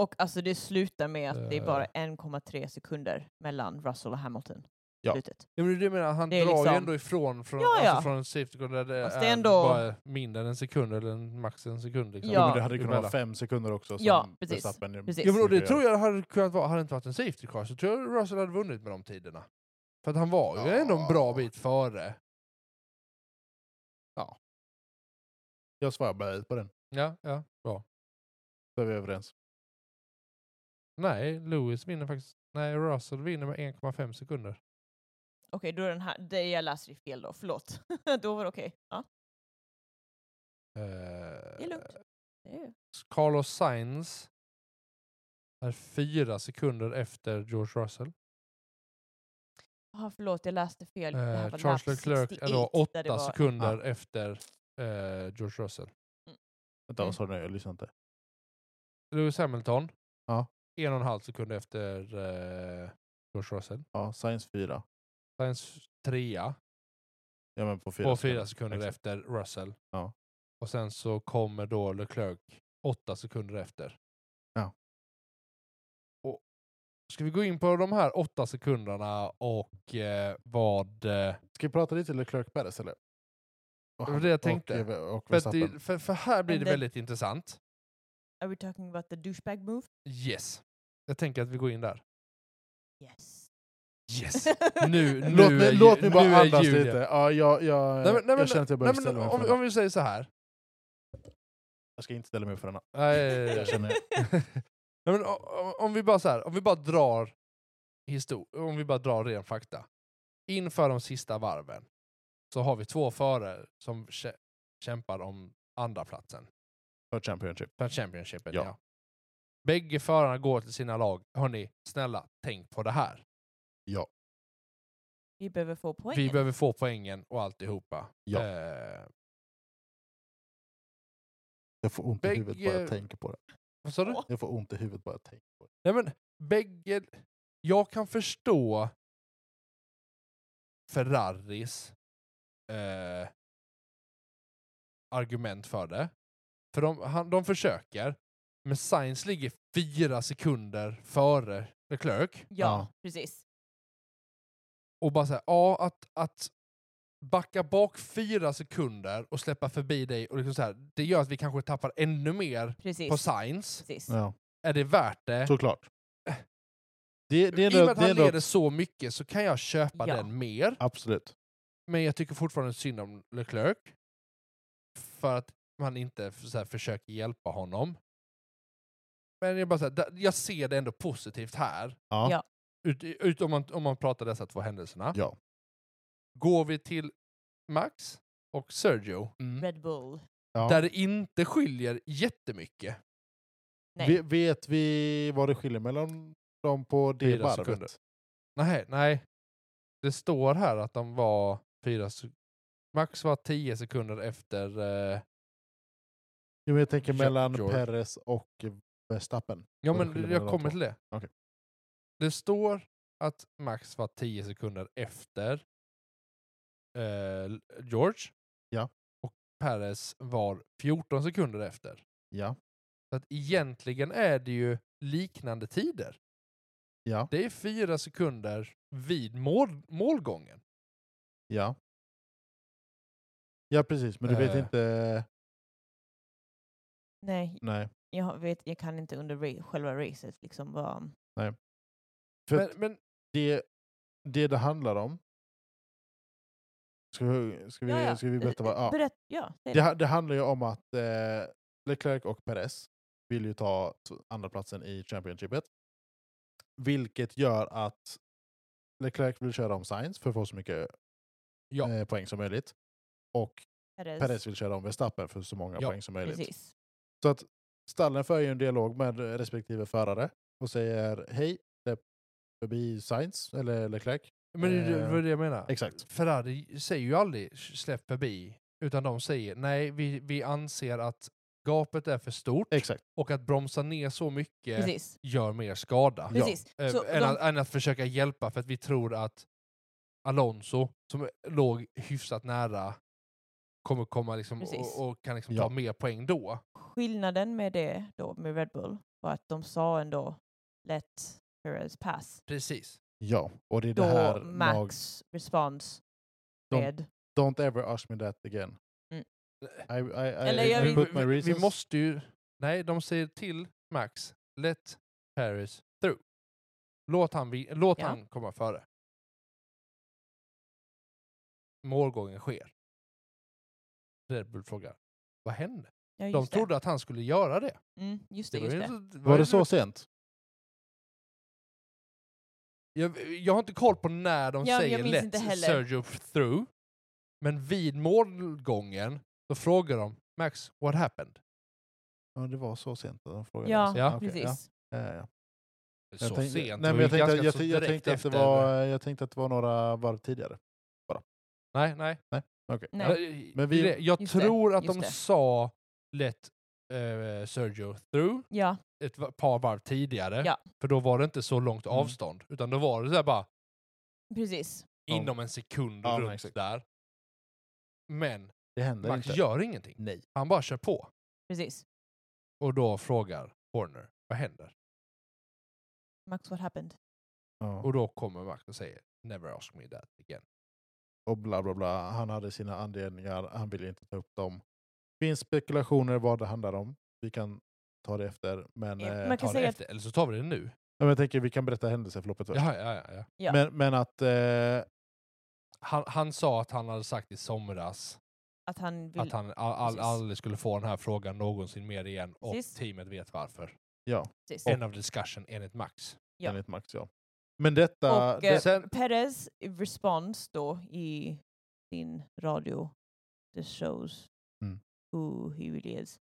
[SPEAKER 3] Och alltså det slutar med att det är bara
[SPEAKER 2] Eh.
[SPEAKER 3] 1,3 sekunder mellan Russell och Hamilton.
[SPEAKER 1] Ja.
[SPEAKER 3] Slutet.
[SPEAKER 2] Ja, men du menar, han
[SPEAKER 3] Det är
[SPEAKER 2] drar
[SPEAKER 3] liksom-
[SPEAKER 2] ju ändå ifrån från,
[SPEAKER 3] Ja, ja.
[SPEAKER 2] Alltså från en safety car där det
[SPEAKER 3] Fast det är
[SPEAKER 2] är
[SPEAKER 3] ändå-
[SPEAKER 2] bara mindre än en sekund eller en, max en sekund. Liksom.
[SPEAKER 1] Jo,
[SPEAKER 3] Ja.
[SPEAKER 1] men det hade kunnat vara
[SPEAKER 2] Emellan.
[SPEAKER 1] fem sekunder också. Som
[SPEAKER 3] Ja, precis.
[SPEAKER 1] Verstappen
[SPEAKER 3] Precis.
[SPEAKER 2] Ja, men då, det
[SPEAKER 1] brukar
[SPEAKER 2] tror
[SPEAKER 1] göra.
[SPEAKER 2] jag det hade kunnat vara, hade det inte varit en safety car så tror jag Russell hade vunnit med de tiderna. För att han var ju ändå en bra
[SPEAKER 1] Ja.
[SPEAKER 2] bit före.
[SPEAKER 1] Jag svarar blöjt på den.
[SPEAKER 2] Ja, ja, bra.
[SPEAKER 1] Så är vi överens.
[SPEAKER 2] Nej, Lewis vinner faktiskt. Nej, Russell vinner med 1,5 sekunder.
[SPEAKER 3] Okej, då är den här, det jag läser i fel då, förlåt. då var det okej. Ja,
[SPEAKER 2] Eh,
[SPEAKER 3] det är lugnt. Det är...
[SPEAKER 2] Carlos Sainz är fyra sekunder efter George Russell.
[SPEAKER 3] Ah, förlåt, jag läste fel. det här
[SPEAKER 2] Eh,
[SPEAKER 3] var
[SPEAKER 2] Charles
[SPEAKER 3] lap
[SPEAKER 2] Leclerc
[SPEAKER 3] 68,
[SPEAKER 2] är då
[SPEAKER 3] där det
[SPEAKER 2] åtta
[SPEAKER 3] var-
[SPEAKER 2] sekunder efter eh, George Russell. Mm.
[SPEAKER 1] Vänta, vad sa du nu? Jag lyssnade inte.
[SPEAKER 2] Lewis Hamilton,
[SPEAKER 1] Ja.
[SPEAKER 2] en och en halv sekund efter eh, George Russell.
[SPEAKER 1] Ja, Science 4.
[SPEAKER 2] Sainz trea,
[SPEAKER 1] Ja, men på fyra
[SPEAKER 2] på fyra sekunder
[SPEAKER 1] Exakt.
[SPEAKER 2] efter Russell.
[SPEAKER 1] Ja.
[SPEAKER 2] Och sen så kommer då Leclerc åtta sekunder efter.
[SPEAKER 1] Ja.
[SPEAKER 2] Och ska vi gå in på de här åtta sekunderna och eh, vad... Eh,
[SPEAKER 1] Ska vi prata lite Leclerc Perez eller? Och
[SPEAKER 2] Det var
[SPEAKER 1] han-
[SPEAKER 2] det jag tänkte.
[SPEAKER 1] Och, Eve- och
[SPEAKER 2] för, att
[SPEAKER 1] Verstappen.
[SPEAKER 2] det, för, för här blir
[SPEAKER 3] Men
[SPEAKER 2] det
[SPEAKER 3] det-
[SPEAKER 2] väldigt intressant.
[SPEAKER 3] Are we talking about the douchebag move?
[SPEAKER 2] Yes. Jag tänker att vi går in där.
[SPEAKER 3] Yes.
[SPEAKER 2] Yes! Nu, nu
[SPEAKER 1] låt,
[SPEAKER 2] är
[SPEAKER 1] mig,
[SPEAKER 2] ju-
[SPEAKER 1] låt mig bara
[SPEAKER 2] nu är
[SPEAKER 1] andas
[SPEAKER 2] Julia-
[SPEAKER 1] lite. Ja, jag, jag,
[SPEAKER 2] Nej, men, nej, men,
[SPEAKER 1] jag känner att jag
[SPEAKER 2] nej,
[SPEAKER 1] behöver
[SPEAKER 2] men,
[SPEAKER 1] ställa mig
[SPEAKER 2] om,
[SPEAKER 1] för
[SPEAKER 2] om
[SPEAKER 1] den.
[SPEAKER 2] vi säger så här.
[SPEAKER 1] Jag ska inte ställa mig för den.
[SPEAKER 2] Nej,
[SPEAKER 1] Jag känner-
[SPEAKER 2] nej, men, o- o- om vi bara så här, om vi bara drar histor- om vi bara drar ren fakta. Inför de sista varven så har vi två förare som kä- kämpar om andra platsen
[SPEAKER 1] För Championship.
[SPEAKER 2] för Championshipen. Ja.
[SPEAKER 1] Ja.
[SPEAKER 2] Bägge förarna går till sina lag. Hörni, snälla, tänk på det här.
[SPEAKER 3] Vi behöver få poäng.
[SPEAKER 2] Vi behöver få poängen och alltihopa.
[SPEAKER 1] Ja.
[SPEAKER 2] Eh,
[SPEAKER 1] Jag får ont i huvudet bara
[SPEAKER 2] Bägge-
[SPEAKER 1] jag tänker på det.
[SPEAKER 2] vad sa du?
[SPEAKER 1] Jag får ont i huvudet bara jag tänker på det.
[SPEAKER 2] Nej men bägge... Jag kan förstå Ferraris eh, argument för det. För de, han, de försöker, men Sainz ligger fyra sekunder före Leclerc.
[SPEAKER 3] Ja,
[SPEAKER 1] Ja.
[SPEAKER 3] precis.
[SPEAKER 2] Och bara säga, ja att, att backa bak fyra sekunder och släppa förbi dig, och liksom så här, det gör att vi kanske tappar ännu mer
[SPEAKER 3] Precis.
[SPEAKER 2] på Sainz.
[SPEAKER 3] precis.
[SPEAKER 1] Ja,
[SPEAKER 2] Är det värt det?
[SPEAKER 1] såklart. Det, det
[SPEAKER 2] I
[SPEAKER 1] är
[SPEAKER 2] och med
[SPEAKER 1] ändå,
[SPEAKER 2] att
[SPEAKER 1] det är
[SPEAKER 2] han
[SPEAKER 1] ändå,
[SPEAKER 2] leder så mycket så kan jag köpa
[SPEAKER 3] Ja.
[SPEAKER 2] den mer.
[SPEAKER 1] absolut.
[SPEAKER 2] Men jag tycker fortfarande synd om Leclerc. För att man inte f- så här, försöker hjälpa honom. Men jag, bara, så här, da- jag ser det ändå positivt här.
[SPEAKER 1] Ja.
[SPEAKER 3] Ja.
[SPEAKER 2] Ut, ut, om, man, om man pratar dessa två händelserna.
[SPEAKER 1] Ja.
[SPEAKER 2] Går vi till Max och Sergio.
[SPEAKER 1] Mm.
[SPEAKER 3] Red Bull.
[SPEAKER 1] Ja.
[SPEAKER 2] Där det inte skiljer jättemycket.
[SPEAKER 3] Nej.
[SPEAKER 1] Ve- Vet vi vad det skiljer mellan dem på det
[SPEAKER 2] Fyra
[SPEAKER 1] varvet?
[SPEAKER 2] sekunder. Nej, nej. Det står här att de var fyra... se- Max var tio sekunder efter... Eh,
[SPEAKER 1] Jo, men jag tänker
[SPEAKER 2] Ja,
[SPEAKER 1] mellan
[SPEAKER 2] George.
[SPEAKER 1] Perez och Verstappen.
[SPEAKER 2] Ja,
[SPEAKER 1] Vad det
[SPEAKER 2] men
[SPEAKER 1] skiljer
[SPEAKER 2] jag
[SPEAKER 1] mellan
[SPEAKER 2] kommer
[SPEAKER 1] två.
[SPEAKER 2] till det.
[SPEAKER 1] Okej.
[SPEAKER 2] Det står att Max var 10 sekunder efter eh, George.
[SPEAKER 1] Ja.
[SPEAKER 2] Och Perez var 14 sekunder efter.
[SPEAKER 1] Ja.
[SPEAKER 2] Så att egentligen är det ju liknande tider.
[SPEAKER 1] Ja.
[SPEAKER 2] Det är fyra sekunder vid mål, målgången.
[SPEAKER 1] Ja. Ja, precis. Men du vet
[SPEAKER 2] Eh.
[SPEAKER 1] inte...
[SPEAKER 3] Nej,
[SPEAKER 1] Nej.
[SPEAKER 3] jag, vet, jag kan inte under ra- själva racet liksom vad...
[SPEAKER 1] För
[SPEAKER 2] Men,
[SPEAKER 1] att
[SPEAKER 2] men
[SPEAKER 1] det, det det handlar om... Ska vi, ska vi,
[SPEAKER 3] Ja, ja.
[SPEAKER 1] Ska vi berätta vad... Ja.
[SPEAKER 3] Berätt, ja, säg
[SPEAKER 1] Det, ha- det handlar ju om att eh, Leclerc och Perez vill ju ta t- andra platsen i Championshipet. Vilket gör att Leclerc vill köra om Sainz för att få så mycket
[SPEAKER 2] Ja.
[SPEAKER 1] eh, poäng som möjligt. Och
[SPEAKER 3] Perez.
[SPEAKER 1] Perez vill köra om Verstappen för så många
[SPEAKER 2] Ja,
[SPEAKER 1] poäng som möjligt.
[SPEAKER 3] Precis.
[SPEAKER 1] Så att stallen för ju en dialog med respektive förare och säger hej, släpp förbi Sainz eller Leclerc.
[SPEAKER 2] men det är
[SPEAKER 1] Eh,
[SPEAKER 2] det- det jag menar.
[SPEAKER 1] Exakt.
[SPEAKER 2] Ferrari säger ju aldrig släpp förbi, utan de säger nej, vi, vi anser att gapet är för stort
[SPEAKER 1] Exakt.
[SPEAKER 2] och att bromsa ner så mycket
[SPEAKER 3] Precis.
[SPEAKER 2] gör mer skada.
[SPEAKER 1] Ja.
[SPEAKER 3] Precis.
[SPEAKER 2] Eh,
[SPEAKER 3] Så
[SPEAKER 2] än,
[SPEAKER 3] de-
[SPEAKER 2] att, än att försöka hjälpa för att vi tror att Alonso, som låg hyfsat nära, kommer komma liksom
[SPEAKER 3] Precis.
[SPEAKER 2] och, och kan liksom
[SPEAKER 1] Ja.
[SPEAKER 2] ta mer poäng då.
[SPEAKER 3] skillnaden med det då med Red Bull var att de sa ändå let Perez pass.
[SPEAKER 2] Precis.
[SPEAKER 1] Ja, och det är
[SPEAKER 3] Då
[SPEAKER 1] det här lag-
[SPEAKER 3] Max respons
[SPEAKER 1] De-
[SPEAKER 3] med
[SPEAKER 1] Don't ever ask me that again.
[SPEAKER 3] Mm.
[SPEAKER 1] I, I, I,
[SPEAKER 3] Eller
[SPEAKER 1] I
[SPEAKER 3] jag vill-
[SPEAKER 1] put my
[SPEAKER 2] vi,
[SPEAKER 1] reasons.
[SPEAKER 2] vi måste ju... Nej, de säger till Max, let Paris through. Låt han, vi, låt
[SPEAKER 3] Ja.
[SPEAKER 2] han komma före. Målgången sker. Red Bull frågar, vad hände?
[SPEAKER 3] ja,
[SPEAKER 2] De
[SPEAKER 3] just
[SPEAKER 2] trodde att han skulle göra det.
[SPEAKER 3] det. Mm, just det,
[SPEAKER 2] Det var
[SPEAKER 3] just
[SPEAKER 2] ju
[SPEAKER 3] det.
[SPEAKER 2] inte- det var
[SPEAKER 1] var
[SPEAKER 2] ju
[SPEAKER 1] det så
[SPEAKER 2] inte-
[SPEAKER 1] sent?
[SPEAKER 2] Jag, jag har inte koll på när de
[SPEAKER 3] Ja, jag
[SPEAKER 2] säger
[SPEAKER 3] minns inte
[SPEAKER 2] let
[SPEAKER 3] heller.
[SPEAKER 2] Sergio through. Men vid målgången så frågar de Max, what happened?
[SPEAKER 1] Ja, det var så sent. att De frågade
[SPEAKER 3] Ja,
[SPEAKER 1] oss.
[SPEAKER 2] Ja,
[SPEAKER 1] okej,
[SPEAKER 3] precis.
[SPEAKER 1] Ja, ja, ja.
[SPEAKER 2] Så
[SPEAKER 1] jag tänkte,
[SPEAKER 2] sent?
[SPEAKER 1] Nej,
[SPEAKER 2] Det
[SPEAKER 1] men
[SPEAKER 2] var
[SPEAKER 1] jag,
[SPEAKER 2] ju
[SPEAKER 1] tänkte,
[SPEAKER 2] ganska
[SPEAKER 1] jag,
[SPEAKER 2] så
[SPEAKER 1] jag, jag,
[SPEAKER 2] direkt
[SPEAKER 1] tänkte att det
[SPEAKER 2] efter-
[SPEAKER 1] var, jag tänkte att det var några varv tidigare.
[SPEAKER 2] Nej, nej.
[SPEAKER 1] Okej.
[SPEAKER 3] Nej.
[SPEAKER 2] Nej.
[SPEAKER 1] Men vi-
[SPEAKER 2] Det- jag
[SPEAKER 3] Just det,
[SPEAKER 2] tror att de
[SPEAKER 3] just det.
[SPEAKER 2] sa let eh, Sergio through
[SPEAKER 3] Ja,
[SPEAKER 2] ett va- par varv tidigare.
[SPEAKER 3] Ja.
[SPEAKER 2] För då var det inte så långt
[SPEAKER 1] Mm.
[SPEAKER 2] avstånd. Utan då var det så här bara
[SPEAKER 3] precis.
[SPEAKER 1] Ja.
[SPEAKER 2] inom en sekund
[SPEAKER 1] Ja, men
[SPEAKER 2] runt
[SPEAKER 1] exakt.
[SPEAKER 2] där. Men
[SPEAKER 1] Det händer
[SPEAKER 2] Max
[SPEAKER 1] inte.
[SPEAKER 2] gör ingenting.
[SPEAKER 1] Nej.
[SPEAKER 2] Han bara kör på.
[SPEAKER 3] precis.
[SPEAKER 2] Och då frågar Horner, vad händer?
[SPEAKER 3] Max, what happened?
[SPEAKER 1] Ja.
[SPEAKER 2] Och då kommer Max och säger, never ask me that again.
[SPEAKER 1] Och bla bla bla. Han hade sina anledningar, han ville inte ta upp dem. Det finns spekulationer vad det handlar om. Vi kan ta det efter. Men,
[SPEAKER 3] Ja,
[SPEAKER 1] eh,
[SPEAKER 3] man kan
[SPEAKER 2] Ta det
[SPEAKER 3] säga att-
[SPEAKER 2] efter, eller så tar vi det nu.
[SPEAKER 1] ja, men jag tänker vi kan berätta händelseförloppet först.
[SPEAKER 2] Ja, ja, ja, ja.
[SPEAKER 3] Ja.
[SPEAKER 1] Men, men att... Eh,
[SPEAKER 2] Han, han sa att han hade sagt i somras
[SPEAKER 3] Att han vill...
[SPEAKER 2] att han all, all,
[SPEAKER 3] Precis.
[SPEAKER 2] aldrig skulle få den här frågan någonsin mer igen och
[SPEAKER 3] Precis.
[SPEAKER 2] teamet vet varför.
[SPEAKER 1] ja,
[SPEAKER 3] Precis.
[SPEAKER 2] End of discussion enligt Max.
[SPEAKER 3] Ja.
[SPEAKER 1] enligt Max ja. Men detta...
[SPEAKER 3] Och,
[SPEAKER 1] det,
[SPEAKER 3] eh,
[SPEAKER 2] Sen,
[SPEAKER 3] Perez respons då i sin radio, the shows
[SPEAKER 1] Mm.
[SPEAKER 3] who he really is.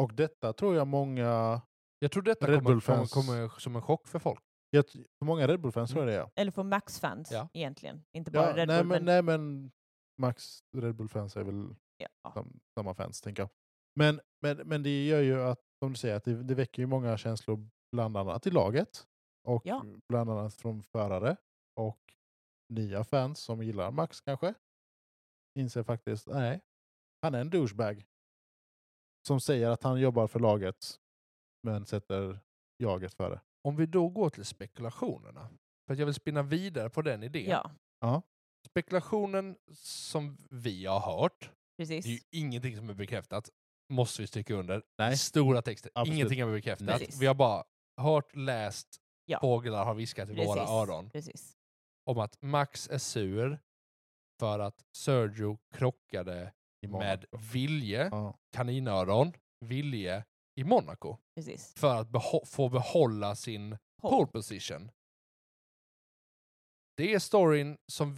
[SPEAKER 1] och detta tror jag många...
[SPEAKER 2] jag tror detta
[SPEAKER 1] Red
[SPEAKER 2] kommer, kommer,
[SPEAKER 1] Bull-fans-
[SPEAKER 2] kommer som en chock för folk.
[SPEAKER 1] Jag, för många Red Bull-fans tror jag det är.
[SPEAKER 3] Eller för Max-fans
[SPEAKER 2] Ja.
[SPEAKER 3] egentligen, inte Mm. bara
[SPEAKER 1] Ja,
[SPEAKER 3] Red
[SPEAKER 1] nej,
[SPEAKER 3] Bull.
[SPEAKER 1] men,
[SPEAKER 3] Men,
[SPEAKER 1] nej men Max Red Bull-fans är väl
[SPEAKER 3] ja.
[SPEAKER 1] sam, samma fans tänker jag. Men, men, men det gör ju att, som du säger, att det, det väcker ju många känslor bland annat i laget och
[SPEAKER 3] Ja.
[SPEAKER 1] bland annat från förare och nya fans som gillar Max kanske inser faktiskt, nej, han är en douchebag som säger att han jobbar för laget men sätter jaget före.
[SPEAKER 2] Om vi då går till spekulationerna, för att jag vill spinna vidare på den idén.
[SPEAKER 3] ja,
[SPEAKER 2] Spekulationen som vi har hört,
[SPEAKER 3] precis.
[SPEAKER 2] det är ju ingenting som är bekräftat, måste vi stryka under.
[SPEAKER 1] Nej.
[SPEAKER 2] Stora texter,
[SPEAKER 1] Absolut.
[SPEAKER 2] ingenting är bekräftat.
[SPEAKER 3] Precis.
[SPEAKER 2] Vi har bara hört, läst,
[SPEAKER 3] Ja.
[SPEAKER 2] fåglar har viskat i våra
[SPEAKER 3] Precis.
[SPEAKER 2] öron
[SPEAKER 3] Precis.
[SPEAKER 2] om att Max är sur för att Sergio krockade
[SPEAKER 1] I
[SPEAKER 2] med Vilje,
[SPEAKER 1] Ja.
[SPEAKER 2] kaninöron, Vilje i Monaco
[SPEAKER 3] precis.
[SPEAKER 2] för att beho- få behålla sin
[SPEAKER 3] Håll.
[SPEAKER 2] pole position. Det är storyn som,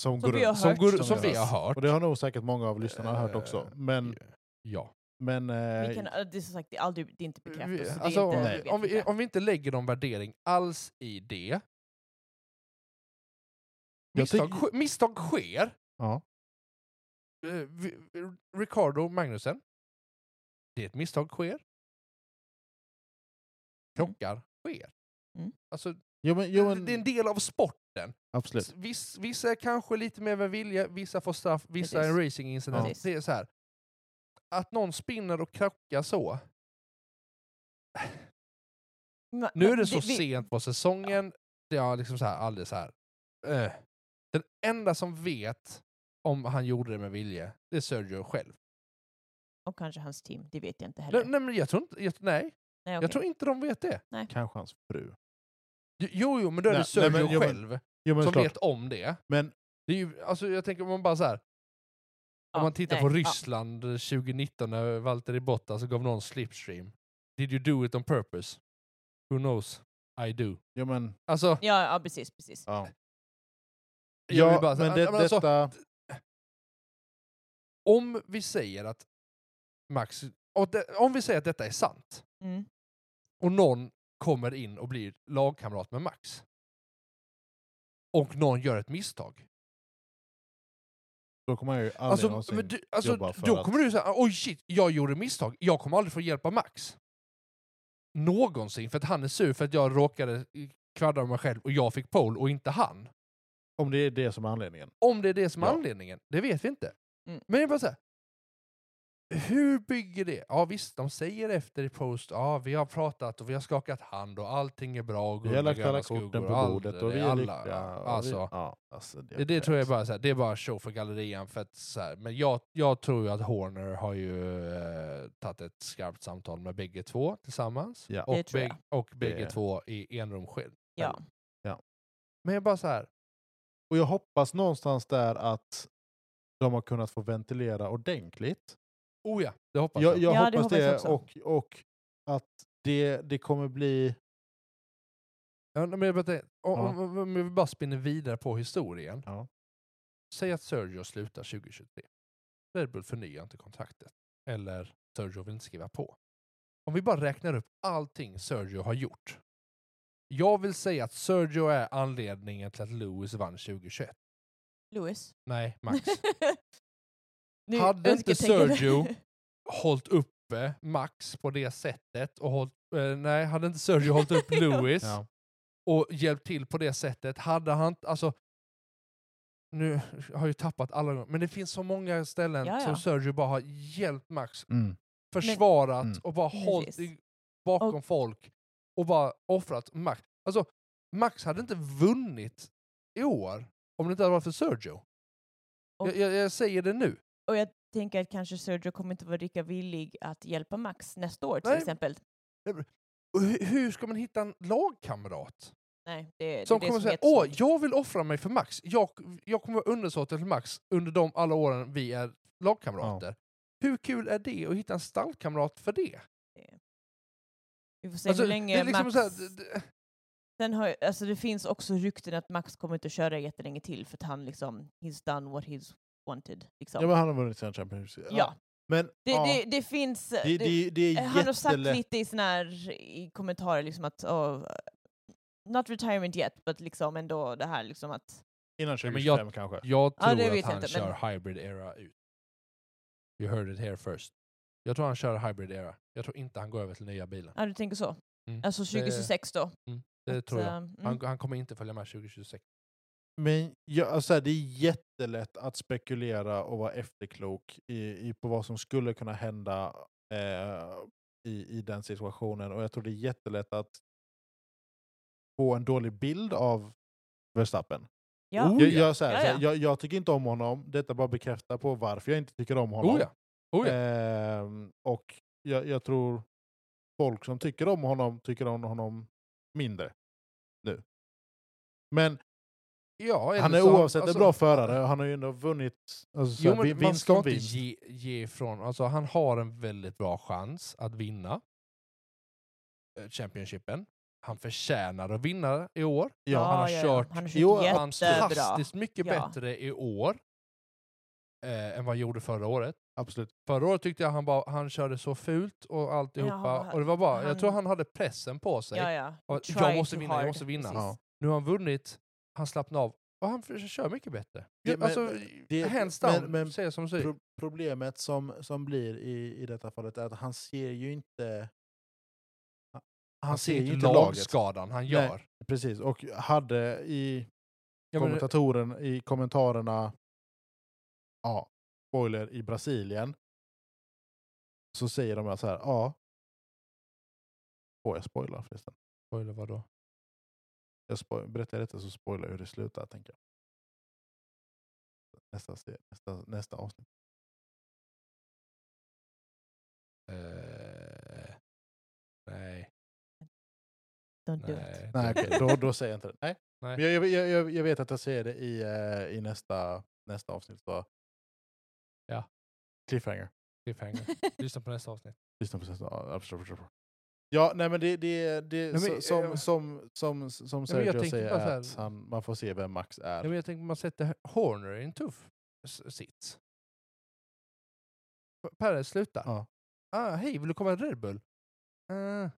[SPEAKER 1] Som,
[SPEAKER 3] Som
[SPEAKER 1] går
[SPEAKER 3] vi har
[SPEAKER 1] runt.
[SPEAKER 2] som,
[SPEAKER 3] hört.
[SPEAKER 2] går,
[SPEAKER 1] Som
[SPEAKER 2] som vi
[SPEAKER 1] görs.
[SPEAKER 2] har hört.
[SPEAKER 1] Och det har nog säkert många av lyssnarna hört också.
[SPEAKER 2] Eh,
[SPEAKER 1] Men,
[SPEAKER 2] Ja.
[SPEAKER 1] men eh,
[SPEAKER 3] Vi kan, det är som sagt det är aldrig, det är inte bekräftat.
[SPEAKER 2] Vi,
[SPEAKER 3] så det är
[SPEAKER 2] alltså,
[SPEAKER 3] inte,
[SPEAKER 2] om,
[SPEAKER 1] Nej.
[SPEAKER 3] vet
[SPEAKER 2] vi, om, vi,
[SPEAKER 3] inte.
[SPEAKER 2] om vi inte lägger någon värdering alls i det.
[SPEAKER 1] Jag
[SPEAKER 2] Misstag,
[SPEAKER 1] tycker-
[SPEAKER 2] sk- misstag sker.
[SPEAKER 1] ja.
[SPEAKER 2] Eh, vi- vi- Ricardo Magnusen. Det är ett misstag sker. Krockar sker.
[SPEAKER 3] Mm.
[SPEAKER 2] Alltså,
[SPEAKER 1] Jo, men, jo, men,
[SPEAKER 2] det är en del av sporten.
[SPEAKER 1] absolut.
[SPEAKER 2] S- Viss, vissa är kanske lite mer med vilja, vissa får straff, vissa är
[SPEAKER 3] Precis.
[SPEAKER 2] en racing incident.
[SPEAKER 3] Ja.
[SPEAKER 2] Det är så här. Att någon spinner och krockar så.
[SPEAKER 3] Men-
[SPEAKER 2] Nu är
[SPEAKER 3] men
[SPEAKER 2] det så sent på säsongen. Det har liksom så här, alldeles så här. eh. Den enda som vet om han gjorde det med vilje, det är Sergio själv.
[SPEAKER 3] Och kanske hans team, det vet jag inte heller.
[SPEAKER 2] Nej, nej, men jag tror inte, jag, nej,
[SPEAKER 3] Nej, okej.
[SPEAKER 2] jag tror inte de vet det.
[SPEAKER 1] Kanske hans fru.
[SPEAKER 2] Jo, jo, men då är
[SPEAKER 1] Nej,
[SPEAKER 2] det
[SPEAKER 1] nej,
[SPEAKER 2] Sergio
[SPEAKER 1] men- jo, men-
[SPEAKER 2] själv
[SPEAKER 1] Jo, men
[SPEAKER 2] som
[SPEAKER 1] såklart.
[SPEAKER 2] vet om det.
[SPEAKER 1] Men
[SPEAKER 2] det är ju, alltså, jag tänker om man bara så här.
[SPEAKER 3] Ja,
[SPEAKER 2] Om man tittar
[SPEAKER 3] nej,
[SPEAKER 2] på
[SPEAKER 3] ja.
[SPEAKER 2] Ryssland 2019 när Valtteri Bottas gav någon slipstream. Did you do it on purpose? Who knows? I do.
[SPEAKER 1] jo, men,
[SPEAKER 2] Alltså,
[SPEAKER 3] Ja, ja precis, precis.
[SPEAKER 1] ja.
[SPEAKER 2] jag
[SPEAKER 1] Ja,
[SPEAKER 2] vill bara,
[SPEAKER 1] men
[SPEAKER 2] men
[SPEAKER 1] det,
[SPEAKER 2] alltså,
[SPEAKER 1] detta...
[SPEAKER 2] om vi säger att Max, och det, om vi säger att detta är sant
[SPEAKER 3] Mm.
[SPEAKER 2] och någon kommer in och blir lagkamrat med Max och någon gör ett misstag.
[SPEAKER 1] Då kommer jag ju aldrig
[SPEAKER 2] Alltså,
[SPEAKER 1] någonsin...
[SPEAKER 2] men du, alltså,
[SPEAKER 1] jobba för
[SPEAKER 2] då
[SPEAKER 1] att-
[SPEAKER 2] kommer du säga oj shit, jag gjorde misstag, jag kommer aldrig få hjälpa Max. Någonsin, för att han är sur för att jag råkade kvaddra mig själv och jag fick pole och inte han.
[SPEAKER 1] Om det är det som är anledningen.
[SPEAKER 2] Om det är det som är
[SPEAKER 1] Ja.
[SPEAKER 2] anledningen, det vet vi inte.
[SPEAKER 3] Mm.
[SPEAKER 2] Men jag bara säger hur bygger det? Ja visst, de säger efter i post, ja vi har pratat och vi har skakat hand och allting är bra och
[SPEAKER 1] Vi har
[SPEAKER 2] guld och
[SPEAKER 1] lagt alla
[SPEAKER 2] gröna skugor
[SPEAKER 1] korten på
[SPEAKER 2] allt
[SPEAKER 1] bordet och
[SPEAKER 2] det
[SPEAKER 1] vi är
[SPEAKER 2] alla-
[SPEAKER 1] lyckliga. och vi-
[SPEAKER 2] Alltså,
[SPEAKER 1] ja, alltså, det
[SPEAKER 2] det, det tror jag är bara så här, det är bara show för gallerian. För att, så här, men jag, jag tror ju att Horner har ju eh, tagit ett skarpt samtal med bägge två tillsammans.
[SPEAKER 1] Ja.
[SPEAKER 2] Och,
[SPEAKER 3] Det tror
[SPEAKER 2] bäg- och bägge
[SPEAKER 1] Det-
[SPEAKER 2] två i enrum skild.
[SPEAKER 3] Ja.
[SPEAKER 2] Men jag bara så här,
[SPEAKER 1] Och jag hoppas någonstans där att de har kunnat få ventilera ordentligt.
[SPEAKER 2] oh ja, det hoppas
[SPEAKER 1] Jag,
[SPEAKER 2] jag.
[SPEAKER 1] jag
[SPEAKER 3] Ja, det
[SPEAKER 1] hoppas
[SPEAKER 3] hoppas jag
[SPEAKER 1] det
[SPEAKER 3] också.
[SPEAKER 1] och, och att det, det kommer bli...
[SPEAKER 2] Ja, men jag bara, tänker, om,
[SPEAKER 1] Ja.
[SPEAKER 2] om, om vi bara spinner vidare på historien.
[SPEAKER 1] Ja.
[SPEAKER 2] Säg att Sergio slutar 2023. Red Bull förnyar inte kontraktet. Eller Sergio vill inte skriva på. Om vi bara räknar upp allting Sergio har gjort. Jag vill säga att Sergio är anledningen till att Lewis vann 2021.
[SPEAKER 3] Louis.
[SPEAKER 2] Nej, Max.
[SPEAKER 3] Nu
[SPEAKER 2] Hade inte
[SPEAKER 3] önsketänker-
[SPEAKER 2] Sergio- hållit uppe Max på det sättet och hållit, eh, nej, hade inte Sergio hållit upp
[SPEAKER 3] Ja.
[SPEAKER 2] Lewis
[SPEAKER 1] Ja.
[SPEAKER 2] och hjälpt till på det sättet, hade han t- alltså nu har jag ju tappat alla gånger, men det finns så många ställen
[SPEAKER 3] Ja, ja.
[SPEAKER 2] som Sergio bara har hjälpt Max,
[SPEAKER 1] Mm.
[SPEAKER 2] försvarat
[SPEAKER 1] Mm.
[SPEAKER 2] och bara hållit
[SPEAKER 3] Precis.
[SPEAKER 2] i- bakom folk och bara offrat Max. Alltså, Max hade inte vunnit i år om det inte hade varit för Sergio.
[SPEAKER 3] Och-
[SPEAKER 2] Jag, jag, jag säger det nu.
[SPEAKER 3] Och jag tänker att kanske Sergio kommer inte vara lika villig att hjälpa Max nästa år till
[SPEAKER 2] Nej.
[SPEAKER 3] exempel.
[SPEAKER 2] Och hur, hur ska man hitta en lagkamrat?
[SPEAKER 3] Nej, det,
[SPEAKER 2] Som
[SPEAKER 3] det
[SPEAKER 2] kommer
[SPEAKER 3] är det som är
[SPEAKER 2] säga åh,
[SPEAKER 3] jättesvårt.
[SPEAKER 2] jag vill offra mig för Max. Jag, jag kommer vara undersåte till Max under de alla åren vi är lagkamrater. Hur kul är det att hitta en stallkamrat för det?
[SPEAKER 3] Vi får se
[SPEAKER 2] Alltså,
[SPEAKER 3] hur länge
[SPEAKER 2] det är liksom
[SPEAKER 3] Max...
[SPEAKER 2] så här, d- d-
[SPEAKER 3] Sen har, alltså det finns också rykten att Max kommer inte köra jättelänge till för att han liksom, he's done what he's wanted. Liksom.
[SPEAKER 1] Ja, men han har vunnit sina Champions League.
[SPEAKER 3] Ja.
[SPEAKER 1] Men
[SPEAKER 3] Det,
[SPEAKER 1] ja,
[SPEAKER 3] det, det finns...
[SPEAKER 1] det,
[SPEAKER 3] det-
[SPEAKER 1] det, det är
[SPEAKER 3] han har sagt
[SPEAKER 1] jättelätt.
[SPEAKER 3] lite i, såna här, i kommentarer liksom att oh, not retirement yet, but liksom ändå det här liksom att
[SPEAKER 1] Innan
[SPEAKER 2] Ja, men jag-
[SPEAKER 1] 2025 kanske.
[SPEAKER 2] jag
[SPEAKER 3] Ja, det
[SPEAKER 2] tror att
[SPEAKER 3] vet jag
[SPEAKER 2] han
[SPEAKER 3] inte,
[SPEAKER 2] kör
[SPEAKER 3] men-
[SPEAKER 2] hybrid era ut. You heard it here first. Jag tror han kör hybrid era. Jag tror inte han går över till nya bilen.
[SPEAKER 3] ja du tänker så.
[SPEAKER 2] Mm.
[SPEAKER 3] Alltså 2026 då.
[SPEAKER 2] Det
[SPEAKER 3] att,
[SPEAKER 2] tror jag.
[SPEAKER 3] eh, mm.
[SPEAKER 2] Han, han kommer inte följa med 2026.
[SPEAKER 1] Men jag, alltså, här, det är jättelätt att spekulera och vara efterklok i, i, på vad som skulle kunna hända eh, i, i den situationen. Och jag tror det är jättelätt att få en dålig bild av Verstappen.
[SPEAKER 3] ja.
[SPEAKER 2] Oh,
[SPEAKER 1] jag,
[SPEAKER 2] ja.
[SPEAKER 1] jag, så här,
[SPEAKER 3] Ja,
[SPEAKER 1] Så här,
[SPEAKER 3] ja.
[SPEAKER 1] jag, jag tycker inte om honom, detta bara bekräftar på varför jag inte tycker om honom.
[SPEAKER 2] Oh ja. Oh ja.
[SPEAKER 1] Ehm, och jag, jag tror folk som tycker om honom tycker om honom mindre nu. Men
[SPEAKER 2] ja eller
[SPEAKER 1] han är
[SPEAKER 2] så
[SPEAKER 1] oavsett
[SPEAKER 2] alltså-
[SPEAKER 1] en bra förare och han har ju ändå vunnit alltså,
[SPEAKER 2] Jo,
[SPEAKER 1] så här, vi-
[SPEAKER 2] men man
[SPEAKER 1] vinst
[SPEAKER 2] ska
[SPEAKER 1] om
[SPEAKER 2] inte
[SPEAKER 1] vinst.
[SPEAKER 2] ge, ge ifrån. Alltså, han har en väldigt bra chans att vinna eh, Championshipen. Han förtjänar att vinna i år.
[SPEAKER 1] Ja.
[SPEAKER 2] han har kört-
[SPEAKER 3] Han har
[SPEAKER 1] Jo,
[SPEAKER 3] kört
[SPEAKER 2] Han
[SPEAKER 3] jättebra.
[SPEAKER 2] fantastiskt mycket
[SPEAKER 3] Ja.
[SPEAKER 2] bättre i år eh, än vad han gjorde förra året.
[SPEAKER 1] Absolut.
[SPEAKER 2] Förra året tyckte jag han, bara, han körde så fult och alltihopa.
[SPEAKER 3] Jaha,
[SPEAKER 2] och det var bara, jag
[SPEAKER 3] han-
[SPEAKER 2] tror han hade pressen på sig.
[SPEAKER 3] Ja, ja.
[SPEAKER 2] Och
[SPEAKER 3] Try
[SPEAKER 2] jag måste
[SPEAKER 3] too
[SPEAKER 2] vinna, jag
[SPEAKER 3] hard.
[SPEAKER 2] måste vinna.
[SPEAKER 3] Precis.
[SPEAKER 1] Ja.
[SPEAKER 2] Nu har han vunnit, han slappnar av och han för- kör mycket bättre.
[SPEAKER 1] Ja, men-
[SPEAKER 2] alltså,
[SPEAKER 1] det-
[SPEAKER 2] hands
[SPEAKER 1] men-
[SPEAKER 2] down,
[SPEAKER 1] men
[SPEAKER 2] säger som säger.
[SPEAKER 1] Pro problemet som, som blir i, i detta fallet är att han ser ju inte han, han ser ju inte laget.
[SPEAKER 2] lagskadan han gör.
[SPEAKER 1] Precis, och hade i
[SPEAKER 2] Ja, men-
[SPEAKER 1] kommentatoren i kommentarerna, ja, spoiler, i Brasilien, så säger de så här, ja. Får jag spoila förresten?
[SPEAKER 2] Spoiler vadå?
[SPEAKER 1] Jag spoil, berättar jag detta så spoilar jag hur det slutar, tänker jag. Nästa, se- nästa, nästa avsnitt.
[SPEAKER 2] Eh, nej.
[SPEAKER 3] Don't do it.
[SPEAKER 2] Nej,
[SPEAKER 1] Nej,
[SPEAKER 2] det-
[SPEAKER 1] okej, då, då säger jag inte det. Nej.
[SPEAKER 2] Nej.
[SPEAKER 1] Men jag, jag, jag, jag vet att jag säger det i, eh, i nästa, nästa avsnitt. Så.
[SPEAKER 2] Ja.
[SPEAKER 1] Cliffhanger.
[SPEAKER 2] cliffhanger. Lyssna på nästa avsnitt.
[SPEAKER 1] Lyssna på nästa. ja, absolut, absolut. Ja, nej men det, det, det
[SPEAKER 2] men,
[SPEAKER 1] så- som,
[SPEAKER 2] eh,
[SPEAKER 1] som, som, som
[SPEAKER 2] men jag
[SPEAKER 1] Sergio
[SPEAKER 2] tänker
[SPEAKER 1] säger
[SPEAKER 2] bara så
[SPEAKER 1] är
[SPEAKER 2] här-
[SPEAKER 1] att han, man får se vem Max
[SPEAKER 2] Ja,
[SPEAKER 1] är.
[SPEAKER 2] men jag tänkte man sätter Horner i en tuff s- sits. P- Perre slutar.
[SPEAKER 1] Ja.
[SPEAKER 2] Ah, hej, vill du komma en Red Bull? Eh, eh.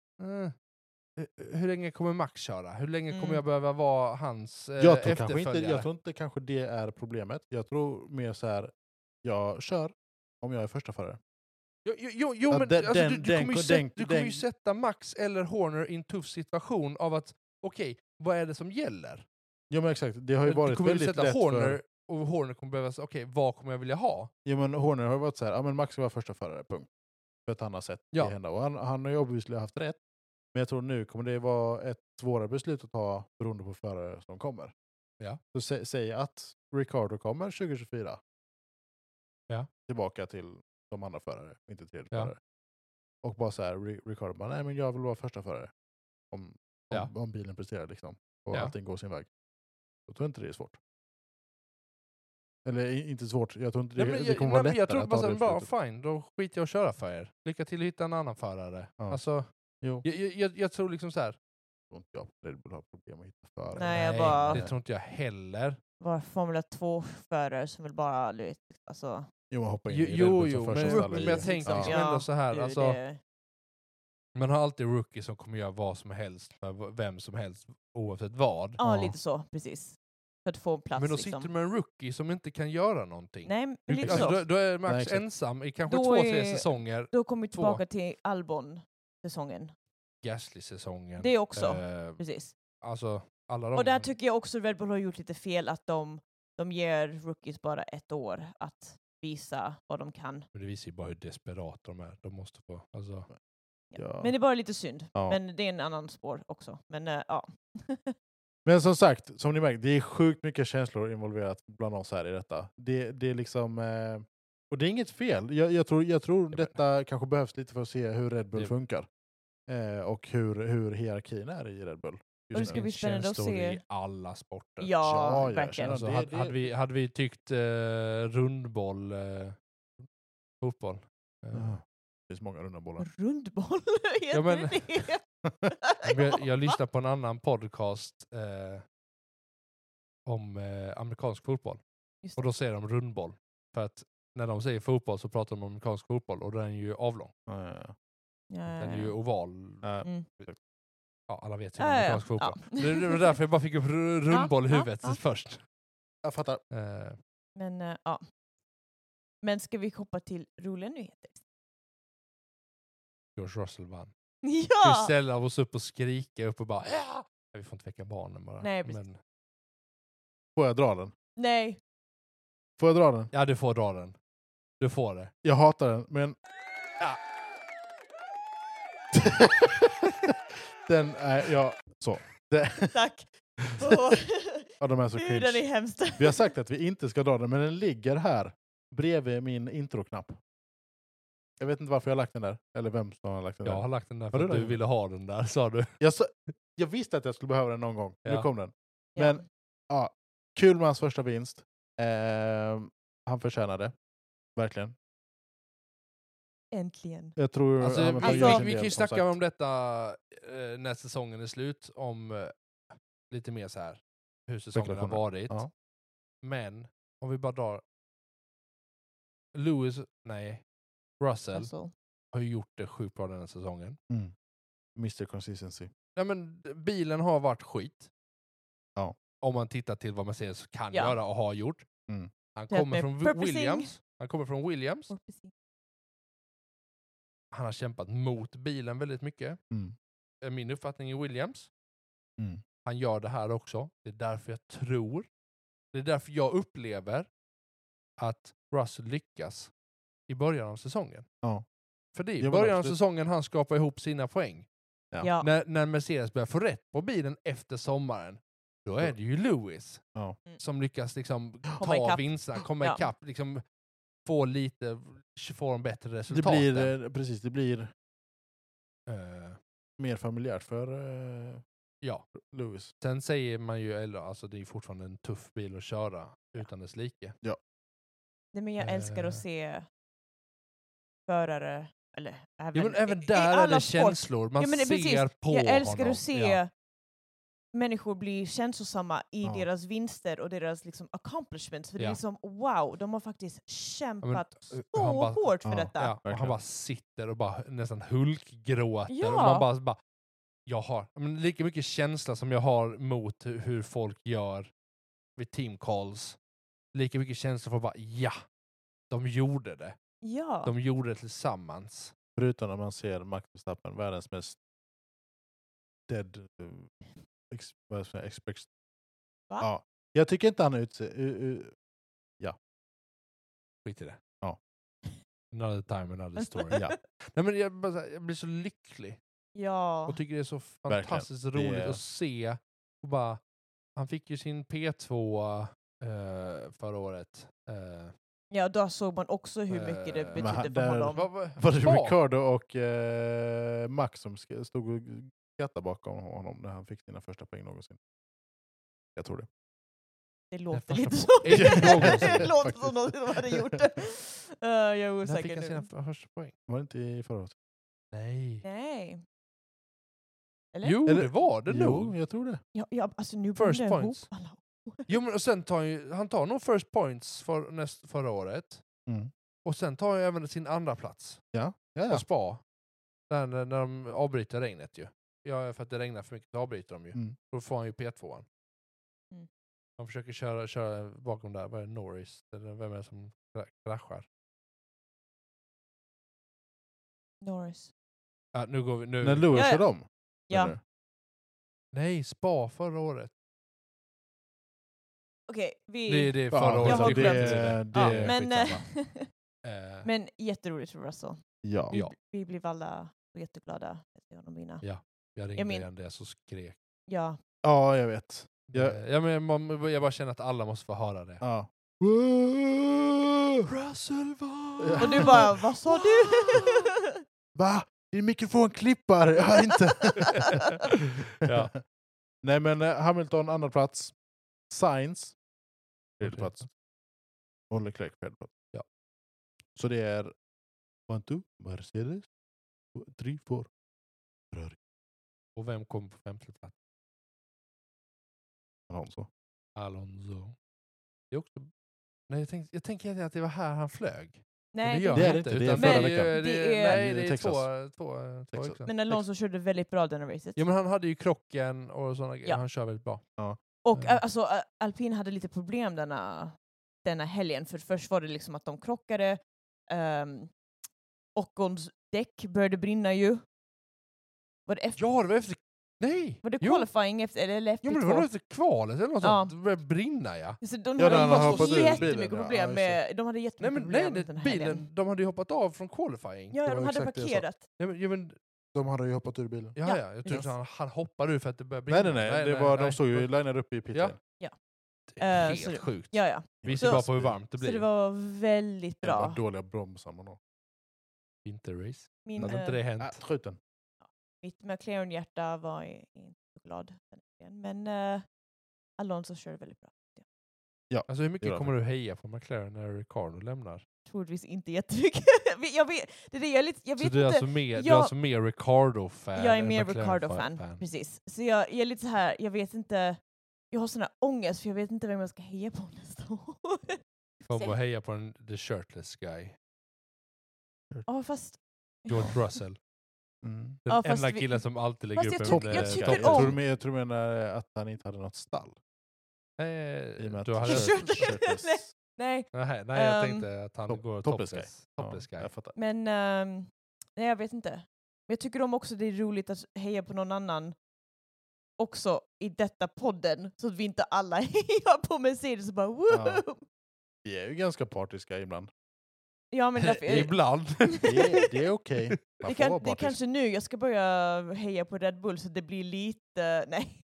[SPEAKER 2] Hur, hur länge kommer Max köra? Hur länge
[SPEAKER 3] Mm.
[SPEAKER 2] kommer jag behöva vara hans eh,
[SPEAKER 1] jag, tror kanske inte,
[SPEAKER 2] efterföljare?
[SPEAKER 1] jag tror inte kanske det är problemet. Jag tror mer så här, jag kör om jag är första förare.
[SPEAKER 2] Jo, jo, jo, jo
[SPEAKER 1] Ja,
[SPEAKER 2] men
[SPEAKER 1] den-
[SPEAKER 2] alltså, du,
[SPEAKER 1] den-
[SPEAKER 2] du kommer,
[SPEAKER 1] den-
[SPEAKER 2] ju, sätta,
[SPEAKER 1] den-
[SPEAKER 2] du kommer ju
[SPEAKER 1] den-
[SPEAKER 2] sätta Max eller Horner i en tuff situation av att okej, vad är det som gäller?
[SPEAKER 1] Ja men exakt, det har ju
[SPEAKER 2] Du
[SPEAKER 1] varit
[SPEAKER 2] kommer ju
[SPEAKER 1] väldigt
[SPEAKER 2] sätta
[SPEAKER 1] lätt
[SPEAKER 2] Horner
[SPEAKER 1] för...
[SPEAKER 2] och Horner kommer behöva säga okej, vad kommer jag vilja ha?
[SPEAKER 1] Ja, men Horner har ju varit så här, ja, men Max ska vara första förare, punkt. För att han har sett
[SPEAKER 2] Ja.
[SPEAKER 1] det hända. Och han, han har ju obviously haft rätt. Men jag tror nu kommer det vara ett svårare beslut att ta beroende på förare som kommer.
[SPEAKER 2] Ja.
[SPEAKER 1] Så sä, säg att Ricardo kommer 2024.
[SPEAKER 2] Ja.
[SPEAKER 1] Tillbaka till de andra förare, inte tredje
[SPEAKER 2] Ja.
[SPEAKER 1] förare. Och bara så här, Ri- Ricardo bara, nej men jag vill vara första förare. Om, om,
[SPEAKER 2] Ja.
[SPEAKER 1] om bilen presterar liksom. Och
[SPEAKER 2] Ja.
[SPEAKER 1] allting går sin väg. Då tror jag inte det är svårt. Eller i- inte svårt, jag tror inte det,
[SPEAKER 2] Nej, men
[SPEAKER 1] det
[SPEAKER 2] jag-
[SPEAKER 1] kommer
[SPEAKER 2] nej,
[SPEAKER 1] vara
[SPEAKER 2] men
[SPEAKER 1] lättare
[SPEAKER 2] jag tror
[SPEAKER 1] att ta
[SPEAKER 2] bara,
[SPEAKER 1] det
[SPEAKER 2] så här, bara
[SPEAKER 1] beslutet.
[SPEAKER 2] fine, då skiter jag och köra för er. Lycka till att hitta en annan förare.
[SPEAKER 1] Ja.
[SPEAKER 2] Alltså,
[SPEAKER 1] Jo.
[SPEAKER 2] jag, jag, jag, jag tror liksom så här.
[SPEAKER 1] tror inte jag Red Bull har problem att hitta förare.
[SPEAKER 3] Nej, jag bara-
[SPEAKER 2] det tror inte jag heller.
[SPEAKER 3] Var Formula 2-förare som vill bara... du vet, Alltså,
[SPEAKER 1] Jo, man hoppar in
[SPEAKER 2] Jo,
[SPEAKER 1] i Red
[SPEAKER 2] jo,
[SPEAKER 1] Bull som
[SPEAKER 2] jo men,
[SPEAKER 1] första
[SPEAKER 3] första
[SPEAKER 2] men,
[SPEAKER 1] stall
[SPEAKER 2] men
[SPEAKER 1] i-
[SPEAKER 2] jag tänker
[SPEAKER 1] ja.
[SPEAKER 2] liksom ändå så här.
[SPEAKER 3] du,
[SPEAKER 2] Alltså,
[SPEAKER 3] det-
[SPEAKER 2] Man har alltid rookie som kommer göra vad som helst för v- vem som helst oavsett vad.
[SPEAKER 3] Ja,
[SPEAKER 1] Ja.
[SPEAKER 3] lite så, precis. För att få en plats
[SPEAKER 2] men då sitter
[SPEAKER 3] liksom.
[SPEAKER 2] du med en rookie som inte kan göra någonting.
[SPEAKER 3] Nej, men
[SPEAKER 2] Du-
[SPEAKER 3] lite
[SPEAKER 2] alltså,
[SPEAKER 3] så.
[SPEAKER 2] då, då är Max
[SPEAKER 1] Nej, exakt.
[SPEAKER 2] ensam i kanske
[SPEAKER 3] Då
[SPEAKER 2] två, tre
[SPEAKER 3] är-
[SPEAKER 2] säsonger.
[SPEAKER 3] Då kommer vi
[SPEAKER 2] två.
[SPEAKER 3] tillbaka till Albon-säsongen.
[SPEAKER 2] Gasly-säsongen.
[SPEAKER 3] Det också,
[SPEAKER 2] Eh,
[SPEAKER 3] precis.
[SPEAKER 2] alltså, alla de...
[SPEAKER 3] Och där tycker jag också Red Bull har gjort lite fel att de, de ger rookies bara ett år att visa vad de kan.
[SPEAKER 2] Men det visar ju bara hur desperata de är. De måste få... Alltså,
[SPEAKER 1] Ja.
[SPEAKER 3] Men det är bara lite synd.
[SPEAKER 1] Ja.
[SPEAKER 3] Men det är en annan spår också. Men eh, ja.
[SPEAKER 1] Men som sagt, som ni märker, det är sjukt mycket känslor involverat bland oss här i detta. Det, det är liksom... Eh, och det är inget fel. Jag, jag tror, jag tror
[SPEAKER 2] men-
[SPEAKER 1] detta kanske behövs lite för att se hur Red Bull
[SPEAKER 2] Det-
[SPEAKER 1] funkar. Eh, och hur, hur hierarkin är i Red Bull.
[SPEAKER 3] Och det
[SPEAKER 1] just
[SPEAKER 3] ska
[SPEAKER 1] nu.
[SPEAKER 3] bli spännande att
[SPEAKER 2] känslor
[SPEAKER 3] se.
[SPEAKER 2] i alla sporter.
[SPEAKER 1] Ja,
[SPEAKER 3] Ja,
[SPEAKER 1] jag
[SPEAKER 3] verkligen.
[SPEAKER 1] känner
[SPEAKER 2] Alltså,
[SPEAKER 1] det-
[SPEAKER 2] hade,
[SPEAKER 1] det-
[SPEAKER 2] hade, vi, hade vi tyckt eh, rundboll, eh, fotboll. Eh,
[SPEAKER 1] Ja. Det finns många runda
[SPEAKER 3] Mm.
[SPEAKER 1] bollar.
[SPEAKER 3] Rundboll, heter
[SPEAKER 2] Ja, men-
[SPEAKER 3] det det?
[SPEAKER 2] men jag, jag lyssnade på en annan podcast eh, om eh, amerikansk fotboll.
[SPEAKER 3] Just
[SPEAKER 2] Och då säger de rundboll. För att när de säger fotboll så pratar de om amerikansk fotboll och den är ju avlång.
[SPEAKER 1] Ja, ja, ja.
[SPEAKER 3] Ja, ja,
[SPEAKER 2] Den är
[SPEAKER 3] ja.
[SPEAKER 2] ju oval.
[SPEAKER 1] Ja.
[SPEAKER 3] Mm.
[SPEAKER 2] Ja, alla vet ju
[SPEAKER 3] Ja,
[SPEAKER 2] om
[SPEAKER 3] ja, ja.
[SPEAKER 2] amerikansk fotboll.
[SPEAKER 3] Ja.
[SPEAKER 2] Det, det var därför jag bara fick upp ru- rundboll i
[SPEAKER 3] Ja, ja,
[SPEAKER 2] huvudet
[SPEAKER 3] ja.
[SPEAKER 2] först.
[SPEAKER 1] Jag fattar.
[SPEAKER 2] Eh,
[SPEAKER 3] Men eh, ja. Men ska vi hoppa till roliga nyheter?
[SPEAKER 2] George Russell vann. Ja. Vi
[SPEAKER 3] Ja!
[SPEAKER 2] ställer oss upp och skriker upp och bara ja! Vi får inte väcka barnen bara.
[SPEAKER 3] Nej, precis.
[SPEAKER 2] Men,
[SPEAKER 1] Får jag dra den?
[SPEAKER 3] Nej.
[SPEAKER 1] Får jag dra den?
[SPEAKER 2] ja, du får dra den. Du får det.
[SPEAKER 1] Jag hatar den, men...
[SPEAKER 2] Ja.
[SPEAKER 1] den
[SPEAKER 2] eh,
[SPEAKER 1] är... Ja, så. Det,
[SPEAKER 3] Tack. Åh,
[SPEAKER 1] ja, de är så
[SPEAKER 3] Hur den är
[SPEAKER 1] cringe.
[SPEAKER 3] hemskt.
[SPEAKER 1] Vi har sagt att vi inte ska dra den, men den ligger här bredvid min introknapp. Jag vet inte varför jag har lagt den där, eller vem som har lagt den
[SPEAKER 2] Jag
[SPEAKER 1] där.
[SPEAKER 2] har lagt den där
[SPEAKER 1] Har du
[SPEAKER 2] för att du
[SPEAKER 1] den?
[SPEAKER 2] ville ha den där sa du.
[SPEAKER 1] Jag, sa- jag visste att jag skulle behöva den någon gång. Nu
[SPEAKER 2] Ja.
[SPEAKER 1] kom den.
[SPEAKER 3] Ja.
[SPEAKER 1] Men- Kul med hans första vinst. Ehm, han förtjänade. Verkligen.
[SPEAKER 3] Äntligen.
[SPEAKER 1] Jag tror...
[SPEAKER 2] Alltså,
[SPEAKER 1] han har
[SPEAKER 2] vi,
[SPEAKER 1] tagit
[SPEAKER 3] alltså-
[SPEAKER 1] sin
[SPEAKER 2] vi, vi kan ju
[SPEAKER 1] del, som
[SPEAKER 2] snacka
[SPEAKER 1] sagt.
[SPEAKER 2] om detta eh, när säsongen är slut, om eh, lite mer så här hur säsongen har
[SPEAKER 1] Spekulationer.
[SPEAKER 2] varit.
[SPEAKER 1] Ja.
[SPEAKER 2] Men om vi bara drar... Lewis, nej, Russell
[SPEAKER 1] Alltså.
[SPEAKER 3] Russell.
[SPEAKER 2] har ju gjort det sjukt bra den här säsongen.
[SPEAKER 1] Mm. Mr Consistency.
[SPEAKER 2] Nej, men d- bilen har varit skit.
[SPEAKER 1] Ja.
[SPEAKER 2] Om man tittar till vad Mercedes kan
[SPEAKER 3] Ja.
[SPEAKER 2] göra och har gjort.
[SPEAKER 1] Mm.
[SPEAKER 2] Han
[SPEAKER 3] Hjälp
[SPEAKER 2] kommer
[SPEAKER 3] mig.
[SPEAKER 2] från Wi-
[SPEAKER 3] Purposing. Mm.
[SPEAKER 2] Williams. Han kommer från Williams.
[SPEAKER 3] Och precis.
[SPEAKER 2] Han har kämpat mot bilen väldigt mycket.
[SPEAKER 1] Mm.
[SPEAKER 2] Eh, Min uppfattning är Williams.
[SPEAKER 1] Mm.
[SPEAKER 2] han gör det här också. Det är därför jag tror, det är därför jag upplever att Russell lyckas i början av säsongen.
[SPEAKER 1] Ja.
[SPEAKER 2] För det är
[SPEAKER 1] Ja,
[SPEAKER 2] i
[SPEAKER 1] men
[SPEAKER 2] början av
[SPEAKER 1] absolut.
[SPEAKER 2] säsongen han skapar ihop sina poäng.
[SPEAKER 1] Ja.
[SPEAKER 3] Ja.
[SPEAKER 2] När, när Mercedes börjar få rätt på bilen efter sommaren, då är det ju Lewis
[SPEAKER 1] Ja.
[SPEAKER 3] Mm.
[SPEAKER 2] som lyckas liksom ta
[SPEAKER 3] ikapp.
[SPEAKER 2] vinsterna, komma
[SPEAKER 3] Ja.
[SPEAKER 2] ikapp, liksom få lite, få de bättre
[SPEAKER 1] Det
[SPEAKER 2] resultaten.
[SPEAKER 1] blir, eh, precis, det blir
[SPEAKER 2] Eh,
[SPEAKER 1] mer familjärt för eh,
[SPEAKER 2] ja.
[SPEAKER 1] Lewis.
[SPEAKER 2] Sen säger man ju, eller alltså det är fortfarande en tuff bil att köra utan dess like.
[SPEAKER 3] Nej, men jag älskar att
[SPEAKER 2] Eh.
[SPEAKER 3] se förare, eller även,
[SPEAKER 2] Ja, men även
[SPEAKER 3] i- i
[SPEAKER 2] där är
[SPEAKER 3] alla
[SPEAKER 2] det
[SPEAKER 3] sport.
[SPEAKER 2] känslor. Man
[SPEAKER 3] Ja, men det-
[SPEAKER 2] ser
[SPEAKER 3] precis.
[SPEAKER 2] på
[SPEAKER 3] Jag älskar
[SPEAKER 2] honom.
[SPEAKER 3] att se
[SPEAKER 2] Ja.
[SPEAKER 3] människor bli känslosamma i
[SPEAKER 1] Ja.
[SPEAKER 3] deras vinster och deras liksom, accomplishments. För det
[SPEAKER 2] Ja.
[SPEAKER 3] är liksom wow, de har faktiskt kämpat
[SPEAKER 2] uh,
[SPEAKER 3] så
[SPEAKER 2] han bara-
[SPEAKER 3] hårt för
[SPEAKER 1] ja,
[SPEAKER 3] detta.
[SPEAKER 2] Ja, och han
[SPEAKER 1] verkligen.
[SPEAKER 2] bara sitter och bara nästan hulkgråter.
[SPEAKER 3] Ja.
[SPEAKER 2] Och man bara, bara, jag har men lika mycket känsla som jag har mot hu- hur folk gör vid team calls. Lika mycket känsla för att bara, ja, de gjorde det.
[SPEAKER 3] Ja.
[SPEAKER 2] De gjorde det tillsammans.
[SPEAKER 1] Förutom när man ser Max Verstappen, världens mest dead... eh, Ex, vad ska jag, säga, expex,
[SPEAKER 3] Va?
[SPEAKER 1] ja. Jag tycker inte han är utse... u- u-
[SPEAKER 2] Skit i det.
[SPEAKER 1] Ja.
[SPEAKER 2] Another time, another story.
[SPEAKER 1] ja.
[SPEAKER 2] Nej, men jag, bara, så här, jag blir så lycklig
[SPEAKER 3] ja.
[SPEAKER 2] och tycker det är så
[SPEAKER 1] Verkligen.
[SPEAKER 2] fantastiskt
[SPEAKER 1] Det
[SPEAKER 2] roligt
[SPEAKER 1] är-
[SPEAKER 2] att se. Och bara, han fick ju sin P2 eh, förra året. Eh,
[SPEAKER 3] ja, då såg man också hur mycket det
[SPEAKER 2] Eh,
[SPEAKER 1] men
[SPEAKER 3] betydde
[SPEAKER 1] han-
[SPEAKER 3] för
[SPEAKER 1] där-
[SPEAKER 3] honom.
[SPEAKER 2] vad- vad-
[SPEAKER 1] Var det
[SPEAKER 2] vad?
[SPEAKER 1] Ricardo och eh, Max som sk- stod och skrattade bakom honom när han fick sina första poäng någonsin? Jag tror det.
[SPEAKER 3] Det
[SPEAKER 2] Den
[SPEAKER 3] låter
[SPEAKER 2] första
[SPEAKER 3] lite så.
[SPEAKER 2] po- är det någonsin,
[SPEAKER 3] det låter
[SPEAKER 1] faktiskt.
[SPEAKER 3] som någonsin de hade gjort det. Eh, jag är
[SPEAKER 2] När fick
[SPEAKER 3] osäker
[SPEAKER 2] han
[SPEAKER 3] nu.
[SPEAKER 2] sina f- första poäng?
[SPEAKER 1] Var det inte i förra året?
[SPEAKER 2] Nej.
[SPEAKER 3] Nej. Eller?
[SPEAKER 2] Jo,
[SPEAKER 1] Eller-
[SPEAKER 2] det var det
[SPEAKER 1] Jo,
[SPEAKER 2] nog.
[SPEAKER 1] jag tror det.
[SPEAKER 3] Ja, ja, alltså nu
[SPEAKER 2] First
[SPEAKER 3] blandar jag
[SPEAKER 2] points.
[SPEAKER 3] ihop alla.
[SPEAKER 2] Jo, men och sen tar han, ju, han tar nog first points för näst, förra året.
[SPEAKER 1] Mm.
[SPEAKER 2] Och sen tar han ju även sin andra plats
[SPEAKER 1] Ja, ja,
[SPEAKER 2] på
[SPEAKER 1] ja.
[SPEAKER 2] spa. Där när, när de avbryter regnet ju. Ja, för att det regnar för mycket, då avbryter de ju.
[SPEAKER 1] Mm.
[SPEAKER 2] Då får han ju P2.
[SPEAKER 3] Mm.
[SPEAKER 2] Han försöker köra, köra bakom där, vad är det, Norris? Eller vem är det som kra- kraschar?
[SPEAKER 3] Norris.
[SPEAKER 2] Ja, Äh, nu går vi, nu.
[SPEAKER 1] När Lewis
[SPEAKER 3] Ja, ja.
[SPEAKER 1] kör om?
[SPEAKER 3] Ja.
[SPEAKER 1] menar
[SPEAKER 2] Nej, Spa förra året.
[SPEAKER 3] Okej, vi...
[SPEAKER 2] Det, det är
[SPEAKER 1] du?
[SPEAKER 2] förra
[SPEAKER 1] Ja,
[SPEAKER 2] året.
[SPEAKER 3] har
[SPEAKER 1] alltså,
[SPEAKER 2] vi
[SPEAKER 1] det,
[SPEAKER 2] skämtar i
[SPEAKER 1] det,
[SPEAKER 3] ja,
[SPEAKER 2] är
[SPEAKER 3] men,
[SPEAKER 2] skitsamma. Eh,
[SPEAKER 3] men jätteroligt för Russell.
[SPEAKER 1] ja.
[SPEAKER 2] Ja.
[SPEAKER 3] Vi blev alla jätteglada att se honom vinna.
[SPEAKER 2] Ja. jag ringde
[SPEAKER 3] min-
[SPEAKER 2] igen det så skrek.
[SPEAKER 3] Ja,
[SPEAKER 1] ja, jag vet.
[SPEAKER 2] Ja.
[SPEAKER 1] Ja.
[SPEAKER 2] Ja, men man, jag bara känner att alla måste få höra det.
[SPEAKER 1] Ja.
[SPEAKER 2] Russell var...
[SPEAKER 1] Ja.
[SPEAKER 3] och du bara vad sa du?
[SPEAKER 1] Va? Din mikrofon klippar, jag hör inte.
[SPEAKER 2] ja.
[SPEAKER 1] Nej men eh, Hamilton andra plats. Sainz tredje
[SPEAKER 2] Tredje
[SPEAKER 1] plats. Och Leclerc fjärde plats.
[SPEAKER 2] Ja.
[SPEAKER 1] Så det är one, two, Mercedes, two, three, four.
[SPEAKER 2] Och vem kom på femte plats?
[SPEAKER 1] Alonso.
[SPEAKER 2] Alonso. Det är också... Nej, jag, tänkte, jag tänker att det var här han flög.
[SPEAKER 3] Nej,
[SPEAKER 2] gör
[SPEAKER 1] Det
[SPEAKER 2] han
[SPEAKER 1] är det
[SPEAKER 2] inte,
[SPEAKER 1] inte, det är
[SPEAKER 2] utan
[SPEAKER 3] förra
[SPEAKER 2] ju-
[SPEAKER 1] veckan.
[SPEAKER 2] Det
[SPEAKER 3] Det
[SPEAKER 2] är,
[SPEAKER 3] är-
[SPEAKER 2] nej, det är
[SPEAKER 1] Texas.
[SPEAKER 2] två, två, två
[SPEAKER 1] Texas.
[SPEAKER 2] veckor.
[SPEAKER 3] men Alonso körde väldigt bra denna racet.
[SPEAKER 2] Ja, men han hade ju krocken och sådana grejer.
[SPEAKER 3] Ja.
[SPEAKER 2] Han kör väldigt bra.
[SPEAKER 3] Och
[SPEAKER 2] Ja.
[SPEAKER 3] ä, alltså, ä, alpin hade lite problem denna, denna helgen, för först var det liksom att de krockade, um, Ockons däck började brinna ju. Var det, efter,
[SPEAKER 2] Ja, det var efter... Nej!
[SPEAKER 3] var det
[SPEAKER 2] jo.
[SPEAKER 3] qualifying efter, eller efter
[SPEAKER 2] jo, men det var nog efter kvalet eller något
[SPEAKER 3] Ja.
[SPEAKER 2] sånt. Det började brinna, ja.
[SPEAKER 3] Så de
[SPEAKER 1] Ja, när han
[SPEAKER 3] hade
[SPEAKER 1] hoppat ur bilen,
[SPEAKER 3] jättemycket
[SPEAKER 1] ja. Ja,
[SPEAKER 3] problem
[SPEAKER 1] just
[SPEAKER 3] med... De hade
[SPEAKER 2] Nej,
[SPEAKER 3] jättemycket
[SPEAKER 2] men nej,
[SPEAKER 3] problem
[SPEAKER 2] det,
[SPEAKER 3] den här helgen.
[SPEAKER 2] bilen, de hade ju hoppat av från qualifying.
[SPEAKER 3] Ja,
[SPEAKER 1] det
[SPEAKER 3] ja,
[SPEAKER 1] var
[SPEAKER 3] de hade
[SPEAKER 1] exakt det jag sa.
[SPEAKER 3] parkerat.
[SPEAKER 2] Nej, men, ja, men,
[SPEAKER 1] De hade ju hoppat ur bilen.
[SPEAKER 2] ja, ja.
[SPEAKER 3] Ja,
[SPEAKER 2] jag tror
[SPEAKER 3] precis.
[SPEAKER 2] inte han, han hoppade ur för att det började brinna.
[SPEAKER 1] Nej, nej, nej. det var, de stod ju
[SPEAKER 2] Det
[SPEAKER 1] linade upp i pit
[SPEAKER 2] Ja.
[SPEAKER 1] lane.
[SPEAKER 2] var
[SPEAKER 3] Eh,
[SPEAKER 2] Helt
[SPEAKER 3] så det-
[SPEAKER 2] sjukt.
[SPEAKER 3] Ja, ja.
[SPEAKER 2] Vi ser
[SPEAKER 3] Så-
[SPEAKER 2] bara på hur varmt det
[SPEAKER 3] Så
[SPEAKER 2] blir.
[SPEAKER 3] det var väldigt
[SPEAKER 1] Jävla
[SPEAKER 3] bra.
[SPEAKER 1] dåliga bromsar man har.
[SPEAKER 2] Vinterrace.
[SPEAKER 3] Min,
[SPEAKER 2] Hade inte
[SPEAKER 3] eh,
[SPEAKER 2] det
[SPEAKER 1] Äh,
[SPEAKER 2] hänt?
[SPEAKER 1] skjut den.
[SPEAKER 3] mitt McLaren-hjärta var i- inte så glad den helgen. Men eh, Alonso körde väldigt bra.
[SPEAKER 2] Alltså hur mycket
[SPEAKER 1] Gör
[SPEAKER 2] kommer du heja på McLaren när Ricardo lämnar?
[SPEAKER 3] Troligtvis inte jättemycket. Men jag vet, det är det jag är lite... Jag
[SPEAKER 2] Så
[SPEAKER 3] vet
[SPEAKER 2] du är,
[SPEAKER 3] inte.
[SPEAKER 2] alltså mer, du är
[SPEAKER 3] Jag-
[SPEAKER 2] alltså mer Ricardo-fan?
[SPEAKER 3] jag är
[SPEAKER 2] än
[SPEAKER 3] mer
[SPEAKER 2] McLaren-fan-
[SPEAKER 3] Ricardo-fan.
[SPEAKER 2] fan.
[SPEAKER 3] Precis. Så jag, jag är lite så här, jag vet inte... Jag har sån här ångest för jag vet inte vem jag ska heja på nästa år.
[SPEAKER 2] Kommer och heja på den, the shirtless guy.
[SPEAKER 3] Ja, fast...
[SPEAKER 2] George Russell.
[SPEAKER 1] Mm.
[SPEAKER 2] Den
[SPEAKER 3] Ja, fast
[SPEAKER 2] enda
[SPEAKER 3] vi-
[SPEAKER 2] killen som alltid lägger
[SPEAKER 3] Fast
[SPEAKER 2] upp
[SPEAKER 3] jag tycker-
[SPEAKER 2] en...
[SPEAKER 3] jag
[SPEAKER 2] eh,
[SPEAKER 3] tycker
[SPEAKER 1] jag,
[SPEAKER 2] status.
[SPEAKER 3] om-
[SPEAKER 1] tror du men- jag tror du menar att han inte hade något stall. I och med
[SPEAKER 2] Eh,
[SPEAKER 1] att
[SPEAKER 2] du hade-
[SPEAKER 3] Kör- Shirtless.
[SPEAKER 1] shirtless-
[SPEAKER 3] Nej,
[SPEAKER 2] Nej, nej, jag
[SPEAKER 3] Ehm,
[SPEAKER 2] tänkte att han
[SPEAKER 1] top-
[SPEAKER 2] går
[SPEAKER 1] topless guy.
[SPEAKER 2] topless. Topless,
[SPEAKER 1] Ja,
[SPEAKER 2] guy.
[SPEAKER 1] jag fattar.
[SPEAKER 3] Men ehm, nej, jag vet inte. Men jag tycker om också det är roligt att heja på någon annan också i detta podden så att vi inte alla hejar på Mercedes och bara woo!
[SPEAKER 1] Ja.
[SPEAKER 3] Ja,
[SPEAKER 1] Vi är ju ganska partiska ibland.
[SPEAKER 3] men därför, det,
[SPEAKER 2] Ibland.
[SPEAKER 1] Det är, det är okej. Man får
[SPEAKER 3] kan,
[SPEAKER 1] vara
[SPEAKER 3] det är
[SPEAKER 1] partisk.
[SPEAKER 3] kanske nu jag ska börja heja på Red Bull så det blir lite, nej.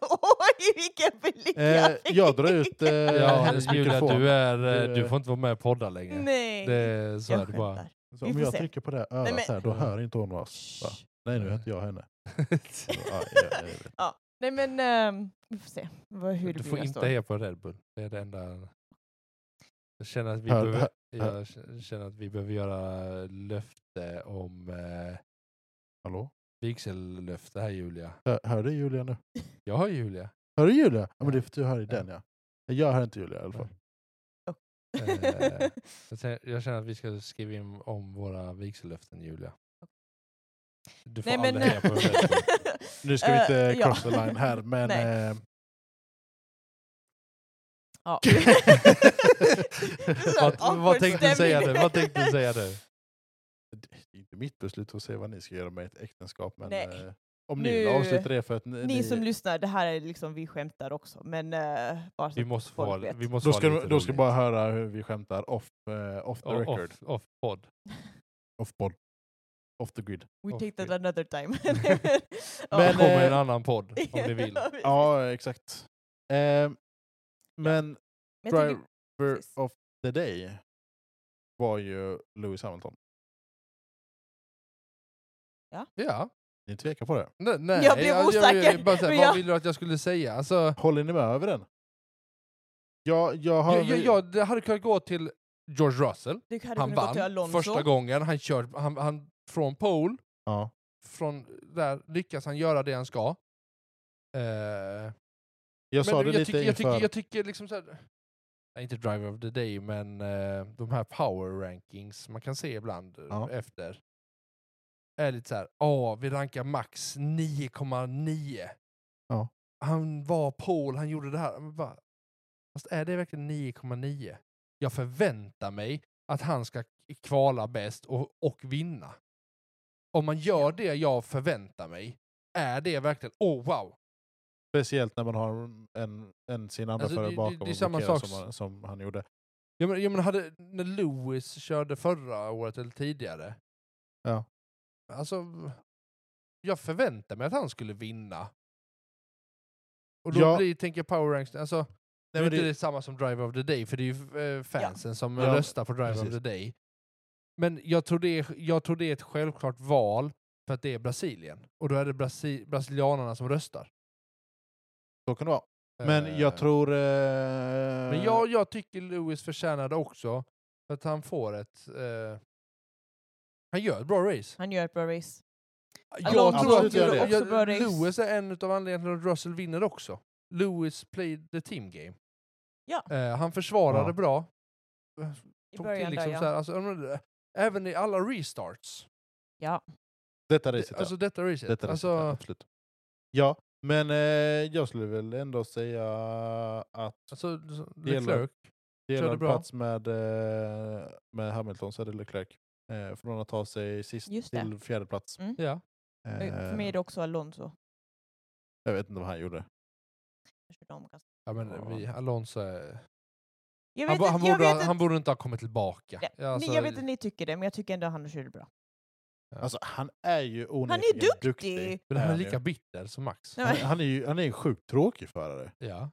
[SPEAKER 3] Oj, vilken blick
[SPEAKER 1] Eh,
[SPEAKER 3] fick.
[SPEAKER 1] jag drar ut eh,
[SPEAKER 2] ja,
[SPEAKER 1] mikrofonen.
[SPEAKER 2] Julia, du, är, eh,
[SPEAKER 1] Du-
[SPEAKER 2] du får inte vara med och podda längre.
[SPEAKER 3] Nej,
[SPEAKER 2] Det, så
[SPEAKER 3] jag
[SPEAKER 2] är det bara.
[SPEAKER 3] skämtar.
[SPEAKER 1] Så
[SPEAKER 3] vi
[SPEAKER 1] om
[SPEAKER 3] får
[SPEAKER 1] jag
[SPEAKER 3] se.
[SPEAKER 1] trycker på det här örat
[SPEAKER 3] men-
[SPEAKER 1] så här, då hör inte hon oss. Va? Nej, nu heter jag henne. Ja, jag, jag vet.
[SPEAKER 3] Nej men ehm, vi får se vad, hur det
[SPEAKER 2] Du får
[SPEAKER 3] blir nästa
[SPEAKER 2] inte
[SPEAKER 3] år.
[SPEAKER 2] heja på Red Bull. Det är det enda... Jag känner att vi,
[SPEAKER 1] Hör-
[SPEAKER 2] behöver,
[SPEAKER 1] hör-
[SPEAKER 2] jag k- känner att vi behöver göra löfte om eh,
[SPEAKER 1] Hallå?
[SPEAKER 2] vigsellöfte här Julia.
[SPEAKER 1] Hör, hör du Julia nu?
[SPEAKER 2] Jag har Julia.
[SPEAKER 1] Hör du Julia? Ja, men det är för att du hör i den ja. Jag hör inte Julia i alla fall.
[SPEAKER 2] Eh, jag känner- Jag känner att vi ska skriva in om våra vigsellöften Julia. Du får
[SPEAKER 3] Nej, men,
[SPEAKER 2] aldrig heja på Red Bull.
[SPEAKER 1] Nu ska vi inte
[SPEAKER 3] Eh, ja.
[SPEAKER 1] cross the line här, men...
[SPEAKER 3] Nej.
[SPEAKER 1] eh,
[SPEAKER 3] Ja.
[SPEAKER 2] Vad, vad tänkte du säga nu? Vad tänkte du säga nu?
[SPEAKER 1] det är inte mitt beslut att se vad ni ska göra med ett äktenskap, men...
[SPEAKER 3] Nej.
[SPEAKER 1] eh, om ni vill
[SPEAKER 3] Nu-
[SPEAKER 1] avsluta det för att ni...
[SPEAKER 3] Ni som lyssnar, det här är liksom, vi skämtar också, men eh, bara så
[SPEAKER 2] Vi
[SPEAKER 3] att
[SPEAKER 2] måste få
[SPEAKER 3] folk
[SPEAKER 2] vara,
[SPEAKER 3] vet.
[SPEAKER 2] vi måste
[SPEAKER 1] då
[SPEAKER 2] vara
[SPEAKER 1] ska,
[SPEAKER 2] lite
[SPEAKER 1] du- då ska
[SPEAKER 2] roligt.
[SPEAKER 1] bara höra hur vi skämtar off, eh, off the
[SPEAKER 2] O-
[SPEAKER 1] record.
[SPEAKER 2] Off, off podd.
[SPEAKER 1] Off pod. Off the grid.
[SPEAKER 3] We
[SPEAKER 2] Åh,
[SPEAKER 3] take that
[SPEAKER 2] gud.
[SPEAKER 3] another time.
[SPEAKER 1] Men,
[SPEAKER 2] Det
[SPEAKER 1] eh,
[SPEAKER 2] kommer en annan podd om ni vill.
[SPEAKER 1] Ja, exakt. Eh, men
[SPEAKER 3] Men jag
[SPEAKER 1] driver
[SPEAKER 3] tänker, precis.
[SPEAKER 1] of the day var ju Lewis Hamilton.
[SPEAKER 2] Ja.
[SPEAKER 1] Ni tvekar på det.
[SPEAKER 2] Nej, nej,
[SPEAKER 3] Jag blev osäker,
[SPEAKER 2] bara så här,
[SPEAKER 3] men
[SPEAKER 2] vad
[SPEAKER 3] jag-
[SPEAKER 2] vill du att jag skulle säga? Alltså,
[SPEAKER 1] Håller ni med över den? Ja, jag har...
[SPEAKER 2] jag, jag, jag, det hade kunnat gå till George Russell.
[SPEAKER 3] du hade
[SPEAKER 2] Han
[SPEAKER 3] kunnat gå till
[SPEAKER 2] vann
[SPEAKER 3] Alonso.
[SPEAKER 2] första gången. Han, kör, han, han Från pole,
[SPEAKER 1] Ja.
[SPEAKER 2] från där lyckas han göra det han ska. Eh,
[SPEAKER 1] jag
[SPEAKER 2] Men
[SPEAKER 1] sa det
[SPEAKER 2] jag
[SPEAKER 1] lite
[SPEAKER 2] tycker, jag tycker,
[SPEAKER 1] inför...
[SPEAKER 2] jag tycker liksom så här, nej, inte driver of the day, men eh, de här power rankings man kan se ibland eh,
[SPEAKER 1] Ja.
[SPEAKER 2] efter. är lite så här, ja, vi rankar max 9,9.
[SPEAKER 1] Ja.
[SPEAKER 2] Han var Paul, han gjorde det här. Men bara, fast är det verkligen 9,9? Jag förväntar mig att han ska kvala bäst och, och vinna. Om man gör det jag förväntar mig, är det verkligen, oh wow,
[SPEAKER 1] Speciellt när man har en, en sin andra
[SPEAKER 2] Alltså, det-
[SPEAKER 1] förare
[SPEAKER 2] det-
[SPEAKER 1] bakom
[SPEAKER 2] det är
[SPEAKER 1] och
[SPEAKER 2] samma
[SPEAKER 1] blockerar
[SPEAKER 2] sak s-
[SPEAKER 1] som, han- som han gjorde.
[SPEAKER 2] Ja men, ja, men hade, när Lewis körde förra året eller tidigare.
[SPEAKER 1] Ja.
[SPEAKER 2] Alltså, jag förväntade mig att han skulle vinna. Och då
[SPEAKER 1] Ja.
[SPEAKER 2] blir, tänker jag power ranks, alltså, nu
[SPEAKER 1] Nej, men
[SPEAKER 2] är det inte
[SPEAKER 1] det,
[SPEAKER 2] det samma som Driver of the Day, för det är ju eh, fansen som
[SPEAKER 1] Ja,
[SPEAKER 2] röstar på Driver of
[SPEAKER 1] precis.
[SPEAKER 2] the Day. Men jag tror, det är, jag tror det är ett självklart val för att det är Brasilien. Och då är det Brasi brasilianarna som röstar.
[SPEAKER 1] så kan det vara. Men
[SPEAKER 2] Eh,
[SPEAKER 1] jag tror... Eh,
[SPEAKER 2] Men jag, jag tycker Lewis förtjänar det också. För att han får ett... Eh, han gör ett bra race.
[SPEAKER 3] Han gör ett bra race.
[SPEAKER 2] Jag
[SPEAKER 1] Alonso
[SPEAKER 2] tror att
[SPEAKER 1] gjorde
[SPEAKER 2] jag,
[SPEAKER 3] också bra race.
[SPEAKER 2] Lewis är en av anledningarna till att Russell vinner också. Lewis played the team game.
[SPEAKER 3] Ja.
[SPEAKER 2] Eh, han försvarade
[SPEAKER 1] Ja.
[SPEAKER 2] bra.
[SPEAKER 3] I
[SPEAKER 2] Tog
[SPEAKER 3] början
[SPEAKER 2] till liksom
[SPEAKER 3] där ja.
[SPEAKER 2] så här, alltså, jag menar, även i alla restarts.
[SPEAKER 3] ja.
[SPEAKER 1] Detta
[SPEAKER 2] Det-
[SPEAKER 1] racet, ja.
[SPEAKER 2] Alltså detta racet.
[SPEAKER 1] Detta
[SPEAKER 2] alltså,
[SPEAKER 1] racet, ja, absolut. Ja, men eh, jag skulle väl ändå säga att
[SPEAKER 2] alltså,
[SPEAKER 1] gäller-
[SPEAKER 2] Leclerc.
[SPEAKER 1] delad
[SPEAKER 2] bra.
[SPEAKER 1] plats med, eh, med Hamilton så är det Leclerc. Eh, från att ta sig sist
[SPEAKER 3] Just det.
[SPEAKER 1] till fjärde plats.
[SPEAKER 3] Mm.
[SPEAKER 2] Ja.
[SPEAKER 3] Eh,
[SPEAKER 1] Eh,
[SPEAKER 3] För mig är det också Alonso.
[SPEAKER 1] Jag vet inte vad han gjorde.
[SPEAKER 3] Jag körde om ganska-
[SPEAKER 1] Ja.
[SPEAKER 2] ja men vi, Alonso är...
[SPEAKER 3] Jag
[SPEAKER 2] Han,
[SPEAKER 3] vet
[SPEAKER 2] bo-
[SPEAKER 3] inte,
[SPEAKER 2] han,
[SPEAKER 3] jag
[SPEAKER 2] borde,
[SPEAKER 3] vet
[SPEAKER 2] ha-
[SPEAKER 3] inte-
[SPEAKER 2] han borde inte ha kommit tillbaka.
[SPEAKER 3] Nej,
[SPEAKER 2] Ja, alltså,
[SPEAKER 3] ni- jag vet att ni tycker det, men jag tycker ändå han körde bra.
[SPEAKER 1] Alltså han är ju onekligen
[SPEAKER 3] Han är ju duktig!
[SPEAKER 2] men han är
[SPEAKER 1] ju.
[SPEAKER 2] lika bitter som Max.
[SPEAKER 3] Nej,
[SPEAKER 1] han, han är ju han är en sjukt tråkig förare.
[SPEAKER 2] Ja.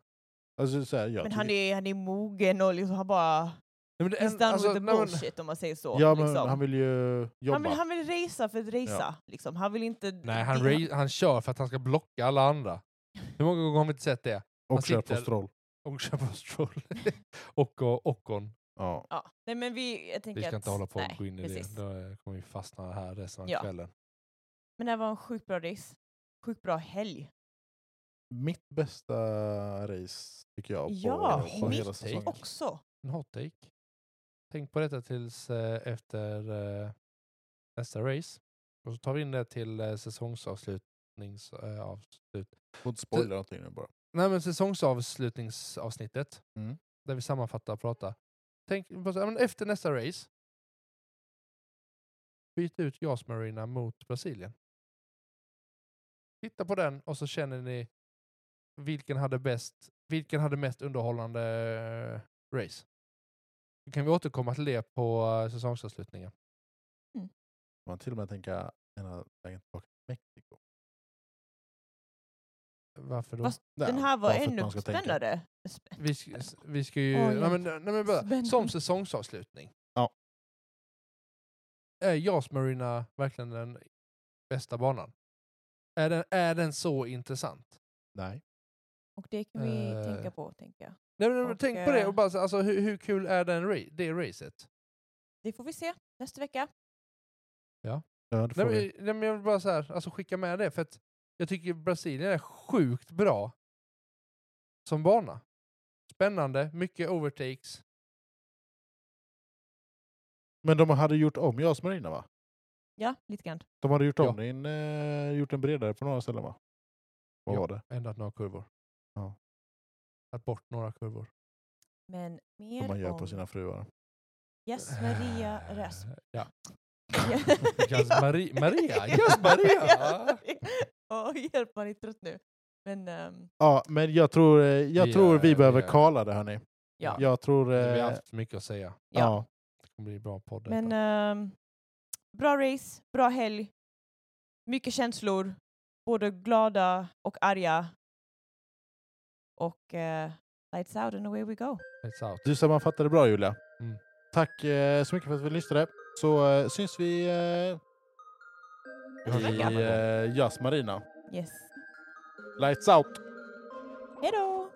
[SPEAKER 1] Alltså, så här, jag
[SPEAKER 3] Men han
[SPEAKER 1] tycker-
[SPEAKER 3] är, han är mogen och liksom, han bara...
[SPEAKER 2] Nej, men det är en-
[SPEAKER 3] He's done
[SPEAKER 2] alltså,
[SPEAKER 3] with the
[SPEAKER 2] nej, men-
[SPEAKER 3] bullshit om man säger så.
[SPEAKER 1] ja, men
[SPEAKER 3] liksom.
[SPEAKER 1] han vill ju jobba.
[SPEAKER 3] han, vill, han vill racea för att racea. Liksom. Han vill inte...
[SPEAKER 2] Nej, han,
[SPEAKER 3] det-
[SPEAKER 2] ra- han kör för att han ska blocka alla andra. Hur många gånger har vi inte sett det? han
[SPEAKER 1] och kör på
[SPEAKER 2] sitter-
[SPEAKER 1] Stroll.
[SPEAKER 2] Och kör på stroll. och och- Ocon.
[SPEAKER 1] Ja.
[SPEAKER 3] Ja. Nej, men vi... Jag tänker
[SPEAKER 2] Vi ska
[SPEAKER 3] att,
[SPEAKER 2] inte hålla på och gå in i
[SPEAKER 3] precis.
[SPEAKER 2] det. Då eh, kommer vi fastna här resten av
[SPEAKER 3] Ja.
[SPEAKER 2] kvällen.
[SPEAKER 3] Men det här var en sjukt bra race. Sjukt bra helg.
[SPEAKER 1] Mitt bästa race tycker jag på,
[SPEAKER 3] Ja,
[SPEAKER 1] på
[SPEAKER 2] mitt
[SPEAKER 1] hela
[SPEAKER 2] take.
[SPEAKER 1] säsongen.
[SPEAKER 3] Också.
[SPEAKER 2] En hot take. Tänk på detta tills eh, efter eh, nästa race. Och så tar vi in det till eh, säsongsavslutnings... Eh, avslut.
[SPEAKER 1] Får inte spoila någonting nu bara.
[SPEAKER 2] Nej, men säsongsavslutningsavsnittet.
[SPEAKER 1] Mm.
[SPEAKER 2] Där vi sammanfattar och pratar. Tänk, på så- ja, men efter nästa race. Byt ut Jas Marina mot Brasilien. Titta på den och så känner ni vilken hade bäst, vilken hade mest underhållande eh, race. Då kan vi återkomma till det på eh, säsongsavslutningen.
[SPEAKER 1] Man till och med tänka ena vägen tillbaka till Mexiko.
[SPEAKER 2] Varför då?
[SPEAKER 3] Fast Den
[SPEAKER 1] Nej,
[SPEAKER 3] här var
[SPEAKER 1] bara för att
[SPEAKER 3] ännu
[SPEAKER 1] man ska tänka.
[SPEAKER 3] spännande.
[SPEAKER 2] Vi, sk- vi ska ju...
[SPEAKER 3] Oj,
[SPEAKER 2] nej, men, nej, men bara,
[SPEAKER 3] Spännande.
[SPEAKER 2] som säsongsavslutning.
[SPEAKER 1] Ja.
[SPEAKER 2] Är Jas Marina verkligen den bästa banan? Är den, är den så intressant?
[SPEAKER 1] Nej.
[SPEAKER 3] Och det kan vi
[SPEAKER 2] Eh.
[SPEAKER 3] tänka på, tänker jag.
[SPEAKER 2] Nej, men, men
[SPEAKER 3] Och,
[SPEAKER 2] tänk på det.
[SPEAKER 3] eh,
[SPEAKER 2] Och bara, så- alltså, hur, hur kul är den, ra- det racet?
[SPEAKER 3] Det får vi se nästa vecka.
[SPEAKER 1] Ja, det
[SPEAKER 2] Nej,
[SPEAKER 1] får vi.
[SPEAKER 2] men, nej, men jag vill bara så här, alltså, skicka med det. För att jag tycker Brasilien är sjukt bra som bana. Spännande, mycket overtakes.
[SPEAKER 1] Men de hade gjort om Jas Marina va?
[SPEAKER 3] Ja, lite grann.
[SPEAKER 1] De hade gjort
[SPEAKER 2] Ja.
[SPEAKER 1] om den, eh, gjort den bredare på några ställen va? Vad
[SPEAKER 2] Ja.
[SPEAKER 1] var det?
[SPEAKER 2] Ändrat några kurvor.
[SPEAKER 1] Ja.
[SPEAKER 2] Tagit bort några kurvor.
[SPEAKER 3] Men
[SPEAKER 1] Som
[SPEAKER 3] mer
[SPEAKER 1] man gör
[SPEAKER 3] om
[SPEAKER 1] på sina fruar.
[SPEAKER 3] Yes, Maria Rasp.
[SPEAKER 2] Eh, Ja.
[SPEAKER 3] Ja.
[SPEAKER 2] Jas Maria. Maria. Jas Maria. Eh,
[SPEAKER 3] Åh, hjälp, man är trött nu. Men ehm,
[SPEAKER 1] Ja, men jag tror, eh, jag
[SPEAKER 2] Vi
[SPEAKER 1] tror
[SPEAKER 2] är-
[SPEAKER 1] vi
[SPEAKER 2] vi
[SPEAKER 1] behöver
[SPEAKER 2] är-
[SPEAKER 1] kala det hörni.
[SPEAKER 3] Ja.
[SPEAKER 1] Jag tror... Eh,
[SPEAKER 2] Vi har
[SPEAKER 1] ja.
[SPEAKER 2] haft mycket att säga.
[SPEAKER 1] Ja.
[SPEAKER 2] Det kommer bli bra podd.
[SPEAKER 3] Men
[SPEAKER 2] detta.
[SPEAKER 3] ehm, bra race, bra helg, mycket känslor, både glada och arga. Och eh, lights out and away we go.
[SPEAKER 2] It's out.
[SPEAKER 1] Du sammanfattade bra Julia.
[SPEAKER 2] Mm.
[SPEAKER 1] Tack eh, så mycket för att vi lyssnade. Så eh, syns vi eh,
[SPEAKER 2] hörs
[SPEAKER 1] i
[SPEAKER 2] en annan gång.
[SPEAKER 1] eh, Jas Marina.
[SPEAKER 3] Yes.
[SPEAKER 1] Lights out!
[SPEAKER 3] Hej då!